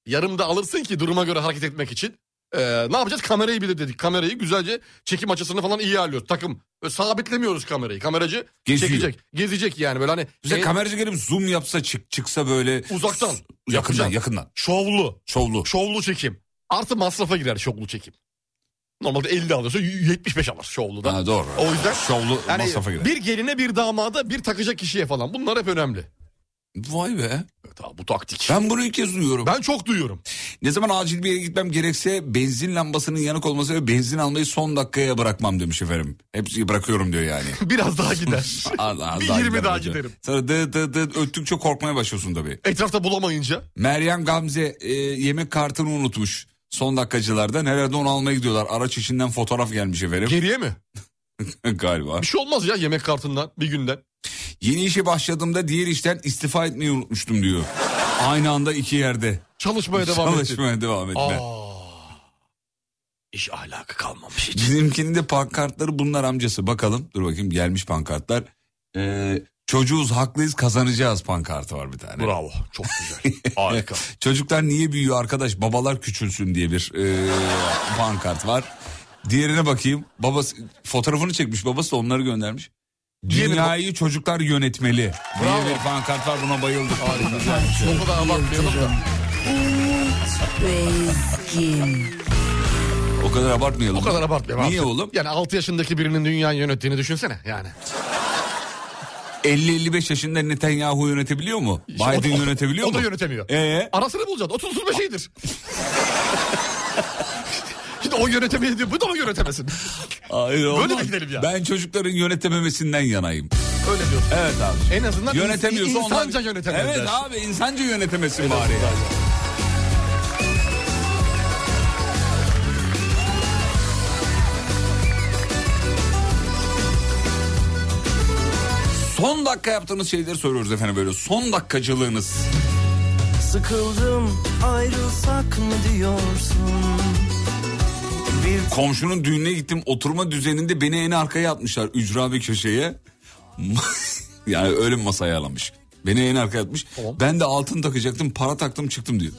Speaker 5: Yarım da alırsın ki duruma göre hareket etmek için. Ee, ne yapacağız? Kamerayı bir de dedik. Kamerayı güzelce çekim açısını falan iyi ayarlıyoruz. Takım e, sabitlemiyoruz kamerayı. Kameracı
Speaker 4: Geziyor.
Speaker 5: çekecek. Gezecek yani böyle hani.
Speaker 4: Bize
Speaker 5: E,
Speaker 4: kameracı gelip zoom yapsa çık, çıksa böyle.
Speaker 5: Uzaktan.
Speaker 4: S- Yakından yakından.
Speaker 5: Şovlu.
Speaker 4: Şovlu.
Speaker 5: Şovlu çekim. Artı masrafa girer şovlu çekim. Normalde 50 alıyorsa 75 alır şovluda.
Speaker 4: Ha, doğru.
Speaker 5: O yüzden
Speaker 4: Şovlu masrafa girer.
Speaker 5: Bir geline bir damada bir takacak kişiye falan. Bunlar hep önemli.
Speaker 4: Vay be.
Speaker 5: bu taktik.
Speaker 4: Ben bunu ilk kez duyuyorum.
Speaker 5: Ben çok duyuyorum.
Speaker 4: Ne zaman acil bir yere gitmem gerekse benzin lambasının yanık olması ve benzin almayı son dakikaya bırakmam demiş efendim. Hepsi bırakıyorum diyor yani.
Speaker 5: Biraz daha gider.
Speaker 4: Az- az
Speaker 5: Bir 20 daha
Speaker 4: hocam.
Speaker 5: giderim.
Speaker 4: Sonra dı dı dı öttükçe korkmaya başlıyorsun tabii.
Speaker 5: Etrafta bulamayınca.
Speaker 4: Meryem Gamze e, yemek kartını unutmuş. Son dakikacılardan herhalde onu almaya gidiyorlar. Araç içinden fotoğraf gelmiş efendim.
Speaker 5: Geriye mi?
Speaker 4: Galiba.
Speaker 5: Bir şey olmaz ya yemek kartından bir günden.
Speaker 4: Yeni işe başladığımda diğer işten istifa etmeyi unutmuştum diyor. Aynı anda iki yerde.
Speaker 5: Çalışmaya devam ettin.
Speaker 4: Çalışmaya devam ettiler.
Speaker 5: İş ahlakı kalmamış.
Speaker 4: Bizimkinin de pankartları bunlar amcası. Bakalım dur bakayım gelmiş pankartlar. Ee, çocuğuz haklıyız kazanacağız pankartı var bir tane.
Speaker 5: Bravo çok güzel harika.
Speaker 4: Çocuklar niye büyüyor arkadaş babalar küçülsün diye bir e, pankart var. Diğerine bakayım babası fotoğrafını çekmiş babası da onları göndermiş. Dünyayı çocuklar yönetmeli diye bir pankart var buna bayıldık.
Speaker 5: O kadar abartmayalım da.
Speaker 4: O kadar abartmayalım.
Speaker 5: O kadar abartmayalım.
Speaker 4: Niye
Speaker 5: Artık-
Speaker 4: oğlum?
Speaker 5: Yani 6 yaşındaki birinin dünyayı yönettiğini düşünsene yani.
Speaker 4: 50-55 yaşında Netanyahu yönetebiliyor mu? Biden
Speaker 5: o da-
Speaker 4: yönetebiliyor
Speaker 5: o da
Speaker 4: mu?
Speaker 5: yönetemiyor.
Speaker 4: Ee?
Speaker 5: Arasını bulacaksın 30-35 şeydir. Şimdi o yönetemeyi diyor bu da mı yönetemesin?
Speaker 4: Hayır,
Speaker 5: Böyle
Speaker 4: olmaz.
Speaker 5: mi gidelim ya?
Speaker 4: Ben çocukların yönetememesinden yanayım.
Speaker 5: Öyle diyorsun.
Speaker 4: Evet abi.
Speaker 5: En azından
Speaker 4: Yönetemiyorsa
Speaker 5: ins-
Speaker 4: onlar-
Speaker 5: insanca yönetemez
Speaker 4: Evet
Speaker 5: dersin.
Speaker 4: abi insanca yönetemesin bari. Son dakika yaptığınız şeyleri soruyoruz efendim böyle. Son dakikacılığınız.
Speaker 2: Sıkıldım ayrılsak mı diyorsun
Speaker 4: Komşunun düğününe gittim oturma düzeninde beni en arkaya atmışlar ücra bir köşeye. yani öyle bir masa ayarlamış. Beni en arkaya atmış. Ben de altın takacaktım para taktım çıktım diyor.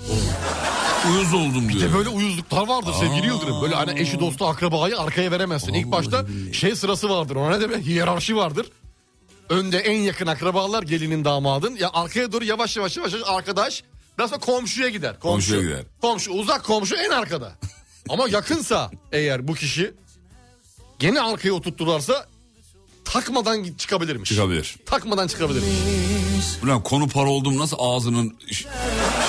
Speaker 4: Uyuz oldum diyor.
Speaker 5: Bir de böyle uyuzluklar vardır sevgili Yıldırım. Böyle hani eşi dostu akrabayı arkaya veremezsin. İlk başta şey sırası vardır ona ne demek hiyerarşi vardır. Önde en yakın akrabalar gelinin damadın. Ya arkaya doğru yavaş yavaş yavaş yavaş arkadaş. Daha sonra komşuya gider. Komşu.
Speaker 4: Komşuya gider.
Speaker 5: Komşu uzak komşu en arkada. Ama yakınsa eğer bu kişi gene arkaya oturttularsa takmadan git- çıkabilirmiş.
Speaker 4: Çıkabilir.
Speaker 5: Takmadan çıkabilirmiş.
Speaker 4: Ulan konu para oldum nasıl ağzının ş-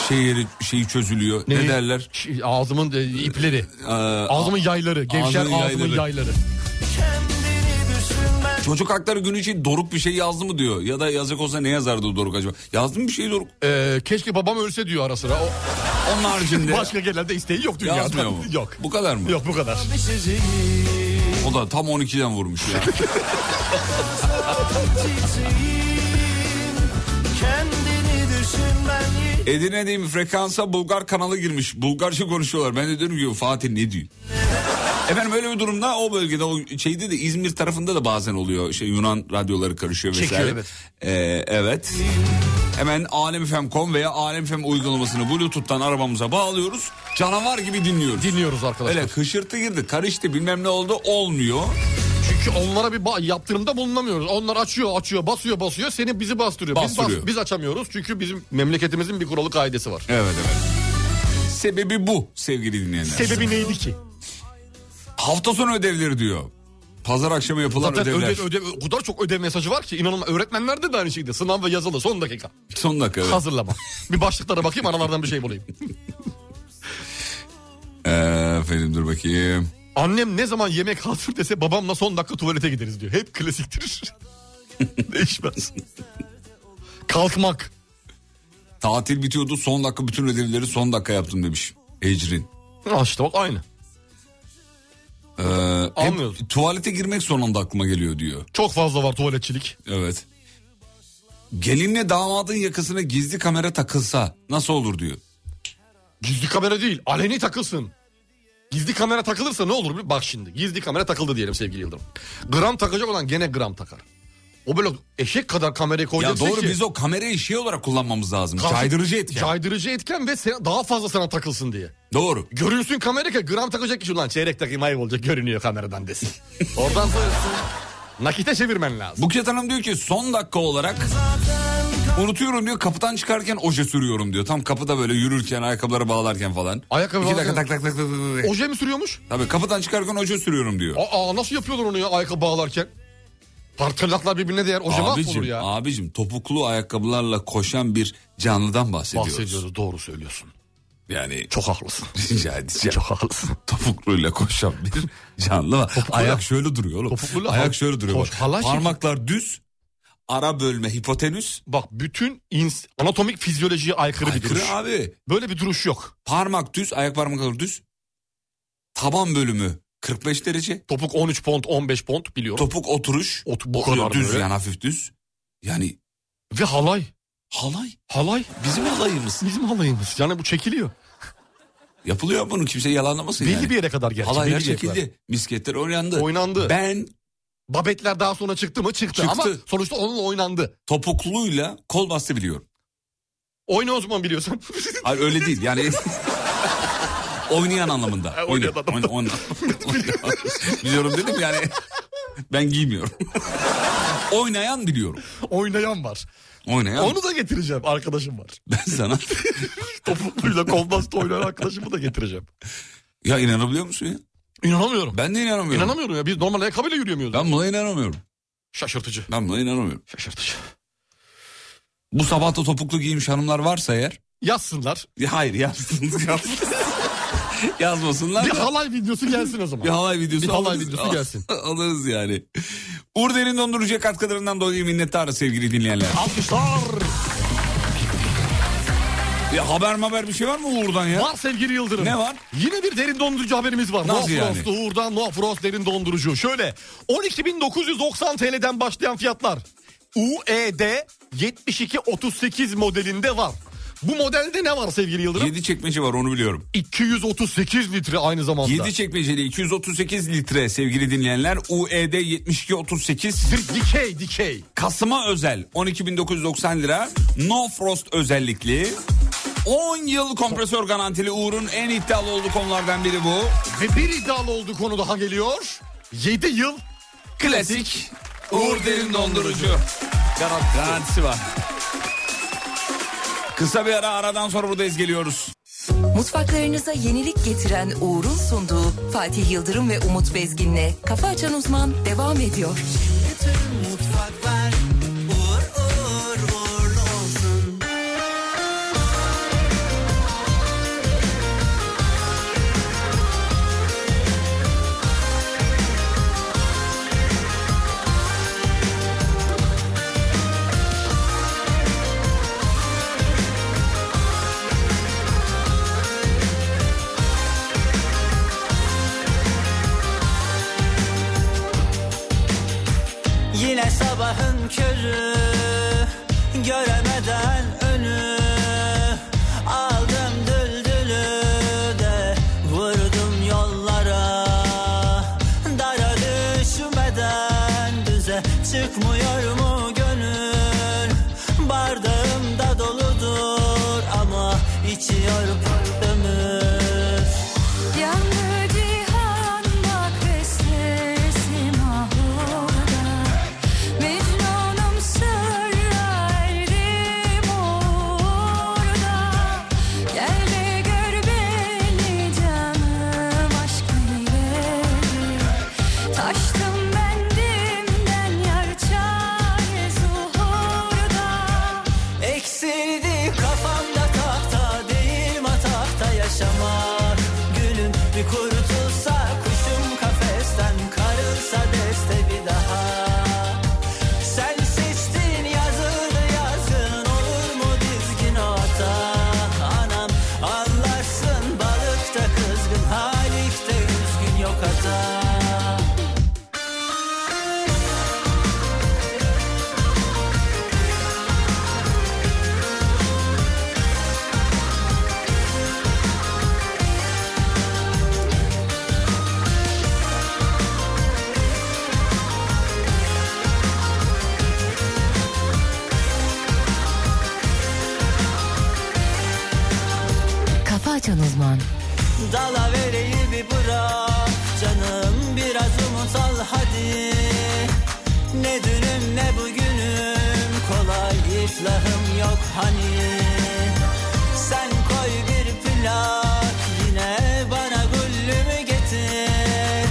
Speaker 4: şeyi, şeyi çözülüyor. Ne, derler? Ee,
Speaker 5: Ş- Ağzımın e, ipleri. Ağzımın yayları. Gevşer
Speaker 4: ağzının
Speaker 5: ağzımın
Speaker 4: yayları.
Speaker 5: yayları.
Speaker 4: Çocuk hakları günü için Doruk bir şey yazdı mı diyor. Ya da yazacak olsa ne yazardı Doruk acaba? Yazdı mı bir şey Doruk?
Speaker 5: Ee, keşke babam ölse diyor ara sıra. O...
Speaker 4: Onun haricinde.
Speaker 5: Başka genelde isteği yok dünyada.
Speaker 4: Yazmıyor mu?
Speaker 5: Yok.
Speaker 4: Bu kadar mı?
Speaker 5: Yok bu kadar.
Speaker 4: O da tam 12'den vurmuş ya.
Speaker 2: Kendini düşün ben yine
Speaker 4: Edirne diyeyim frekansa Bulgar kanalı girmiş. Bulgarca konuşuyorlar. Ben de diyorum ki Fatih ne diyor? Efendim öyle bir durumda o bölgede o şeyde de İzmir tarafında da bazen oluyor. Şey Yunan radyoları karışıyor vesaire.
Speaker 5: Çekiyor, evet.
Speaker 4: Ee, evet. Hemen alemfm.com veya alemfm uygulamasını Bluetooth'tan arabamıza bağlıyoruz. Canavar gibi dinliyoruz.
Speaker 5: Dinliyoruz arkadaşlar.
Speaker 4: Öyle hışırtı girdi, karıştı bilmem ne oldu olmuyor.
Speaker 5: Çünkü onlara bir ba- yaptırımda bulunamıyoruz. Onlar açıyor, açıyor, basıyor, basıyor. Seni bizi bastırıyor. Biz,
Speaker 4: Bastırıyor.
Speaker 5: bas- biz açamıyoruz çünkü bizim memleketimizin bir kuralı kaidesi var.
Speaker 4: Evet evet. Sebebi bu sevgili dinleyenler.
Speaker 5: Sebebi neydi ki?
Speaker 4: Hafta sonu ödevleri diyor. Pazar akşamı yapılan
Speaker 5: Zaten
Speaker 4: ödevler.
Speaker 5: ödev, ödev, o kadar çok ödev mesajı var ki inanılmaz. Öğretmenlerde de aynı şeydi. Sınav ve yazılı son dakika.
Speaker 4: Son dakika. evet.
Speaker 5: Hazırlama. bir başlıklara bakayım aralardan bir şey bulayım.
Speaker 4: Ee, efendim dur bakayım.
Speaker 5: Annem ne zaman yemek hazır dese babamla son dakika tuvalete gideriz diyor. Hep klasiktir. Değişmez. Kalkmak.
Speaker 4: Tatil bitiyordu son dakika bütün ödevleri son dakika yaptım demiş. Ecrin.
Speaker 5: Ha işte bak aynı.
Speaker 4: Ee, hep Tuvalete girmek son anda aklıma geliyor diyor.
Speaker 5: Çok fazla var tuvaletçilik.
Speaker 4: Evet. Gelinle damadın yakasına gizli kamera takılsa nasıl olur diyor.
Speaker 5: Gizli kamera değil aleni takılsın. Gizli kamera takılırsa ne olur? bir Bak şimdi gizli kamera takıldı diyelim sevgili Yıldırım. Gram takacak olan gene gram takar. O böyle eşek kadar kamerayı
Speaker 4: Ya
Speaker 5: koyacaksın
Speaker 4: doğru
Speaker 5: şey ki-
Speaker 4: biz o kamerayı şey olarak kullanmamız lazım.
Speaker 5: Kaf-
Speaker 4: Caydırıcı etken.
Speaker 5: Caydırıcı etken ve sen- daha fazla sana takılsın diye.
Speaker 4: Doğru.
Speaker 5: Görünsün kamera ki gram takacak kişi ulan çeyrek takayım ayıp olacak görünüyor kameradan desin. Oradan sonrası nakite çevirmen lazım.
Speaker 4: Buket Hanım diyor ki son dakika olarak unutuyorum diyor kapıdan çıkarken oje sürüyorum diyor. Tam kapıda böyle yürürken ayakkabıları bağlarken falan.
Speaker 5: Ayakkabı
Speaker 4: İki dakika tak
Speaker 5: bağlarken-
Speaker 4: tak tak tak tak. tak.
Speaker 5: Oje mi sürüyormuş?
Speaker 4: Tabii kapıdan çıkarken oje sürüyorum diyor.
Speaker 5: Aa nasıl yapıyorlar onu ya ayakkabı bağlarken? Parçalaklar birbirine değer oje mahvolur
Speaker 4: abicim,
Speaker 5: ya.
Speaker 4: abicim topuklu ayakkabılarla koşan bir canlıdan bahsediyoruz.
Speaker 5: Bahsediyoruz doğru söylüyorsun.
Speaker 4: Yani
Speaker 5: çok haklısın.
Speaker 4: Rica edeceğim.
Speaker 5: Çok haklısın.
Speaker 4: Topukluyla koşan bir canlı var. Ayak şöyle duruyor oğlum.
Speaker 5: Topukluyla hal-
Speaker 4: Ayak şöyle duruyor.
Speaker 5: koş-
Speaker 4: bak.
Speaker 5: halay şekli.
Speaker 4: Parmaklar düz. Ara bölme hipotenüs.
Speaker 5: Bak bütün ins- anatomik fizyolojiye aykırı, bir duruş.
Speaker 4: abi.
Speaker 5: Böyle bir duruş yok.
Speaker 4: Parmak düz, ayak parmakları düz. Taban bölümü 45 derece.
Speaker 5: Topuk 13 pont, 15 pont biliyorum.
Speaker 4: Topuk oturuş.
Speaker 5: Ot bu
Speaker 4: Oluyor,
Speaker 5: kadar
Speaker 4: düz
Speaker 5: böyle.
Speaker 4: yani hafif düz. Yani
Speaker 5: Ve halay.
Speaker 4: Halay.
Speaker 5: Halay.
Speaker 4: Bizim halayımız.
Speaker 5: Bizim halayımız. Yani bu çekiliyor.
Speaker 4: yapılıyor bunu kimse yalanlamasın
Speaker 5: Belli
Speaker 4: yani.
Speaker 5: bir yere kadar gerçi.
Speaker 4: Halaylar
Speaker 5: belli bir yere kadar.
Speaker 4: çekildi. Misketler oynandı.
Speaker 5: Oynandı.
Speaker 4: Ben
Speaker 5: Babetler daha sonra çıktı mı? Çıktı.
Speaker 4: Çıktı.
Speaker 5: Ama sonuçta onunla oynandı.
Speaker 4: topukluyla kol bastı biliyorum.
Speaker 5: Oyna o zaman biliyorsun.
Speaker 4: Hayır öyle değil yani. Oynayan anlamında. Oynayan oyna, oyna, oyna. Biliyorum dedim yani. Ben giymiyorum. Oynayan biliyorum.
Speaker 5: Oynayan var.
Speaker 4: Oynayan.
Speaker 5: Onu da getireceğim. Arkadaşım var.
Speaker 4: Ben sana.
Speaker 5: Topukluyla kolbasta oynayan arkadaşımı da getireceğim.
Speaker 4: Ya inanabiliyor musun ya?
Speaker 5: İnanamıyorum.
Speaker 4: Ben de inanamıyorum.
Speaker 5: İnanamıyorum ya. Biz normal ayakkabıyla yürüyemiyoruz.
Speaker 4: Ben buna inanamıyorum.
Speaker 5: Şaşırtıcı.
Speaker 4: Ben buna inanamıyorum.
Speaker 5: Şaşırtıcı.
Speaker 4: Bu sabah da topuklu giymiş hanımlar varsa eğer.
Speaker 5: Yazsınlar.
Speaker 4: Ya hayır yazsın. yazsın. Yazmasınlar.
Speaker 5: Bir
Speaker 4: da-
Speaker 5: halay videosu gelsin o zaman.
Speaker 4: Bir halay videosu
Speaker 5: Bir halay
Speaker 4: alırız.
Speaker 5: videosu gelsin.
Speaker 4: alırız yani. Urder'in dondurucuya katkılarından dolayı minnettarız sevgili dinleyenler.
Speaker 5: Alkışlar.
Speaker 4: Ya haber haber bir şey var mı Uğur'dan ya?
Speaker 5: Var sevgili Yıldırım.
Speaker 4: Ne var?
Speaker 5: Yine bir derin dondurucu haberimiz var.
Speaker 4: Nasıl
Speaker 5: no
Speaker 4: yani?
Speaker 5: Frost'lu Uğur'dan No Frost derin dondurucu. Şöyle 12.990 TL'den başlayan fiyatlar.
Speaker 18: E
Speaker 5: UED 7238 modelinde var. Bu modelde ne var sevgili Yıldırım?
Speaker 4: 7 çekmece var onu biliyorum.
Speaker 5: 238 litre aynı zamanda.
Speaker 4: 7 çekmeceli 238 litre sevgili dinleyenler. E UED 7238.
Speaker 5: Dikey dikey.
Speaker 4: Kasım'a özel 12.990 lira. No Frost özellikli. 10 yıl kompresör garantili Uğur'un en iddialı olduğu konulardan biri bu.
Speaker 5: Ve bir iddialı olduğu konu daha geliyor. 7 yıl
Speaker 4: Klasik Uğur Derin Dondurucu. Garantisi var. Kısa bir ara aradan sonra buradayız geliyoruz.
Speaker 1: Mutfaklarınıza yenilik getiren Uğur'un sunduğu Fatih Yıldırım ve Umut Bezgin'le Kafa Açan Uzman devam ediyor.
Speaker 19: Mutfaklar uğur uğur uğurlu olsun. Yine sabahın körü Göremeden önü Aldım düldülü de Vurdum yollara Dara düşmeden düze Çıkmıyor mu gönül Bardağımda doludur Ama içiyor ömür
Speaker 8: Yandı cihan bak ve sesim ahurda Mecnunum sırra erdim orada Gel de gör beni canım aşk neyledi Taştım bendimden yar çare zuhurda
Speaker 19: Eksildi kafamda tahta değil matahta yaşamak Gülüm bir kurtulsa kuşum kafesten karılsa deste bir daha Sen seçtin yazılı yazgın olur mu dizgin ata Anam anlarsın balıkta kızgın halikte üzgün yok hata
Speaker 20: açan uzman.
Speaker 19: Dalavereyi bir bırak canım biraz umut al hadi Ne dünüm ne bugünüm kolay iflahım yok hani Sen koy bir plak yine bana güllümü getir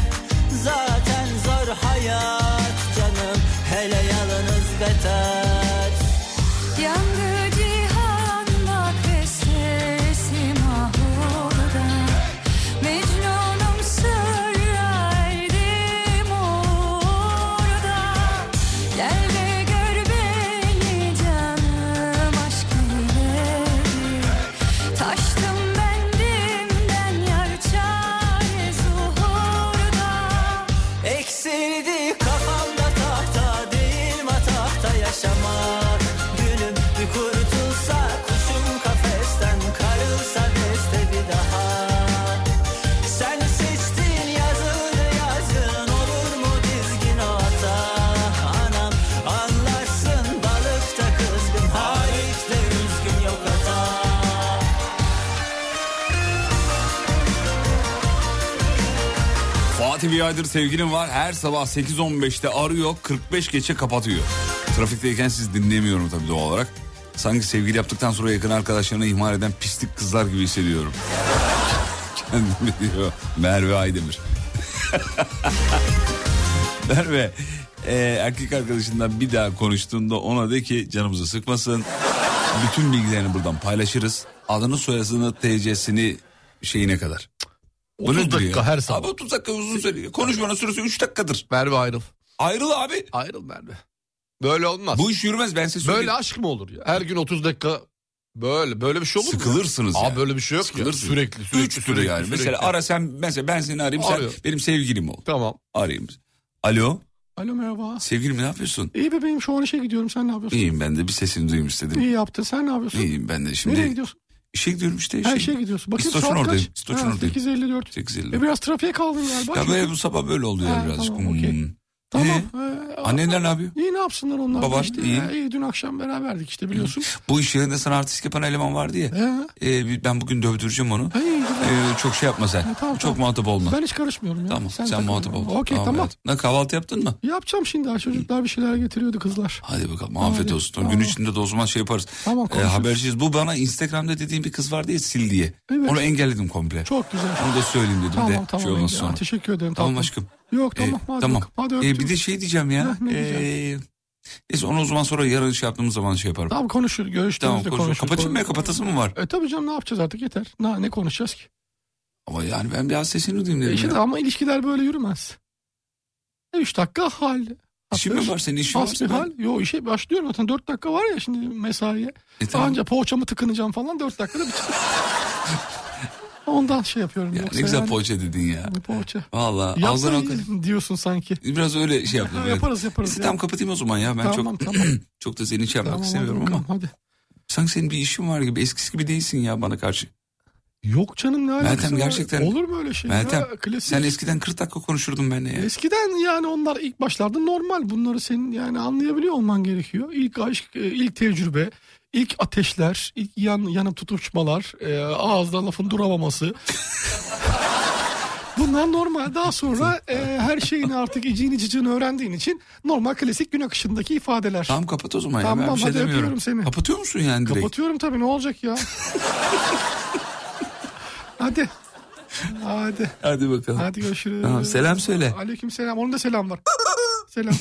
Speaker 19: Zaten zor hayat canım hele yalınız beter
Speaker 8: Yandı cihan bak bestesim ah orada Mecnunum sırraydım orada Gel ve gör beni canım aşk ileri Taştım bendimden yar çare zuhurda
Speaker 19: Eksildi kafamda tahta değil matahta yaşamak Gülüm bir kurtulsa kuşum kafesten karılsa beste bir daha Sen seçtin yazılı yazın olur mu dizgin ata Anam anlarsın balıkta kızgın harikte üzgün yok hata
Speaker 4: Fatih bir aydır sevgilim var. Her sabah 8.15'te arıyor. 45 geçe kapatıyor. Trafikteyken siz dinlemiyorum tabii doğal olarak. Sanki sevgili yaptıktan sonra yakın arkadaşlarını ihmal eden pislik kızlar gibi hissediyorum. Kendimi diyor Merve Aydemir. Merve e, erkek arkadaşından bir daha konuştuğunda ona de ki canımızı sıkmasın. Bütün bilgilerini buradan paylaşırız. Adını soyasını TC'sini şeyine kadar.
Speaker 18: 30 dakika her
Speaker 4: sabah. Abi 30 dakika uzun süre. Konuşmanın süresi 3 dakikadır.
Speaker 18: Merve ayrıl.
Speaker 4: Ayrıl abi.
Speaker 18: Ayrıl Merve. Böyle olmaz.
Speaker 4: Bu iş yürümez ben size söyleyeyim.
Speaker 18: Böyle aşk mı olur ya? Her gün 30 dakika böyle böyle bir şey olur mu? ya?
Speaker 4: Sıkılırsınız
Speaker 18: Abi
Speaker 4: yani.
Speaker 18: böyle bir şey yok ya.
Speaker 4: Sıkılırsınız.
Speaker 18: Sürekli sürekli.
Speaker 4: Üç tür
Speaker 18: sürekli,
Speaker 4: yani.
Speaker 18: sürekli.
Speaker 4: Mesela ara sen mesela ben seni arayayım
Speaker 18: Arıyorum.
Speaker 4: sen benim sevgilim ol.
Speaker 18: Tamam.
Speaker 4: Arayayım. Alo.
Speaker 18: Alo merhaba.
Speaker 4: Sevgilim ne yapıyorsun?
Speaker 18: İyi bebeğim şu an işe gidiyorum sen ne yapıyorsun?
Speaker 4: İyiyim ben de bir sesini duyayım istedim.
Speaker 18: İyi yaptın sen ne yapıyorsun?
Speaker 4: İyiyim ben de şimdi.
Speaker 18: Nereye gidiyorsun?
Speaker 4: İşe gidiyorum işte.
Speaker 18: Her şeye gidiyorsun. Bakayım
Speaker 4: İstoç'un
Speaker 18: saat
Speaker 4: oradayım.
Speaker 18: kaç?
Speaker 4: İstoç'un
Speaker 18: Ha,
Speaker 4: oradayım.
Speaker 18: 8.54.
Speaker 4: 8.50.
Speaker 18: E biraz trafiğe kaldın galiba.
Speaker 4: Ya
Speaker 18: Çünkü-
Speaker 4: böyle bu sabah böyle oldu ya
Speaker 18: Ha,
Speaker 4: birazcık.
Speaker 18: tamam,
Speaker 4: Hmm.
Speaker 18: okey. Tamam. Ee,
Speaker 4: Anneler ne yapıyor?
Speaker 18: İyi ne yapsınlar onlar? da
Speaker 4: Baban,
Speaker 18: işte
Speaker 4: iyi.
Speaker 18: ya, iyi dün akşam beraberdik işte biliyorsun.
Speaker 4: Bu iş yerinde sana artist yapan eleman vardı ya.
Speaker 18: He.
Speaker 4: Ee, bir- ben bugün dövdüreceğim onu.
Speaker 18: Hey, güzel.
Speaker 4: Ee, çok şey yapma sen.
Speaker 18: Ha, tamam,
Speaker 4: çok
Speaker 18: tamam.
Speaker 4: muhatap olma.
Speaker 18: Ben hiç karışmıyorum ya.
Speaker 4: Tamam sen,
Speaker 18: takıl.
Speaker 4: muhatap ol.
Speaker 18: Okey tamam.
Speaker 4: evet. Ne kahvaltı yaptın mı?
Speaker 18: Yapacağım şimdi. Çocuklar bir şeyler getiriyordu kızlar.
Speaker 4: Hadi bakalım afiyet olsun. Gün içinde de o zaman şey yaparız.
Speaker 18: Tamam,
Speaker 4: Ee,
Speaker 18: konuşuruz.
Speaker 4: haberciyiz. Bu bana Instagram'da dediğim bir kız vardı ya sil diye.
Speaker 18: Evet.
Speaker 4: Onu engelledim komple.
Speaker 18: Çok güzel.
Speaker 4: Onu da söyleyeyim dedim
Speaker 18: Tamam
Speaker 4: de.
Speaker 18: tamam.
Speaker 4: şey ondan
Speaker 18: Ege.
Speaker 4: sonra.
Speaker 18: Teşekkür ederim.
Speaker 4: Tamam
Speaker 18: tatlım.
Speaker 4: aşkım.
Speaker 18: Yok tamam.
Speaker 4: Ee,
Speaker 18: hadi
Speaker 4: tamam.
Speaker 18: bakalım. Hadi
Speaker 4: Ee,
Speaker 18: öptüm.
Speaker 4: bir de şey diyeceğim
Speaker 18: Heh,
Speaker 4: ya.
Speaker 18: ne güzel.
Speaker 4: Ee, neyse onu o zaman sonra yarın şey yaptığımız zaman şey yaparım.
Speaker 18: Tamam konuşur. Görüştüğümüzde
Speaker 4: Tamam, konuşuruz.
Speaker 18: konuşuruz.
Speaker 4: Kapatayım mı ya? Kapatası mı var?
Speaker 18: E tabii canım ne yapacağız artık yeter. Ne, ne konuşacağız ki?
Speaker 4: Ama yani ben biraz sesini duyayım
Speaker 18: E
Speaker 4: dedim
Speaker 18: işte
Speaker 4: ya.
Speaker 18: ama ilişkiler böyle yürümez. 3 dakika hal.
Speaker 4: İşin mi var senin? İşin varsa ben-
Speaker 18: hal. Yo işe başlıyorum zaten 4 dakika var ya şimdi mesaiye.
Speaker 4: E, tamam.
Speaker 18: Anca poğaçamı tıkınacağım falan 4 dakikada bitecek. Ondan şey yapıyorum.
Speaker 4: Ya
Speaker 18: yoksa
Speaker 4: ne güzel
Speaker 18: yani-
Speaker 4: poğaça dedin ya.
Speaker 18: Poğaça.
Speaker 4: Valla ağzına
Speaker 18: Yapsana diyorsun sanki.
Speaker 4: Biraz öyle şey yaptım.
Speaker 18: Ha,
Speaker 4: evet.
Speaker 18: yaparız yaparız.
Speaker 4: Neyse, tamam
Speaker 18: ya.
Speaker 4: kapatayım o zaman ya. Ben
Speaker 18: Tamam,
Speaker 4: çok
Speaker 18: tamam.
Speaker 4: çok da seni şey yapmak
Speaker 18: Tamam,
Speaker 4: istemiyorum
Speaker 18: hadi
Speaker 4: ama.
Speaker 18: bakalım, Hadi.
Speaker 4: Sanki senin bir işin var gibi. Eskisi gibi değilsin ya bana karşı.
Speaker 18: Yok canım ne alakası
Speaker 4: Meltem
Speaker 18: var?
Speaker 4: gerçekten.
Speaker 18: Olur mu öyle şey?
Speaker 4: Meltem
Speaker 18: Ya, klasik.
Speaker 4: sen eskiden 40 dakika konuşurdun benimle ya.
Speaker 18: Eskiden yani onlar ilk başlarda normal. Bunları senin yani anlayabiliyor olman gerekiyor. İlk aşk, e, ilk tecrübe, ilk ateşler, ilk yan, yanıp tutuşmalar, e, ağızda lafın duramaması. Bunlar normal. Daha sonra e, her şeyini artık iciğini cicini öğrendiğin için normal klasik gün akışındaki ifadeler.
Speaker 4: Tamam kapat o zaman ya.
Speaker 18: Tamam,
Speaker 4: Ben bir şey
Speaker 18: hadi
Speaker 4: demiyorum.
Speaker 18: öpüyorum seni.
Speaker 4: Kapatıyor musun yani direkt?
Speaker 18: Kapatıyorum tabii ne olacak ya. Hadi. Hadi.
Speaker 4: Hadi bakalım.
Speaker 18: Hadi görüşürüz.
Speaker 4: Tamam, selam söyle.
Speaker 18: Aleyküm selam. Onun da selam var. selam.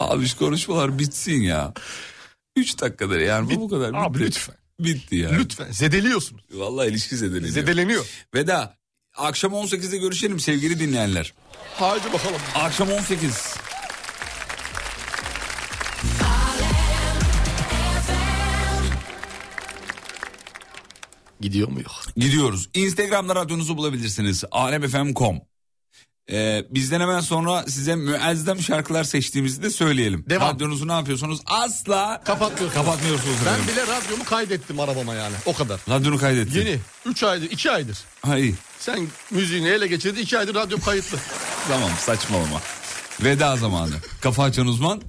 Speaker 4: Abi şu konuşmalar bitsin ya. 3 dakikadır yani bu bu kadar. Bitti.
Speaker 18: Abi lütfen.
Speaker 4: Bitti ya.
Speaker 18: Lütfen zedeliyorsunuz.
Speaker 4: Vallahi ilişki zedeleniyor.
Speaker 18: Zedeleniyor.
Speaker 4: Veda. Akşam 18'de görüşelim sevgili dinleyenler.
Speaker 18: Haydi bakalım.
Speaker 4: Akşam 18.
Speaker 18: Gidiyor mu yok?
Speaker 4: Gidiyoruz. Instagram'da radyonuzu bulabilirsiniz. alemfm.com ee, bizden hemen sonra size müezzem şarkılar seçtiğimizi de söyleyelim.
Speaker 18: Devam.
Speaker 4: Radyonuzu ne yapıyorsunuz? Asla
Speaker 18: Kapatmıyorsunuz.
Speaker 4: kapatmıyorsunuz.
Speaker 18: Ben
Speaker 4: efendim.
Speaker 18: bile radyomu kaydettim arabama yani. O kadar.
Speaker 4: Radyonu kaydettim.
Speaker 18: Yeni. 3 aydır, 2 aydır.
Speaker 4: Ha iyi.
Speaker 18: Sen müziğini ele geçirdi. 2 aydır radyom kayıtlı.
Speaker 4: Tamam saçmalama. Veda zamanı. Kafa açan uzman.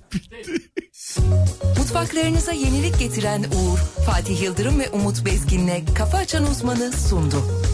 Speaker 1: Mutfaklarınıza yenilik getiren Uğur, Fatih Yıldırım ve Umut Bezgin'le Kafa Açan Uzman'ı sundu.